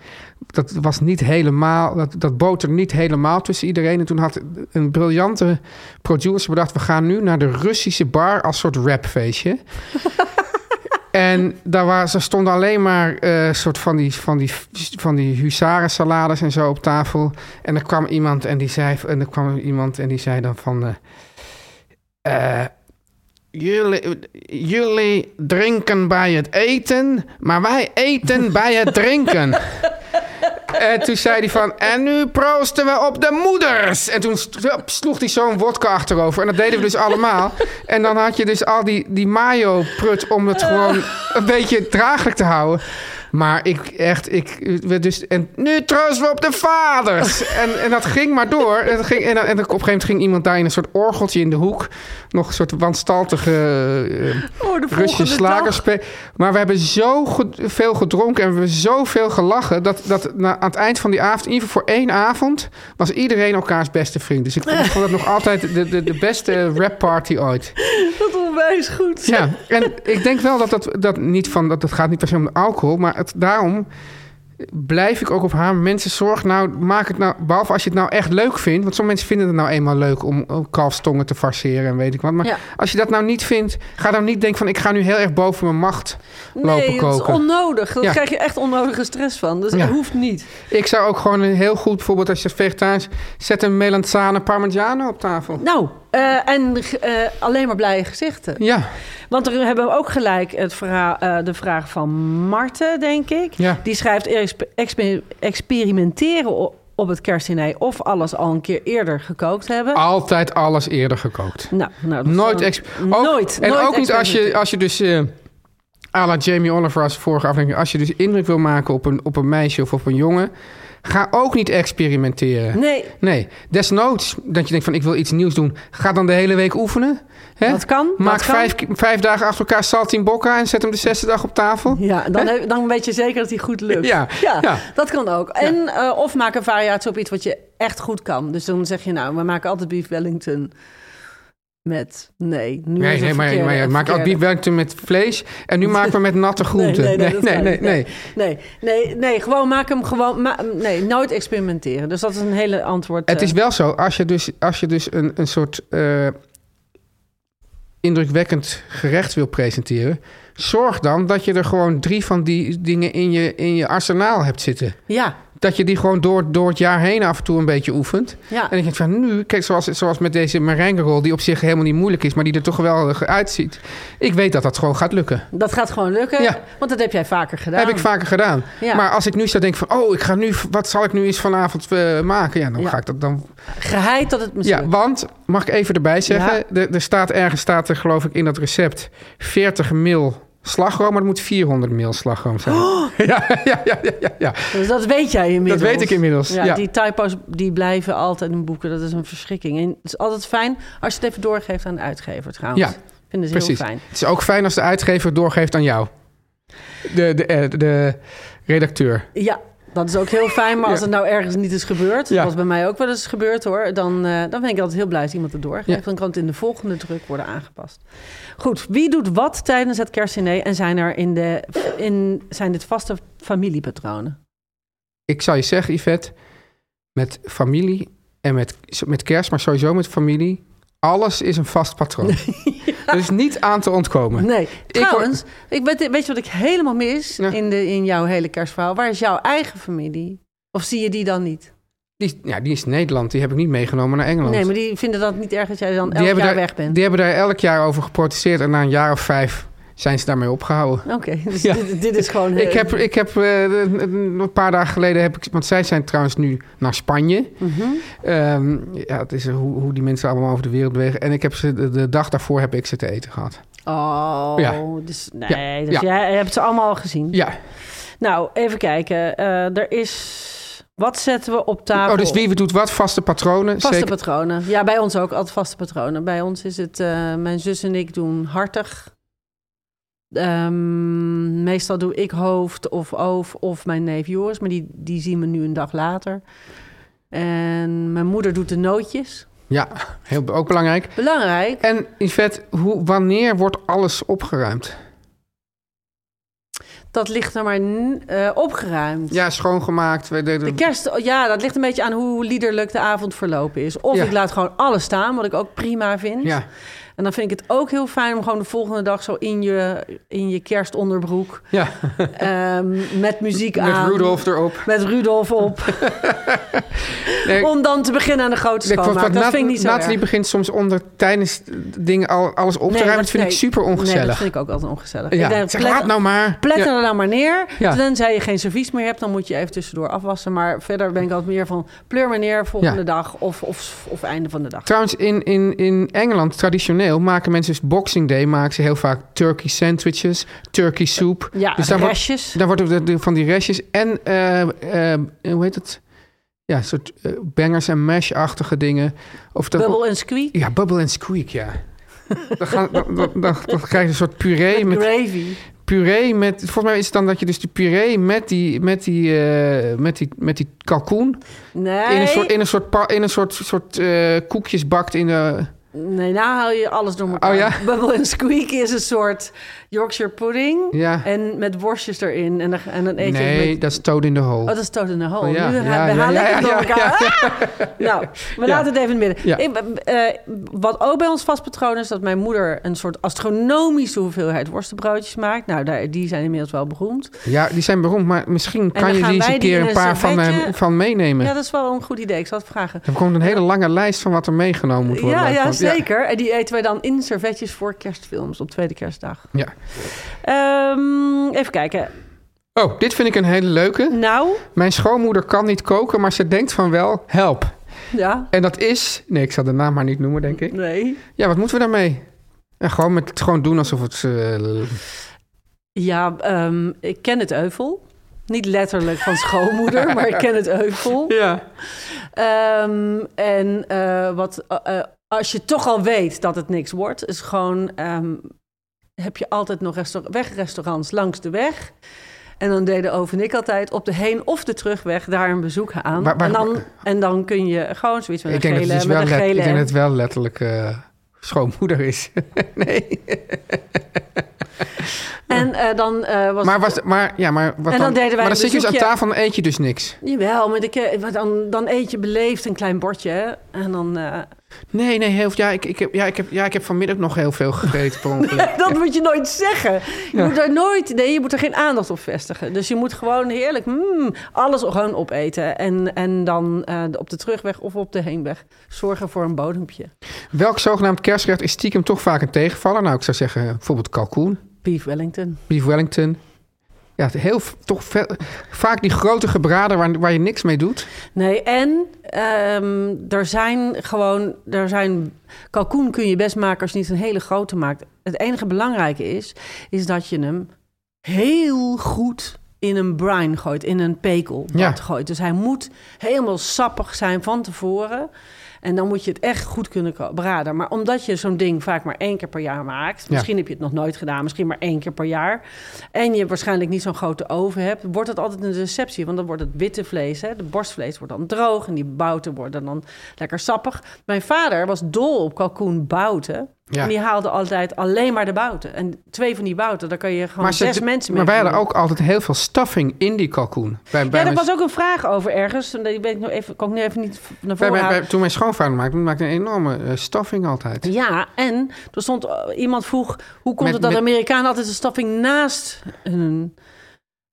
Speaker 2: Dat was niet helemaal, dat, dat boter niet helemaal tussen iedereen. En toen had een briljante producer bedacht: we gaan nu naar de Russische bar als soort rapfeestje. En daar was, er stonden alleen maar eh soort van die, van die, van die huzarensalades en zo op tafel. En er kwam iemand en die zei, en er kwam iemand en die zei dan van. eh, eh, jullie, jullie drinken bij het eten, maar wij eten bij het drinken. En Eh, toen zei hij van, en nu proosten we op de moeders. En toen st- sloeg hij zo'n wodka achterover. En dat deden we dus allemaal. En dan had je dus al die, die mayo-prut om het gewoon een beetje draaglijk te houden. Maar ik echt, ik, we dus, en nu troosten we op de vaders. En, en dat ging maar door. En, dat ging, en, dan- en op een gegeven moment ging iemand daar in een soort orgeltje in de hoek. Nog een soort wanstaltige... eh,
Speaker 3: Oh, de
Speaker 2: Russische
Speaker 3: volgende
Speaker 2: slagers.
Speaker 3: dag.
Speaker 2: spe- Maar we hebben zo ge- veel gedronken en we hebben zoveel gelachen. dat, dat na, aan het eind van die avond, in ieder geval voor één avond. was iedereen elkaars beste vriend. Dus ik vond, ik vond dat nog altijd de, de, de beste rapparty ooit.
Speaker 3: Dat onwijs goed.
Speaker 2: Ja, en ik denk wel dat dat, dat niet van. dat, dat gaat niet per se om de alcohol. maar het, daarom blijf ik ook op haar. Mensen, zorg nou, maak het nou. behalve als je het nou echt leuk vindt. want sommige mensen vinden het nou eenmaal leuk om eh, kalfstongen te farceren en weet ik wat. Maar
Speaker 3: Ja.
Speaker 2: als je dat nou niet vindt, ga dan niet denken van. ik ga nu heel erg boven mijn macht lopen
Speaker 3: Nee, dat is
Speaker 2: koken.
Speaker 3: onnodig. Daar
Speaker 2: Ja.
Speaker 3: krijg je echt onnodige stress van. Dus
Speaker 2: Ja.
Speaker 3: dat hoeft niet.
Speaker 2: Ik zou ook gewoon een heel goed voorbeeld als je vegetarisch. zet een melanzane parmigiano op tafel.
Speaker 3: Nou, eh, en eh, alleen maar blije gezichten.
Speaker 2: Ja,
Speaker 3: Want er hebben we ook gelijk het verhaal, eh, de vraag van Marten, denk ik.
Speaker 2: Ja.
Speaker 3: Die schrijft exp- exper- experimenteren o- op het kerstdiner... of alles al een keer eerder gekookt hebben.
Speaker 2: altijd alles eerder gekookt.
Speaker 3: Nou, nou, dat is
Speaker 2: Ah. Nooit,
Speaker 3: dan-
Speaker 2: ex- ook-
Speaker 3: nooit.
Speaker 2: En
Speaker 3: nooit
Speaker 2: ook niet als je, als je dus. eh à la Jamie Oliver als vorige aflevering. Als je dus indruk wil maken op een, op een meisje of op een jongen. Ga ook niet experimenteren.
Speaker 3: Nee,
Speaker 2: Nee, desnoods dat je denkt van ik wil iets nieuws doen. Ga dan de hele week oefenen. Hè?
Speaker 3: Dat kan,
Speaker 2: Maak
Speaker 3: dat kan.
Speaker 2: Vijf, vijf dagen achter elkaar salt in bocca en zet hem de zesde dag op tafel.
Speaker 3: ja, dan, heb- dan weet je zeker dat die goed lukt.
Speaker 2: Ja, ja.
Speaker 3: dat kan ook. En, eh, of maak een variatie op iets wat je echt goed kan. Dus dan zeg je nou, we maken altijd beef wellington met... Nee, nu is
Speaker 2: Nee,
Speaker 3: het
Speaker 2: nee, maar,
Speaker 3: verkeerde,
Speaker 2: maar ja,
Speaker 3: het
Speaker 2: maak ook
Speaker 3: verkeerde.
Speaker 2: beef wellington met vlees. En nu maken we met natte groenten.
Speaker 3: Nee, nee, nee, dat
Speaker 2: nee,
Speaker 3: kan
Speaker 2: nee,
Speaker 3: niet.
Speaker 2: nee.
Speaker 3: Nee, nee, nee, gewoon maak hem gewoon. ma- nee, nooit experimenteren. Dus dat is een hele antwoord.
Speaker 2: Het
Speaker 3: eh,
Speaker 2: is wel zo, als je dus, als je dus een, een soort eh, indrukwekkend gerecht wil presenteren... zorg dan dat je er gewoon drie van die dingen in je, in je arsenaal hebt zitten.
Speaker 3: Ja,
Speaker 2: Dat je die gewoon door, door het jaar heen af en toe een beetje oefent.
Speaker 3: ja.
Speaker 2: En ik denk van nu, kijk, zoals, zoals met deze Marijngerol... die op zich helemaal niet moeilijk is, maar die er toch geweldig uitziet. Ik weet dat dat gewoon gaat lukken.
Speaker 3: dat gaat gewoon lukken.
Speaker 2: Ja.
Speaker 3: Want dat heb jij vaker gedaan.
Speaker 2: Heb ik vaker gedaan.
Speaker 3: Ja.
Speaker 2: Maar als ik nu zou denken van, oh, ik ga nu, wat zal ik nu eens vanavond eh, maken? Ja, dan
Speaker 3: Ja.
Speaker 2: ga ik dat dan.
Speaker 3: Geheid dat het misschien.
Speaker 2: Ja, want mag ik even erbij zeggen, er, er staat ergens staat er geloof ik in dat recept 40 mil slagroom, maar het moet 400 mil slagroom zijn.
Speaker 3: Oh!
Speaker 2: Ja, ja, ja, ja, ja, ja.
Speaker 3: Dus dat weet jij inmiddels.
Speaker 2: Dat weet ik inmiddels, ja.
Speaker 3: Die typo's die blijven altijd in boeken. Dat is een verschrikking. En het is altijd fijn als je het even doorgeeft aan de uitgever trouwens.
Speaker 2: Ja,
Speaker 3: Ik vind het
Speaker 2: Precies.
Speaker 3: heel fijn.
Speaker 2: Het is ook fijn als de uitgever het doorgeeft aan jou. De, de, eh, de redacteur.
Speaker 3: Ja, dat is ook heel fijn. Maar als het nou ergens niet is gebeurd,
Speaker 2: Ja.
Speaker 3: wat bij mij ook wel eens gebeurd hoor, dan, eh, dan ben ik altijd heel blij als iemand het doorgeeft.
Speaker 2: Ja.
Speaker 3: Dan kan het in de volgende druk worden aangepast. Goed, wie doet wat tijdens het kerstdiner en zijn er in de in, zijn dit vaste familiepatronen?
Speaker 2: ik zou je zeggen, Yvette, met familie en met, met kerst, maar sowieso met familie, alles is een vast patroon. Er is niet aan te ontkomen.
Speaker 3: Nee,
Speaker 2: hoor-
Speaker 3: trouwens, ik weet, weet je wat ik helemaal mis
Speaker 2: Ja.
Speaker 3: in, de, in jouw hele kerstverhaal? Waar is jouw eigen familie? Of zie je die dan niet?
Speaker 2: Die, ja, die is Nederland, die heb ik niet meegenomen naar Engeland.
Speaker 3: Nee, maar die vinden dat niet erg dat jij dan
Speaker 2: Die
Speaker 3: elk jaar
Speaker 2: hebben daar,
Speaker 3: weg bent.
Speaker 2: Die hebben daar elk jaar over geprotesteerd en na een jaar of vijf zijn ze daarmee opgehouden.
Speaker 3: Oké, dus
Speaker 2: Ja.
Speaker 3: dit, dit is gewoon...
Speaker 2: Ik heb, ik heb eh, een- een een paar dagen geleden heb ik, want zij zijn trouwens nu naar Spanje.
Speaker 3: Mhm.
Speaker 2: Ehm, ja, het is hoe, hoe die mensen allemaal over de wereld bewegen. En ik heb ze de, de dag daarvoor heb ik ze te eten gehad.
Speaker 3: Oh,
Speaker 2: Ja.
Speaker 3: dus nee,
Speaker 2: Ja,
Speaker 3: dus
Speaker 2: ja.
Speaker 3: jij hebt ze allemaal al gezien.
Speaker 2: Ja.
Speaker 3: Nou, even kijken. Eh, er is... Wat zetten we op tafel?
Speaker 2: Oh, dus wie doet wat? Vaste patronen.
Speaker 3: Vaste
Speaker 2: zeker.
Speaker 3: patronen. Ja, bij ons ook altijd vaste patronen. Bij ons is het... eh, mijn zus en ik doen hartig Ehm, meestal doe ik hoofd of oof of mijn neef Joris, maar die, die zien we nu een dag later. En mijn moeder doet de nootjes.
Speaker 2: Ja, heel, be- ook belangrijk.
Speaker 3: Belangrijk.
Speaker 2: En Yvette, hoe, wanneer wordt alles opgeruimd?
Speaker 3: Dat ligt er maar n- eh, opgeruimd.
Speaker 2: Ja, schoongemaakt. we deden-
Speaker 3: De kerst, ja, dat ligt een beetje aan hoe liederlijk de avond verlopen is. Of
Speaker 2: Ja.
Speaker 3: ik laat gewoon alles staan, wat ik ook prima vind.
Speaker 2: Ja,
Speaker 3: En dan vind ik het ook heel fijn om gewoon de volgende dag zo in je, in je kerstonderbroek
Speaker 2: ja.
Speaker 3: ehm, met muziek
Speaker 2: met
Speaker 3: aan.
Speaker 2: Rudolf erop.
Speaker 3: Met Rudolf op.
Speaker 2: Nee,
Speaker 3: om dan te beginnen aan de grote
Speaker 2: ik-
Speaker 3: schoonmaak.
Speaker 2: wat
Speaker 3: dat
Speaker 2: Nat-
Speaker 3: vind ik niet zo
Speaker 2: Nathalie
Speaker 3: erg.
Speaker 2: begint soms onder tijdens dingen al, alles op te
Speaker 3: Nee,
Speaker 2: ruimen. Dat vind
Speaker 3: nee.
Speaker 2: ik super
Speaker 3: Nee, dat
Speaker 2: ongezellig.
Speaker 3: vind ik ook altijd ongezellig.
Speaker 2: ja.
Speaker 3: Ik denk,
Speaker 2: zeg,
Speaker 3: plet-
Speaker 2: laat nou maar.
Speaker 3: Pletter
Speaker 2: Ja.
Speaker 3: er dan maar neer.
Speaker 2: Ja.
Speaker 3: Tenzij je geen servies meer hebt, dan moet je even tussendoor afwassen. Maar verder ben ik altijd meer van pleur maar neer volgende
Speaker 2: Ja.
Speaker 3: dag of, of, of einde van de dag.
Speaker 2: Trouwens, in, in, in Engeland, traditioneel, maken mensen dus Boxing Day maken ze heel vaak turkey sandwiches, turkey soep.
Speaker 3: Ja,
Speaker 2: Dus daar wordt-
Speaker 3: restjes.
Speaker 2: Daar wordt de- de- van die restjes en, eh, eh, hoe heet het? Ja, soort eh, bangers en mash-achtige dingen. Of dat,
Speaker 3: Bubble en squeak.
Speaker 2: Ja, bubble en squeak, ja. Dan, gaan, dan, dan, dan, dan krijg je een soort puree met,
Speaker 3: Gravy.
Speaker 2: puree met... Volgens mij is het dan dat je dus die puree met die, met die, eh, met die, met die kalkoen...
Speaker 3: Nee.
Speaker 2: in een soort, in een soort, pa- in een soort, soort eh, koekjes bakt in de...
Speaker 3: Nee, nou haal je alles door elkaar.
Speaker 2: Oh ja?
Speaker 3: Bubble en squeak is een soort Yorkshire pudding.
Speaker 2: Ja.
Speaker 3: En met worstjes erin. En dan, en dan eet je het
Speaker 2: Nee,
Speaker 3: met...
Speaker 2: dat is toad in de hole.
Speaker 3: Oh, dat is Toad in de Hole.
Speaker 2: Oh, ja.
Speaker 3: Nu
Speaker 2: Ja,
Speaker 3: ha- we
Speaker 2: ja,
Speaker 3: halen
Speaker 2: ja,
Speaker 3: het door
Speaker 2: ja,
Speaker 3: elkaar. Ah! Nou, we laten het even in het midden.
Speaker 2: Ja.
Speaker 3: Ik- eh, wat ook bij ons vast patroon is... dat mijn moeder een soort astronomische hoeveelheid worstenbroodjes maakt. Nou, daar, die zijn inmiddels wel beroemd.
Speaker 2: Ja, die zijn beroemd, maar misschien
Speaker 3: dan
Speaker 2: kan je
Speaker 3: gaan
Speaker 2: die eens
Speaker 3: wij
Speaker 2: een
Speaker 3: die in
Speaker 2: keer een
Speaker 3: een
Speaker 2: paar van,
Speaker 3: servetje-
Speaker 2: eh, van meenemen.
Speaker 3: Ja, dat is wel een goed idee. Ik zal het vragen.
Speaker 2: Er komt een hele lange lijst van wat er meegenomen moet worden.
Speaker 3: Ja, ja,
Speaker 2: Want-
Speaker 3: zeker. En die eten wij dan in servetjes voor kerstfilms op tweede kerstdag.
Speaker 2: Ja.
Speaker 3: Ehm, even kijken.
Speaker 2: Oh, dit vind ik een hele leuke.
Speaker 3: Nou,
Speaker 2: Mijn schoonmoeder kan niet koken, maar ze denkt van wel, help.
Speaker 3: ja,
Speaker 2: En dat is... Nee, ik zal de naam maar niet noemen, denk ik.
Speaker 3: nee.
Speaker 2: Ja, wat moeten we daarmee? En gewoon, met, gewoon doen alsof het... eh,
Speaker 3: Ja, ehm, ik ken het euvel. Niet letterlijk van schoonmoeder, maar ik ken het euvel.
Speaker 2: ja.
Speaker 3: Ehm, en eh, wat, eh, eh, als je toch al weet dat het niks wordt, is gewoon, ehm, heb je altijd nog resta- wegrestaurants langs de weg. En dan deden Ove en ik altijd op de heen- of de terugweg daar een bezoek aan.
Speaker 2: Waar- waar-
Speaker 3: en, dan, en dan kun je gewoon zoiets met
Speaker 2: Ik
Speaker 3: een
Speaker 2: denk, dat
Speaker 3: gele...
Speaker 2: het, dus
Speaker 3: met
Speaker 2: wel
Speaker 3: een
Speaker 2: let- ik
Speaker 3: gele
Speaker 2: denk
Speaker 3: en-
Speaker 2: dat het wel letterlijk eh, schoonmoeder is. nee.
Speaker 3: En eh, dan eh, was
Speaker 2: Maar, was, maar, ja, maar, wat
Speaker 3: En dan deden wij
Speaker 2: maar
Speaker 3: een
Speaker 2: dan zit je dus aan
Speaker 3: bezoekje.
Speaker 2: tafel en dan eet je dus niks.
Speaker 3: Jawel, maar de ke- maar dan, dan eet je beleefd een klein bordje. hè. En dan, eh,
Speaker 2: Nee, nee, heel, ja, ik, ik heb, ja, ik heb, ja, ik heb vanmiddag nog heel veel gegeten per ongeluk.
Speaker 3: dat moet je nooit zeggen. Je moet daar nooit, nee, je moet er geen aandacht op vestigen. Dus je moet gewoon heerlijk mm, alles gewoon opeten. En, en dan eh, op de terugweg of op de heenweg zorgen voor een bodempje.
Speaker 2: Welk zogenaamd kerstgerecht is stiekem toch vaak een tegenvaller? Nou, ik zou zeggen eh, bijvoorbeeld kalkoen,
Speaker 3: Beef Wellington.
Speaker 2: beef wellington. Ja, het heel, v- toch ve- vaak die grote gebraden waar, waar je niks mee doet.
Speaker 3: Nee, en ehm, er zijn gewoon, er zijn, kalkoen kun je best maken als je niet een hele grote maakt. Het enige belangrijke is, is dat je hem heel goed in een brine gooit, in een pekel
Speaker 2: Ja.
Speaker 3: gooit. Dus hij moet helemaal sappig zijn van tevoren. En dan moet je het echt goed kunnen ko- braden. Maar omdat je zo'n ding vaak maar één keer per jaar maakt...
Speaker 2: Ja.
Speaker 3: misschien heb je het nog nooit gedaan, misschien maar één keer per jaar... en je waarschijnlijk niet zo'n grote oven hebt... wordt het altijd een deceptie, want dan wordt het witte vlees... Hè, de borstvlees wordt dan droog en die bouten worden dan lekker sappig. Mijn vader was dol op kalkoen bouten...
Speaker 2: Ja.
Speaker 3: En die haalde altijd alleen maar de bouten. En twee van die bouten, daar kan je gewoon
Speaker 2: Maar, ze-
Speaker 3: zes mensen mee
Speaker 2: maar wij hadden
Speaker 3: voeden.
Speaker 2: ook altijd heel veel stuffing in die kalkoen. Bij, bij
Speaker 3: Ja, er
Speaker 2: mijn-
Speaker 3: was ook een vraag over ergens. En Die ben ik nu even, kan ik nu even niet
Speaker 2: bij-
Speaker 3: naar voren
Speaker 2: bij-
Speaker 3: halen.
Speaker 2: bij- toen mijn schoonvader maakte, die maakte een enorme eh, stuffing altijd.
Speaker 3: Ja, en er stond eh, iemand vroeg: hoe komt
Speaker 2: Met-
Speaker 3: het dat
Speaker 2: met-
Speaker 3: Amerikanen altijd een staffing naast hun.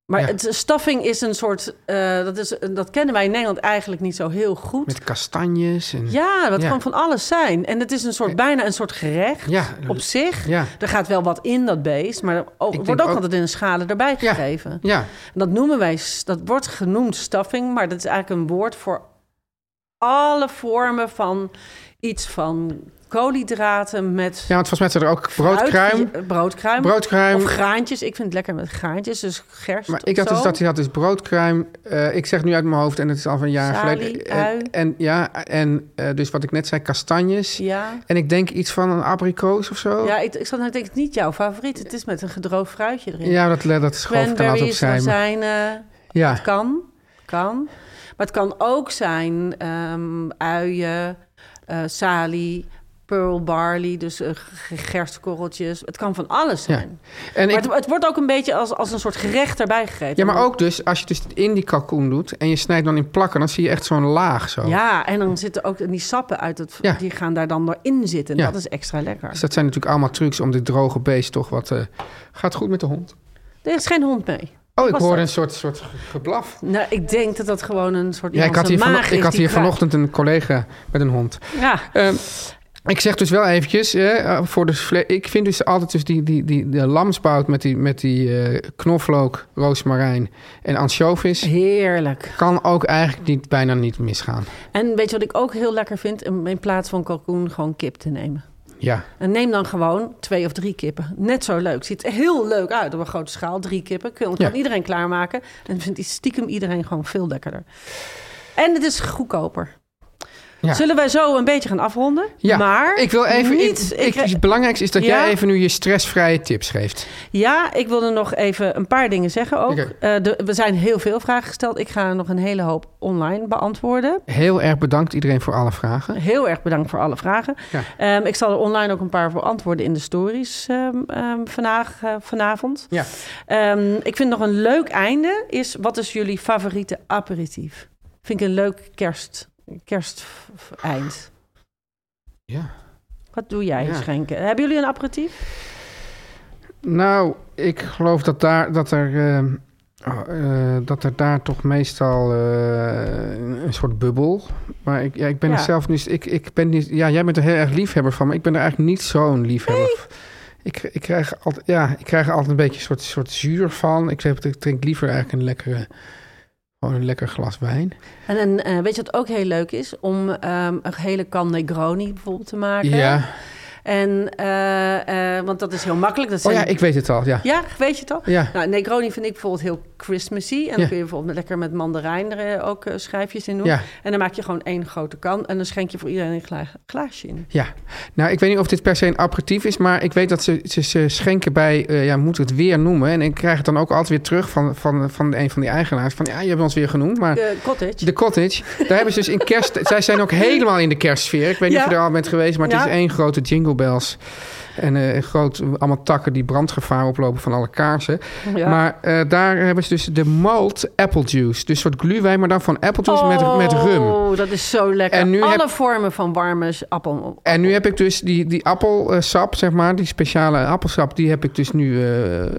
Speaker 3: Maar
Speaker 2: Ja.
Speaker 3: het, staffing is een soort. eh, dat, is, dat kennen wij in Nederland eigenlijk niet zo heel goed.
Speaker 2: Met kastanjes en...
Speaker 3: Ja, dat
Speaker 2: Ja.
Speaker 3: kan van alles zijn. En het is een soort, bijna een soort gerecht
Speaker 2: Ja,
Speaker 3: op zich.
Speaker 2: ja.
Speaker 3: Er gaat wel wat in dat beest, maar er ook-
Speaker 2: denk
Speaker 3: wordt ook,
Speaker 2: ook-
Speaker 3: altijd in een schalen erbij
Speaker 2: Ja.
Speaker 3: gegeven.
Speaker 2: ja.
Speaker 3: En Dat noemen wij, s- dat wordt genoemd staffing, maar dat is eigenlijk een woord voor alle vormen van iets van koolhydraten met
Speaker 2: Ja, want volgens mij zijn er ook broodkruim.
Speaker 3: fruit, broodkruim,
Speaker 2: Broodkruim.
Speaker 3: eh, of graantjes. Ik vind het lekker met graantjes, dus gerst
Speaker 2: Maar
Speaker 3: of
Speaker 2: ik dacht dus
Speaker 3: zo.
Speaker 2: dat hij had dus broodkruim. Eh, ik zeg nu uit mijn hoofd en het is al van een jaar
Speaker 3: Salie,
Speaker 2: geleden. Eh,
Speaker 3: ui.
Speaker 2: En, en ja, en eh, dus wat ik net zei, kastanjes.
Speaker 3: Ja.
Speaker 2: En ik denk iets van een abrikoos of zo.
Speaker 3: Ja, ik, ik zat nou te denken, het is niet jouw favoriet. Het is met een gedroogd fruitje erin.
Speaker 2: Ja, dat, dat schoof kan altijd
Speaker 3: Cranberries,
Speaker 2: zijn. maar-
Speaker 3: rozijnen,
Speaker 2: Ja,
Speaker 3: kan, kan. Maar het kan ook zijn ehm, uien, eh, salie, pearl barley, dus eh, g- gerstkorreltjes. Het kan van alles
Speaker 2: Ja.
Speaker 3: zijn.
Speaker 2: en
Speaker 3: Maar
Speaker 2: ik,
Speaker 3: het, het wordt ook een beetje als, als een soort gerecht erbij gegeten.
Speaker 2: ja, maar ook dus als je het dus in die kalkoen doet en je snijdt dan in plakken, dan zie je echt zo'n laag zo.
Speaker 3: Ja, en dan zitten ook die sappen uit het...
Speaker 2: Ja.
Speaker 3: Die gaan daar dan in zitten. En
Speaker 2: Ja.
Speaker 3: Dat is extra lekker.
Speaker 2: Dus dat zijn natuurlijk allemaal trucs om dit droge beest toch wat... eh, gaat goed met de hond.
Speaker 3: Er is geen hond mee.
Speaker 2: Oh, ik
Speaker 3: Was
Speaker 2: hoor
Speaker 3: dat?
Speaker 2: een soort, soort ge- geblaf.
Speaker 3: Nou, ik denk dat dat gewoon een soort
Speaker 2: Ja, ik had
Speaker 3: iemand
Speaker 2: hier,
Speaker 3: zijn
Speaker 2: vano-
Speaker 3: maag
Speaker 2: ik
Speaker 3: is
Speaker 2: had
Speaker 3: die
Speaker 2: hier
Speaker 3: kra-
Speaker 2: vanochtend een collega met een hond.
Speaker 3: Ja,
Speaker 2: Ehm, ik zeg dus wel eventjes, eh, eh, voor de vle- ik vind dus altijd dus die, die, die, de lamsbout met die, met die eh, knoflook, roosmarijn en ansjovis...
Speaker 3: heerlijk.
Speaker 2: kan ook eigenlijk niet, bijna niet misgaan.
Speaker 3: En weet je wat ik ook heel lekker vind? Om In plaats van kalkoen gewoon kip te nemen.
Speaker 2: Ja,
Speaker 3: En neem dan gewoon twee of drie kippen. Net zo leuk. Ziet er heel leuk uit op een grote schaal. Drie kippen. Kun, kan
Speaker 2: Ja.
Speaker 3: iedereen klaarmaken. En vindt die stiekem iedereen gewoon veel lekkerder. En het is goedkoper.
Speaker 2: Ja.
Speaker 3: Zullen wij zo een beetje gaan afronden?
Speaker 2: ja.
Speaker 3: maar
Speaker 2: ik wil even.
Speaker 3: niet.
Speaker 2: ik,
Speaker 3: ik-
Speaker 2: ik- het belangrijkste is dat
Speaker 3: Ja?
Speaker 2: jij even nu je stressvrije tips geeft.
Speaker 3: ja, ik wilde nog even een paar dingen zeggen ook.
Speaker 2: Oké.
Speaker 3: Eh, de- we zijn heel veel vragen gesteld. Ik ga er nog een hele hoop online beantwoorden.
Speaker 2: Heel erg bedankt iedereen voor alle vragen.
Speaker 3: Heel erg bedankt voor alle vragen.
Speaker 2: Ja.
Speaker 3: Ehm, ik zal er online ook een paar beantwoorden in de stories ehm, ehm, vandaag, eh, vanavond.
Speaker 2: Ja.
Speaker 3: Ehm, ik vind nog een leuk einde is... wat is jullie favoriete aperitief? Vind ik een leuk kerst, kersteind.
Speaker 2: Ja.
Speaker 3: Wat doe jij,
Speaker 2: Ja.
Speaker 3: Schenken? Hebben jullie een aperitief?
Speaker 2: Nou, ik geloof dat, daar, dat, er, ehm, eh, dat er daar toch meestal eh, een soort bubbel. Maar ik, ja, ik ben
Speaker 3: Ja.
Speaker 2: er zelf niet. Ik, ik ben niet ja, jij bent er heel erg liefhebber van, maar ik ben er eigenlijk niet zo'n liefhebber van. Ik, ik, krijg altijd, ja, ik krijg er altijd een beetje een soort, soort zuur van. Ik, zeg, ik drink liever eigenlijk een, lekkere, gewoon een lekker glas wijn.
Speaker 3: En, een, eh, weet je wat ook heel leuk is? Om ehm, een hele kan Negroni bijvoorbeeld te maken.
Speaker 2: Ja.
Speaker 3: En, eh, eh, want dat is heel makkelijk. Dat
Speaker 2: Oh
Speaker 3: zijn...
Speaker 2: ja, ik weet het al. Ja.
Speaker 3: ja, weet je het al?
Speaker 2: Ja.
Speaker 3: Nou, Negroni vind ik bijvoorbeeld heel Christmassy. En dan
Speaker 2: Ja.
Speaker 3: kun je bijvoorbeeld met- lekker met mandarijn er eh, ook eh, schijfjes in doen.
Speaker 2: Ja.
Speaker 3: En dan maak je gewoon één grote kan. En dan schenk je voor iedereen een gla- glaasje in.
Speaker 2: Ja, nou ik weet niet of dit per se een aperitief is, maar ik weet dat ze, ze, ze schenken bij, eh, ja, moet het weer noemen. En ik krijg het dan ook altijd weer terug van, van, van een van die eigenaars. Van ja, je hebt ons weer genoemd, maar
Speaker 3: Eh, cottage.
Speaker 2: de cottage, daar hebben ze dus in kerst, zij zijn ook helemaal in de kerstsfeer. Ik weet niet
Speaker 3: Ja.
Speaker 2: of je er al bent geweest, maar het
Speaker 3: Ja.
Speaker 2: is één grote jingle bells. En eh, een groot, allemaal takken die brandgevaar oplopen van alle kaarsen.
Speaker 3: Ja.
Speaker 2: Maar eh, daar hebben ze dus de malt apple juice. Dus een soort gluwijn, maar dan van appeljuice
Speaker 3: Oh,
Speaker 2: met, met rum.
Speaker 3: dat is zo lekker.
Speaker 2: En nu
Speaker 3: Alle
Speaker 2: heb-
Speaker 3: vormen van warme s- appel.
Speaker 2: En nu heb ik dus die, die appelsap, zeg maar, die speciale appelsap, die heb ik dus nu, eh, eh,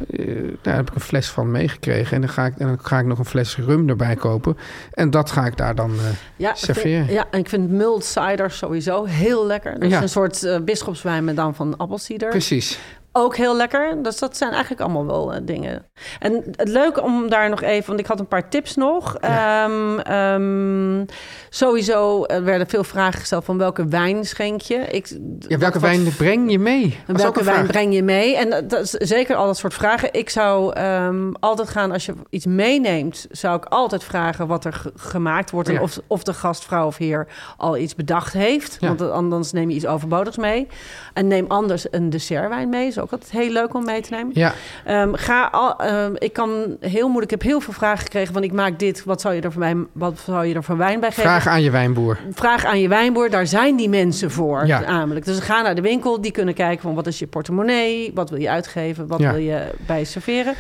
Speaker 2: daar heb ik een fles van meegekregen. En dan, ga ik, en dan ga ik nog een fles rum erbij kopen. En dat ga ik daar dan, eh,
Speaker 3: Ja, ik
Speaker 2: serveren.
Speaker 3: vind- ja, en ik vind mulled cider sowieso heel lekker. Dat
Speaker 2: Ja.
Speaker 3: is een soort eh bisschopswijn met dan van appelcider.
Speaker 2: precies.
Speaker 3: Ook heel lekker. Dus dat zijn eigenlijk allemaal wel eh, dingen. En het leuke om daar nog even, want ik had een paar tips nog. Ehm, ehm, sowieso eh, werden veel vragen gesteld van welke wijn schenk je. Ik,
Speaker 2: Ja,
Speaker 3: wat-
Speaker 2: welke
Speaker 3: wat-
Speaker 2: wijn breng je mee?
Speaker 3: en
Speaker 2: Dat is ook
Speaker 3: welke
Speaker 2: een
Speaker 3: wijn
Speaker 2: vraag.
Speaker 3: breng je mee? En dat- dat is zeker al dat soort vragen. Ik zou ehm, altijd gaan, als je iets meeneemt, zou ik altijd vragen wat er ge- gemaakt wordt. En
Speaker 2: Ja.
Speaker 3: of, of de gastvrouw of heer al iets bedacht heeft.
Speaker 2: Ja.
Speaker 3: Want anders neem je iets overbodigs mee. En neem anders een dessertwijn mee. Is ook altijd heel leuk om mee te nemen.
Speaker 2: Ja,
Speaker 3: Ehm, ga al, ehm, ik kan heel moeilijk, ik heb heel veel vragen gekregen van ik maak dit, wat zou je er van, mijn, wat zou je er van wijn bij geven?
Speaker 2: vraag aan je wijnboer.
Speaker 3: vraag aan je wijnboer, daar zijn die mensen voor
Speaker 2: Ja.
Speaker 3: namelijk. Dus ga naar de winkel, die kunnen kijken van wat is je portemonnee, wat wil je uitgeven, wat
Speaker 2: Ja.
Speaker 3: wil je bij serveren.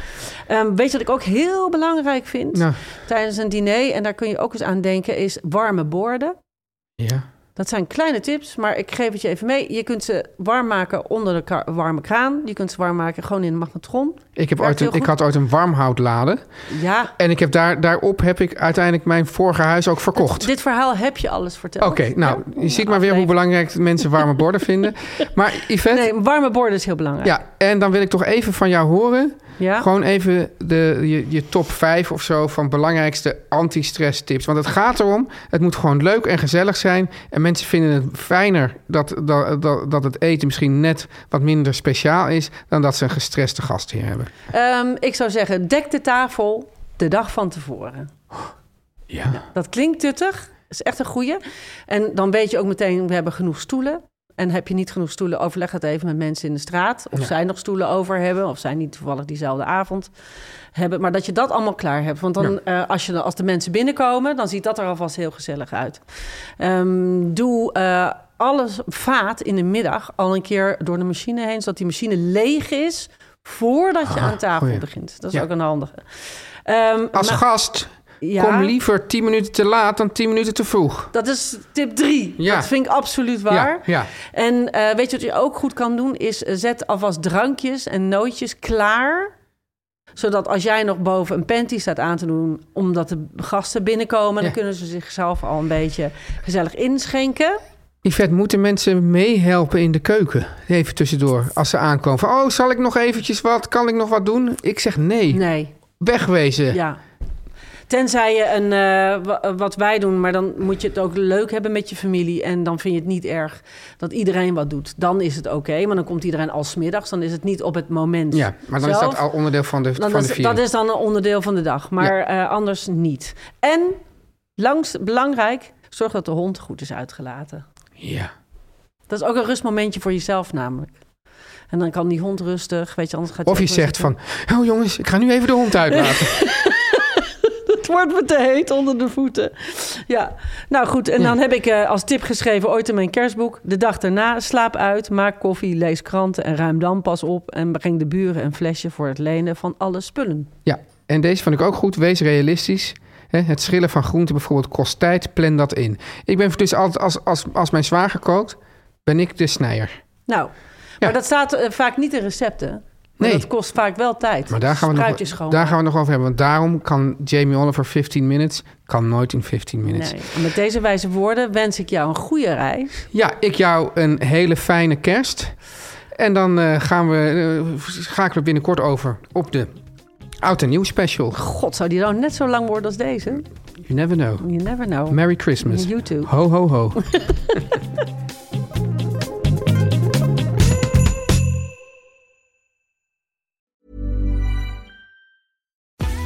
Speaker 3: Ehm, weet je wat ik ook heel belangrijk vind
Speaker 2: Nou,
Speaker 3: tijdens een diner, en daar kun je ook eens aan denken, is warme borden.
Speaker 2: ja.
Speaker 3: Dat zijn kleine tips, maar ik geef het je even mee. Je kunt ze warm maken onder de ka- warme kraan. Je kunt ze warm maken gewoon in de magnetron.
Speaker 2: Ik, heb
Speaker 3: Werkt
Speaker 2: ooit een-
Speaker 3: heel
Speaker 2: ik
Speaker 3: goed.
Speaker 2: had ooit een warmhoutlade.
Speaker 3: Ja,
Speaker 2: En ik heb daar, daarop heb ik uiteindelijk mijn vorige huis ook verkocht.
Speaker 3: dit verhaal heb je alles verteld.
Speaker 2: Oké, nou,
Speaker 3: Ja?
Speaker 2: je ziet maar weer hoe belangrijk mensen warme borden vinden. Maar Yvette,
Speaker 3: Nee, warme borden is heel belangrijk.
Speaker 2: Ja, en dan wil ik toch even van jou horen.
Speaker 3: Ja.
Speaker 2: Gewoon even de, je, je top 5 of zo van belangrijkste anti-stress tips. Want het gaat erom, het moet gewoon leuk en gezellig zijn. En mensen vinden het fijner dat, dat, dat, dat het eten misschien net wat minder speciaal is... dan dat ze een gestreste gast hier hebben.
Speaker 3: Ehm, ik zou zeggen, dek de tafel de dag van tevoren.
Speaker 2: Ja.
Speaker 3: Dat klinkt tuttig. is echt een goeie. En dan weet je ook meteen, we hebben genoeg stoelen. En heb je niet genoeg stoelen, overleg het even met mensen in de straat. Of zij nog stoelen over hebben. Of zij niet toevallig diezelfde avond hebben. Maar dat je dat allemaal klaar hebt. Want dan, eh, als, je, als de mensen binnenkomen, dan ziet dat er alvast heel gezellig uit. Ehm, doe eh, alles vaat in de middag al een keer door de machine heen. Zodat die machine leeg is voordat je aan tafel
Speaker 2: Ah, goeie.
Speaker 3: begint. Dat is
Speaker 2: Ja.
Speaker 3: ook een handige. Ehm,
Speaker 2: Als
Speaker 3: maar-
Speaker 2: gast,
Speaker 3: Ja.
Speaker 2: kom liever 10 minuten te laat dan 10 minuten te vroeg.
Speaker 3: Dat is tip 3.
Speaker 2: Ja.
Speaker 3: Dat vind ik absoluut waar.
Speaker 2: Ja, ja.
Speaker 3: En eh, weet je wat je ook goed kan doen? Is eh, zet alvast drankjes en nootjes klaar. Zodat als jij nog boven een panty staat aan te doen... omdat de gasten binnenkomen...
Speaker 2: Ja.
Speaker 3: dan kunnen ze zichzelf al een beetje gezellig inschenken.
Speaker 2: Yvette, moeten mensen meehelpen in de keuken? Even tussendoor, als ze aankomen. Van, oh, zal ik nog eventjes wat? Kan ik nog wat doen? Ik zeg nee.
Speaker 3: Nee,
Speaker 2: Wegwezen.
Speaker 3: ja. Tenzij je een, eh, wa- wat wij doen, maar dan moet je het ook leuk hebben met je familie. En dan vind je het niet erg dat iedereen wat doet. Dan is het oké, maar dan komt iedereen al smiddags. Dan is het niet op het moment.
Speaker 2: Ja, maar dan is
Speaker 3: zelf.
Speaker 2: dat al onderdeel van de,
Speaker 3: Dan
Speaker 2: van de
Speaker 3: is,
Speaker 2: viering.
Speaker 3: dat is dan een onderdeel van de dag, maar eh, anders niet. En langs, belangrijk, zorg dat de hond goed is uitgelaten.
Speaker 2: Ja.
Speaker 3: Dat is ook een rustmomentje voor jezelf namelijk. En dan kan die hond rustig, weet je, anders gaat hij
Speaker 2: Of je
Speaker 3: ook
Speaker 2: zegt
Speaker 3: rustig-
Speaker 2: van, oh jongens, ik ga nu even de hond uitlaten.
Speaker 3: Het wordt me te heet onder de voeten. Ja, nou goed. En dan heb ik eh, als tip geschreven ooit in mijn kerstboek... de dag daarna, slaap uit, maak koffie, lees kranten... en ruim dan pas op en breng de buren een flesje... voor het lenen van alle spullen.
Speaker 2: ja, en deze vond ik ook goed. Wees realistisch. Hè, Het schillen van groenten bijvoorbeeld kost tijd. Plan dat in. Ik ben dus altijd, als, als, als mijn zwager kookt, ben ik de snijer.
Speaker 3: Nou, maar dat staat eh, vaak niet in recepten. Maar
Speaker 2: Nee.
Speaker 3: Dat kost vaak wel tijd.
Speaker 2: Maar daar gaan, we nog,
Speaker 3: Spruitjes schoon.
Speaker 2: daar gaan we het nog over hebben. Want daarom kan Jamie Oliver 15 minutes, kan nooit in 15 minutes.
Speaker 3: Nee. En Met deze wijze woorden wens ik jou een goede reis.
Speaker 2: Ja, ik jou een hele fijne kerst. En dan eh, gaan we, eh, schakelen we binnenkort over op de Oud en Nieuw special.
Speaker 3: God, zou die nou net zo lang worden als deze?
Speaker 2: You never know.
Speaker 3: You never know.
Speaker 2: Merry Christmas.
Speaker 3: You too.
Speaker 2: Ho, ho, ho.